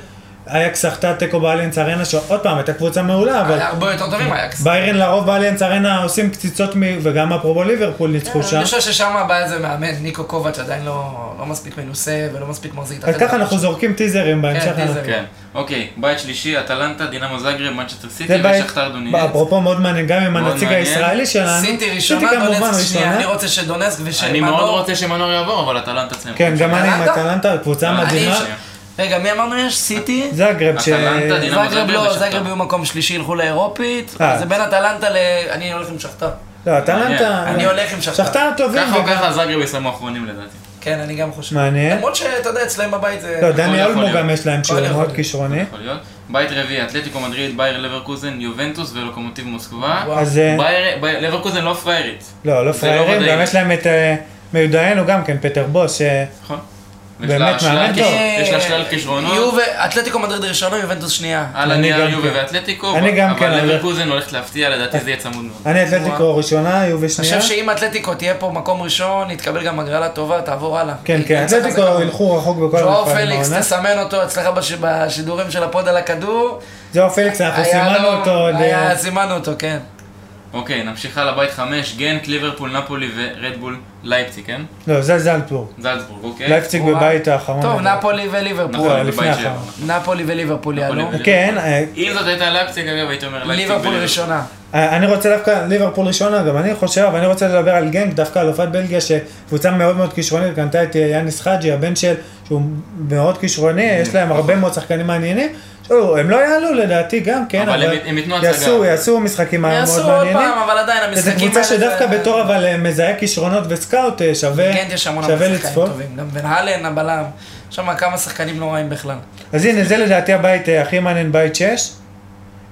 S1: אייקס סחטה תיקו באליאנס ארנה, שעוד פעם הייתה קבוצה מעולה, אבל...
S3: היה הרבה יותר טובים אייקס.
S1: ביירן לרוב באליאנס ארנה עושים קציצות, מ... וגם אפרופו ליברפול ניצחו שם.
S3: כן, אני חושב ששם הבעיה זה מאמן, ניקו קובץ' עדיין לא לא מספיק מנוסה ולא מספיק מחזיק את
S1: אז ככה אנחנו
S3: שלו.
S1: זורקים טיזרים בהמשך.
S3: לא טיזרים.
S1: אנחנו-
S2: כן. אוקיי, בית שלישי, אטלנטה, דינמו זאגרב, מנצ'סטר סיטי
S1: זה בית,
S2: ושכתר דונייץ.
S1: אפרופו מאוד מעניין, גם עם
S2: מאוד
S1: הנציג
S2: מעניין.
S1: הישראלי שלנו.
S3: סיטי ראשונה,
S1: סיטי כמובן
S3: דונסק שנייה, אני
S1: ראשונה.
S3: רוצה שדונסק ושמנור.
S2: אני מאוד רוצה שמנור יעבור, אבל אטלנטה תסיים.
S1: כן, גם אני עם
S3: אטלנטה? אה,
S1: אטלנטה, קבוצה
S2: אני-
S1: מדהימה.
S2: שנייה.
S3: רגע, מי אמרנו יש? סיטי?
S1: זאגרב, ש...
S2: אטלנטה, דינמו
S3: זאגרב
S2: זאגרב
S3: לא,
S2: ושכתר.
S3: זאגרב יהיו מקום שלישי, ילכו לאירופית.
S1: אה.
S3: זה בין אטלנטה ל... אני הולך עם שכתר.
S1: לא, אטלנטה...
S3: אני הולך עם שכתר.
S1: שכתר טובים.
S2: ככה או
S1: וגם-
S2: ככה זאגרב יסיימו אחרונים לדעתי.
S3: כן, אני גם חושב.
S1: מעניין.
S3: למרות שאתה יודע, אצלהם בבית זה...
S1: לא, דני
S2: יכול
S1: אולמו
S2: להיות.
S1: גם יש להם
S3: יכול
S1: שהוא
S3: להיות.
S1: מאוד כישרוני.
S2: יכול להיות. בית רביעי, אתלטיקו מדריד, בייר לברקוזן, יובנטוס ולוקומוטיב מוסקבה.
S3: וואו.
S1: אז... אה,
S2: בייר- בייר- לברקוזן לא פריירית.
S1: לא, לא
S2: זה
S1: פריירים,
S2: לא
S1: גם
S2: ודאי.
S1: יש להם את אה, מיודענו גם כן, פטר בוס, ש...
S2: נכון.
S1: באמת,
S2: יש לה שלל
S1: מאמן
S2: כיש-
S1: טוב.
S2: יש לה שלל כישרונות.
S3: יובה, אתלטיקו מדריד ראשונה, יובנטוס שנייה.
S2: על
S1: אני
S2: הנייר
S1: גם
S2: יובה
S1: כן.
S2: ואתלטיקו,
S1: אני גם כן,
S2: אבל
S1: אני-
S2: לברקוזן הולכת להפתיע, לדעתי זה יהיה צמוד מאוד.
S1: אני אתלטיקו ראשונה, יובי
S3: אני
S1: שנייה.
S3: חושב שאם אתלטיקו תהיה פה מקום ראשון, יתקבל גם הגרלה טובה, תעבור הלאה.
S1: כן,
S3: היא
S1: כן,
S3: קבוצה
S1: אתלטיקו
S3: חזקה.
S1: ילכו רחוק בכל
S3: ז'ואר
S1: המפעלים
S3: פליקס,
S1: בעונה.
S3: תסמן אותו אצלך בש- בשידורים של הפוד על הכדור.
S1: זהו פליקס, אנחנו
S3: היה
S1: סימנו
S3: לו-
S1: אותו עוד...
S3: היה-
S1: אה,
S3: סימנו אותו, כן.
S2: אוקיי, נמשיך הלאה בית חמש, גנט, ליברפול, נפולי ורדבול לייפצי, כן?
S1: לא, זה זלטבורג.
S2: זלצבורג, אוקיי?
S1: לייפציג
S3: כן, וואו.
S1: בבית האחרון.
S3: טוב,
S1: לדעתי.
S3: נפולי וליברפול.
S1: נכון. לפני
S2: בבית
S1: האחרון.
S2: שבע.
S3: נפולי וליברפול יעלו.
S2: וליברפול.
S1: כן, אה,
S2: אם זאת הייתה לייפציג, אגב, הייתי אומר לייפציג.
S3: ליברפול
S2: וליברפול.
S3: ראשונה.
S1: אה, אני רוצה דווקא, ליברפול ראשונה, גם אני חושב, אבל אני רוצה לדבר על גנק, דווקא אלופת בלגיה, שקבוצה מאוד מאוד כישרונית, קנתה את אה, יאניס חאג'י, הבן של, שהוא מאוד כישרוני, יש להם הרבה מאוד שחקנים מעניינים. תראו, הם לא יעלו לדעתי גם, כן,
S2: אבל
S1: אבל...
S2: הם- הם ייתנו הצגה.
S1: יעשו, יעשו משחקים מאוד
S3: יעשו
S1: מאוד
S3: עוד
S1: מעניינים.
S3: פעם, אבל עדיין המשחקים
S1: זו קבוצה שדווקא בתור אבל אה, מזהה כישרונות וסקאוט אה, שווה
S3: כן, יש המון
S1: שווה
S3: המון שחקנים
S1: לצפות.
S3: טובים. גם בן הלן, הבלם. יש שם כמה שחקנים לא רעים בכלל.
S1: אז הנה, זה לדעתי הבית אה, הכי מעניין, בית 6.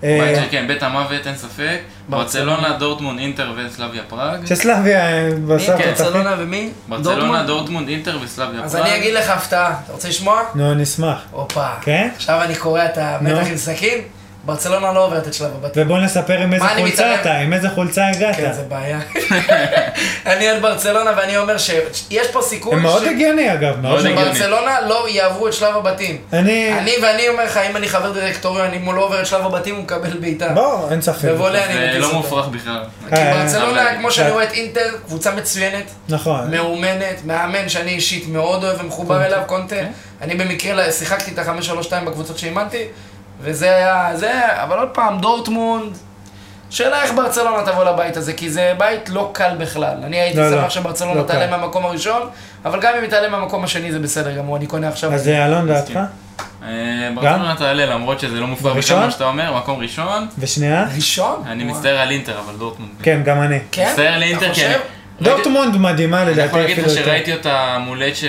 S1: אה.
S2: בית של- כן, בית המוות, אין ספק.
S3: ברצלונה.
S2: ברצלונה, דורטמונד, אינטר וסלאביה פראג.
S1: שסלאביה אה,
S3: מי?
S1: בסוף
S2: כן,
S1: התחיל.
S3: ברצלונה ומי?
S2: ברצלונה,
S3: דורטמונד?
S2: דורטמונד, אינטר וסלאביה פראג.
S3: אז אני אגיד לך הפתעה. אתה רוצה לשמוע?
S1: נו, אני אשמח.
S3: הופה.
S1: כן?
S3: עכשיו אני קורע את המתח
S1: נו.
S3: עם סכין. ברצלונה לא עוברת את שלב הבתים.
S1: ובוא נספר עם איזה
S3: מה אני
S1: חולצה
S3: מתערב?
S1: אתה, עם איזה חולצה
S3: כן, זה
S1: הגעת.
S3: בעיה. אני על ברצלונה ואני אומר שיש פה סיכוי
S1: זה מאוד
S3: ש-
S1: הגיוני אגב, מאוד.
S2: מאוד הגיוני.
S3: שברצלונה לא יעברו את שלב הבתים.
S1: אני,
S3: אני ואני אומר לך, אם אני חבר דירקטוריון, אם הוא לא עבר את שלב הבתים, הוא מקבל בעיטה.
S1: בוא, אין ספק.
S3: בוולה אני
S2: זה
S3: מטיס
S2: לא
S3: אותו.
S2: מופרך בכלל.
S3: כי
S1: אה,
S3: ברצלונה,
S2: אבל-
S3: כמו שאני רואה את אינטר, קבוצה מצוינת,
S1: נכון.
S3: מאומנת, מאמן שאני אישית מאוד אוהב ומחובר אליו, קונטה.
S1: אוקיי.
S3: אני במקרה שיחקתי את ה-532 בקבוצות שאימנתי, וזה היה זה, אבל עוד פעם, דורטמונד, שאלה איך ברצלונה תבוא לבית הזה, כי זה בית לא קל בכלל. אני הייתי
S1: לא, לא.
S3: שמח שברצלונה
S1: לא קל.
S3: תעלה מהמקום הראשון, אבל גם אם היא תעלה מהמקום השני זה בסדר גמור, אני קונה עכשיו.
S1: אז אה, אלון דעתך?
S2: מסכים. אה, ברצלונה תעלה, למרות שזה לא מופרך בכלל
S1: בראשון?
S2: מה שאתה אומר, מקום ראשון.
S1: ושנייה?
S3: ראשון?
S2: אני
S3: וואי.
S2: מצטער על אינטר, אבל דורטמונד.
S1: כן, גם אני.
S3: כן?
S2: מצטער על
S3: אתה
S2: אינטר, כי
S3: חושב?
S2: אני-
S1: דורטמונד מדהימה
S2: אני יכול
S1: לדעתי
S2: להגיד
S1: אפילו
S2: לך
S1: יותר.
S2: שראיתי אותה מול אצ'ה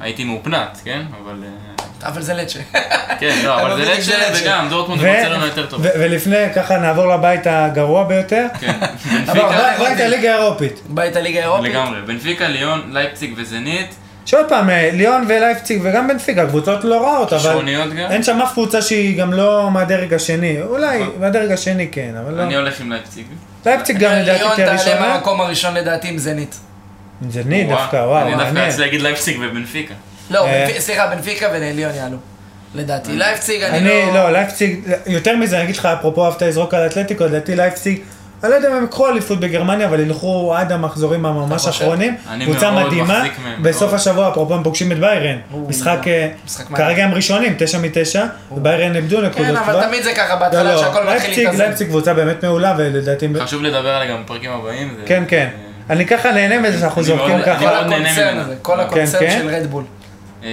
S2: והייתי מאופנת, כן? אבל... אה,
S3: אבל זה לצ'ה. <laughs>
S2: כן, לא, אבל
S3: אבל
S2: זה
S3: בדיוק זה
S2: אצ'ה
S3: אצ'ה.
S2: וגם, דורטמונד
S1: ו-
S2: וברצלונה יותר טוב.
S1: ו- ולפני, ככה נעבור לבית הגרוע ביותר.
S2: כן.
S1: <laughs> אבל
S2: בנפיקה,
S1: בית הליגה האירופית.
S3: בית הליגה האירופית.
S2: לגמרי. בנפיקה, ליון, לייפציג וזנית.
S1: שעוד פעם, אה, ליאון ולייפציג וגם בנפיקה, קבוצות לא רעות, אבל
S2: שעוניות גם.
S1: אין שם אף קבוצה שהיא גם לא מהדרג השני. אולי
S2: נכון.
S1: מהדרג השני כן, אבל
S2: אני
S1: לא.
S2: הולך עם לייפציג.
S1: לייפציג גם לדעתי
S3: ליון
S1: תהיה
S3: תעלה
S1: ראשונה.
S3: מהמקום הראשון לדעתי עם זנית.
S1: זה ני
S2: וואו,
S1: דווקא, וואו,
S2: אני דווקא
S1: מעניין.
S2: רציתי להגיד לייפציג ובנפיקה.
S3: לא,
S1: אה.
S3: בנפ- סליחה, בנפיקה וליון יעלו. לדעתי. לייפציג, אני
S1: אני,
S3: לא...
S1: לא, לייפציג, יותר מזה, אני אגיד לך, אפרופו אהבת לזרוק על אתלטיקו, לדעתי לייפציג, אני לא יודע אם הם יקחו אליפות בגרמניה, אבל ילכו עד המחזורים הממש
S3: חושב?
S1: האחרונים.
S2: אני
S1: קבוצה
S2: מאוד
S1: מדהימה.
S2: מחזיק מהם,
S1: בסוף
S2: מאוד.
S1: השבוע, אפרופו, הם פוגשים את ביירן.
S3: או,
S1: משחק, אה,
S3: משחק מעניין.
S1: כרגע הם ראשונים, תשע מתשע, וביירן איבדו נקודות
S3: כן,
S1: כבר.
S3: אבל תמיד זה ככה,
S1: לא,
S3: בהתחלה
S1: לא,
S3: שהכל מתחיל
S1: לייפציג,
S3: להתאזן.
S1: לייפציג קבוצה באמת מעולה, ולדעתי... הם-
S2: חשוב לדבר עליה גם בפרקים הבאים. זה-
S1: כן, כן. אני ככה נהנה מזה שאנחנו
S2: אני
S1: זורקים
S2: מאוד-
S1: ככה.
S3: כל
S2: מאוד נהנה
S3: הקונצרן
S2: ממנה.
S3: הזה, כל
S1: כן,
S3: הקונצרן
S1: כן.
S3: של רדבול.
S2: אה,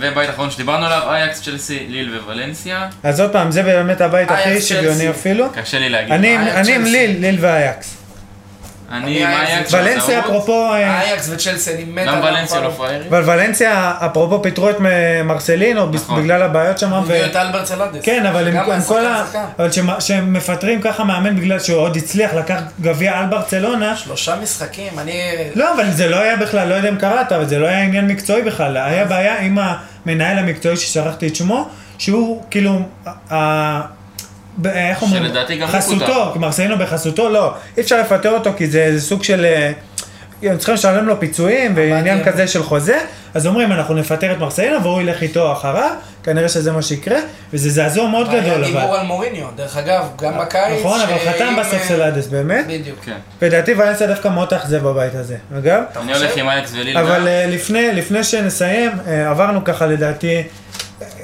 S2: ובית אחרון שדיברנו עליו, אייקס, צ'לסי, ליל ווולנסיה.
S1: אז עוד פעם, זה באמת הבית הכי
S3: אייקס,
S1: שוויוני
S3: צ'לסי.
S1: אפילו.
S2: קשה לי להגיד.
S1: אני
S3: אייקס,
S1: אני עם
S3: צ'לסי.
S1: ליל, ליל ואייקס.
S2: אני עם
S3: אני
S2: אייקס.
S1: ולנסיה,
S2: בטעות.
S1: אפרופו... אה,
S3: אייקס וצ'לסי, אני מת
S2: גם
S3: על
S2: ולנסיה לא
S3: הפעם.
S2: פראיירים.
S1: אבל ולנסיה, אפרופו פיטרו את מ- מרסלינו בס-
S2: נכון.
S1: בגלל הבעיות שם. ו-
S3: הביאו את אלברט סלנדס.
S1: כן, אבל
S3: שגם
S1: הם הם
S3: היה
S1: כל ה...
S3: שחקן שחקן.
S1: אבל שמה- שהם מפטרים ככה מאמן בגלל שהוא עוד הצליח לקח גביע על ברצלונה.
S3: שלושה משחקים, אני...
S1: לא, אבל זה לא היה בכלל, לא יודע אם קראת, אבל זה לא היה עניין מקצועי בכלל. היה בעיה עם המנהל המקצועי ששכחתי את שמו, שהוא כאילו... ה- ה- ב- איך אומרים?
S2: שלדעתי גם הוא
S1: חסותו, מרסלינו בחסותו, לא. אי אפשר לפטר אותו כי זה איזה סוג של... אה, הם צריכים לשלם לו פיצויים ועניין
S3: הבנתי.
S1: כזה של חוזה, אז אומרים אנחנו נפטר את מרסלינו והוא ילך איתו אחריו, כנראה שזה מה שיקרה, וזה זעזוע מאוד
S3: היה
S1: גדול
S3: דיבור
S1: אבל.
S3: על מוריניו, דרך אגב, גם בקיץ.
S1: נכון, אבל
S3: שאם,
S1: חתם בסוף
S3: אה,
S1: סלאדס באמת.
S3: בדיוק.
S2: כן.
S1: לדעתי ולנסיה דווקא מאוד תאכזב בבית הזה, אגב.
S2: אני
S3: חושב?
S2: הולך עם אייקס וליל.
S1: אבל אה, לפני, לפני שנסיים, אה, עברנו ככה לדעתי אה,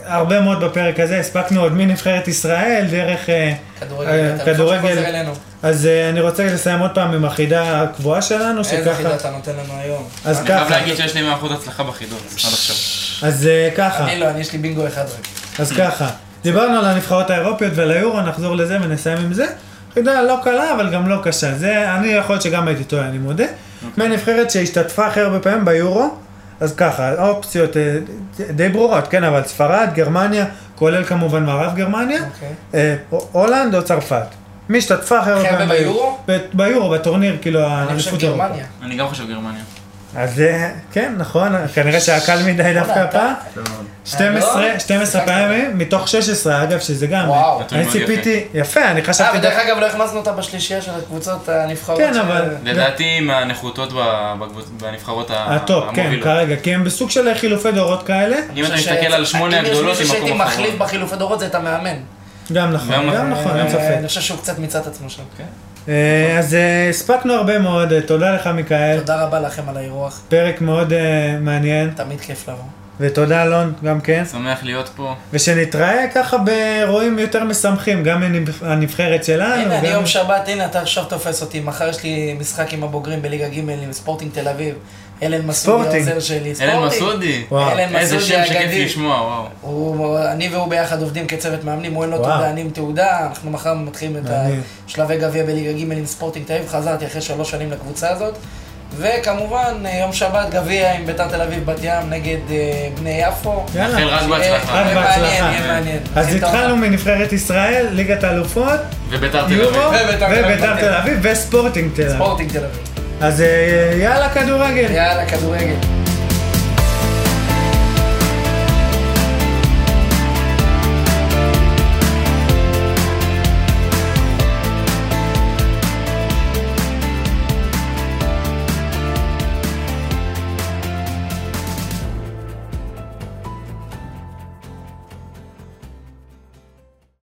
S1: הרבה מאוד בפרק הזה, הספקנו עוד מנבחרת ישראל דרך אה, אה,
S3: כדורגל. אתה חושב שחוזר אלינו.
S1: אז אה, אני רוצה לסיים עוד פעם עם החידה הקבועה שלנו,
S3: איזה חידה
S1: שככה,
S3: אתה נותן לנו היום.
S1: אז
S2: אני חייב
S1: ככה,
S2: להגיד שיש לי 100% הצלחה בחידות, עד עכשיו.
S1: אז אה, ככה,
S3: אני לא, אני יש לי בינגו אחד רק.
S1: אז ככה. דיברנו על הנבחרות האירופיות ועל היורו, נחזור לזה ונסיים עם זה. חידה לא קלה, אבל גם לא קשה. זה, אני יכול להיות שגם הייתי טועה, אני מודה.
S3: אוקיי.
S1: מהנבחרת שהשתתפה הכי הרבה פעמים ביורו, אז ככה, האופציות אה, די ברורות, כן, אבל ספרד, גרמניה, כולל כמובן מערב גרמניה,
S3: אוקיי.
S1: אה, הו- הולנד או צרפת. מי השתתפה הכי הרבה
S3: הכי הרבה
S1: פעמים ביורו? ב- ביורו, בטורניר, כאילו,
S3: אני חושב
S1: האליפות אירופה.
S3: גרמניה.
S2: אני גם חושב גרמניה.
S1: אז אה, כן, נכון, כנראה שהיה קל מדי דווקא
S3: אתה-
S1: הפעם. 12,
S3: אה, לא?
S1: 12
S3: שיחקת.
S1: פעמים, מתוך 16 אגב, שזה גם,
S3: וואו.
S1: אני
S2: נתון מאוד
S1: ציפיתי, יפה, אני
S3: אה,
S1: חשבתי,
S3: ודרך אגב לא הכנסנו אותה בשלישייה של הקבוצות הנבחרות.
S1: כן,
S3: ש-
S1: אבל-
S2: לדעתי מהנחותות בנבחרות ה-
S1: הטופ, כן,
S2: המובילות.
S1: כרגע, כי הם בסוג של חילופי דורות כאלה,
S2: אם אתה
S3: ש-
S2: מסתכל על שמונה הגדולות,
S3: אם יש
S2: היא
S3: מישהו
S2: מקום
S3: שהייתי מחליף
S2: אחרון.
S3: בחילופי דורות זה את המאמן.
S1: גם נכון,
S2: גם
S1: גם
S2: נכון,
S1: נכון, אין
S3: אה, אני
S1: ספק.
S3: חושב שהוא קצת מיצה את עצמו שם.
S1: אה, אז אה, הספקנו הרבה מאוד, אה, תודה לך מיכאל,
S3: תודה רבה לכם על האירוח,
S1: פרק מאוד אה, מעניין,
S3: תמיד כיף לבוא.
S1: ותודה אלון, גם כן,
S2: שמח להיות פה.
S1: ושנתראה ככה באירועים יותר משמחים, גם הנבח- הנבחרת שלנו,
S3: הנה, אני
S1: אה, לא, גם...
S3: יום שבת, הנה, אתה עכשיו תופס אותי. מחר יש לי משחק עם הבוגרים בליגה ג' עם ספורטינג תל אביב. אלן מסעודי,
S1: ספורטינג.
S3: העוזר שלי.
S2: אלן
S3: ספורטינג.
S2: מסעודי.
S1: וואו,
S3: אלן
S2: איזה
S3: מסעודי
S2: שם שכיף
S3: האגדי.
S2: לשמוע, וואו.
S3: הוא- אני והוא ביחד עובדים כצוות מאמנים, הוא אין לו
S1: וואו.
S3: תעודה, אני עם תעודה, אנחנו מחר מתחילים את
S1: מעניין.
S3: השלבי גביע בליגה ג' עם ספורטינג תל אביב, חזרתי אחרי שלוש שנים לקבוצה הזאת. וכמובן, אה, יום שבת גביע עם ביתר תל אביב בת ים נגד אה, בני יפו.
S1: יאללה.
S2: נאחל רק בהצלחה.
S1: רק
S3: יהיה מעניין,
S1: כן. בהצלחה.
S3: יהיה מעניין.
S1: אז
S3: נתחיל את
S1: התחלנו
S3: העונה.
S1: מנבחרת ישראל, ליגת האלופות,
S2: וביתר תל
S1: יורו,
S2: אביב.
S3: ובית"ר תל אביב.
S1: וביתר תל אביב, וספורטינג תל אביב.
S3: ספורטינג תל אביב.
S1: אז אה, יאללה כדורגל.
S3: יאללה, כדורגל.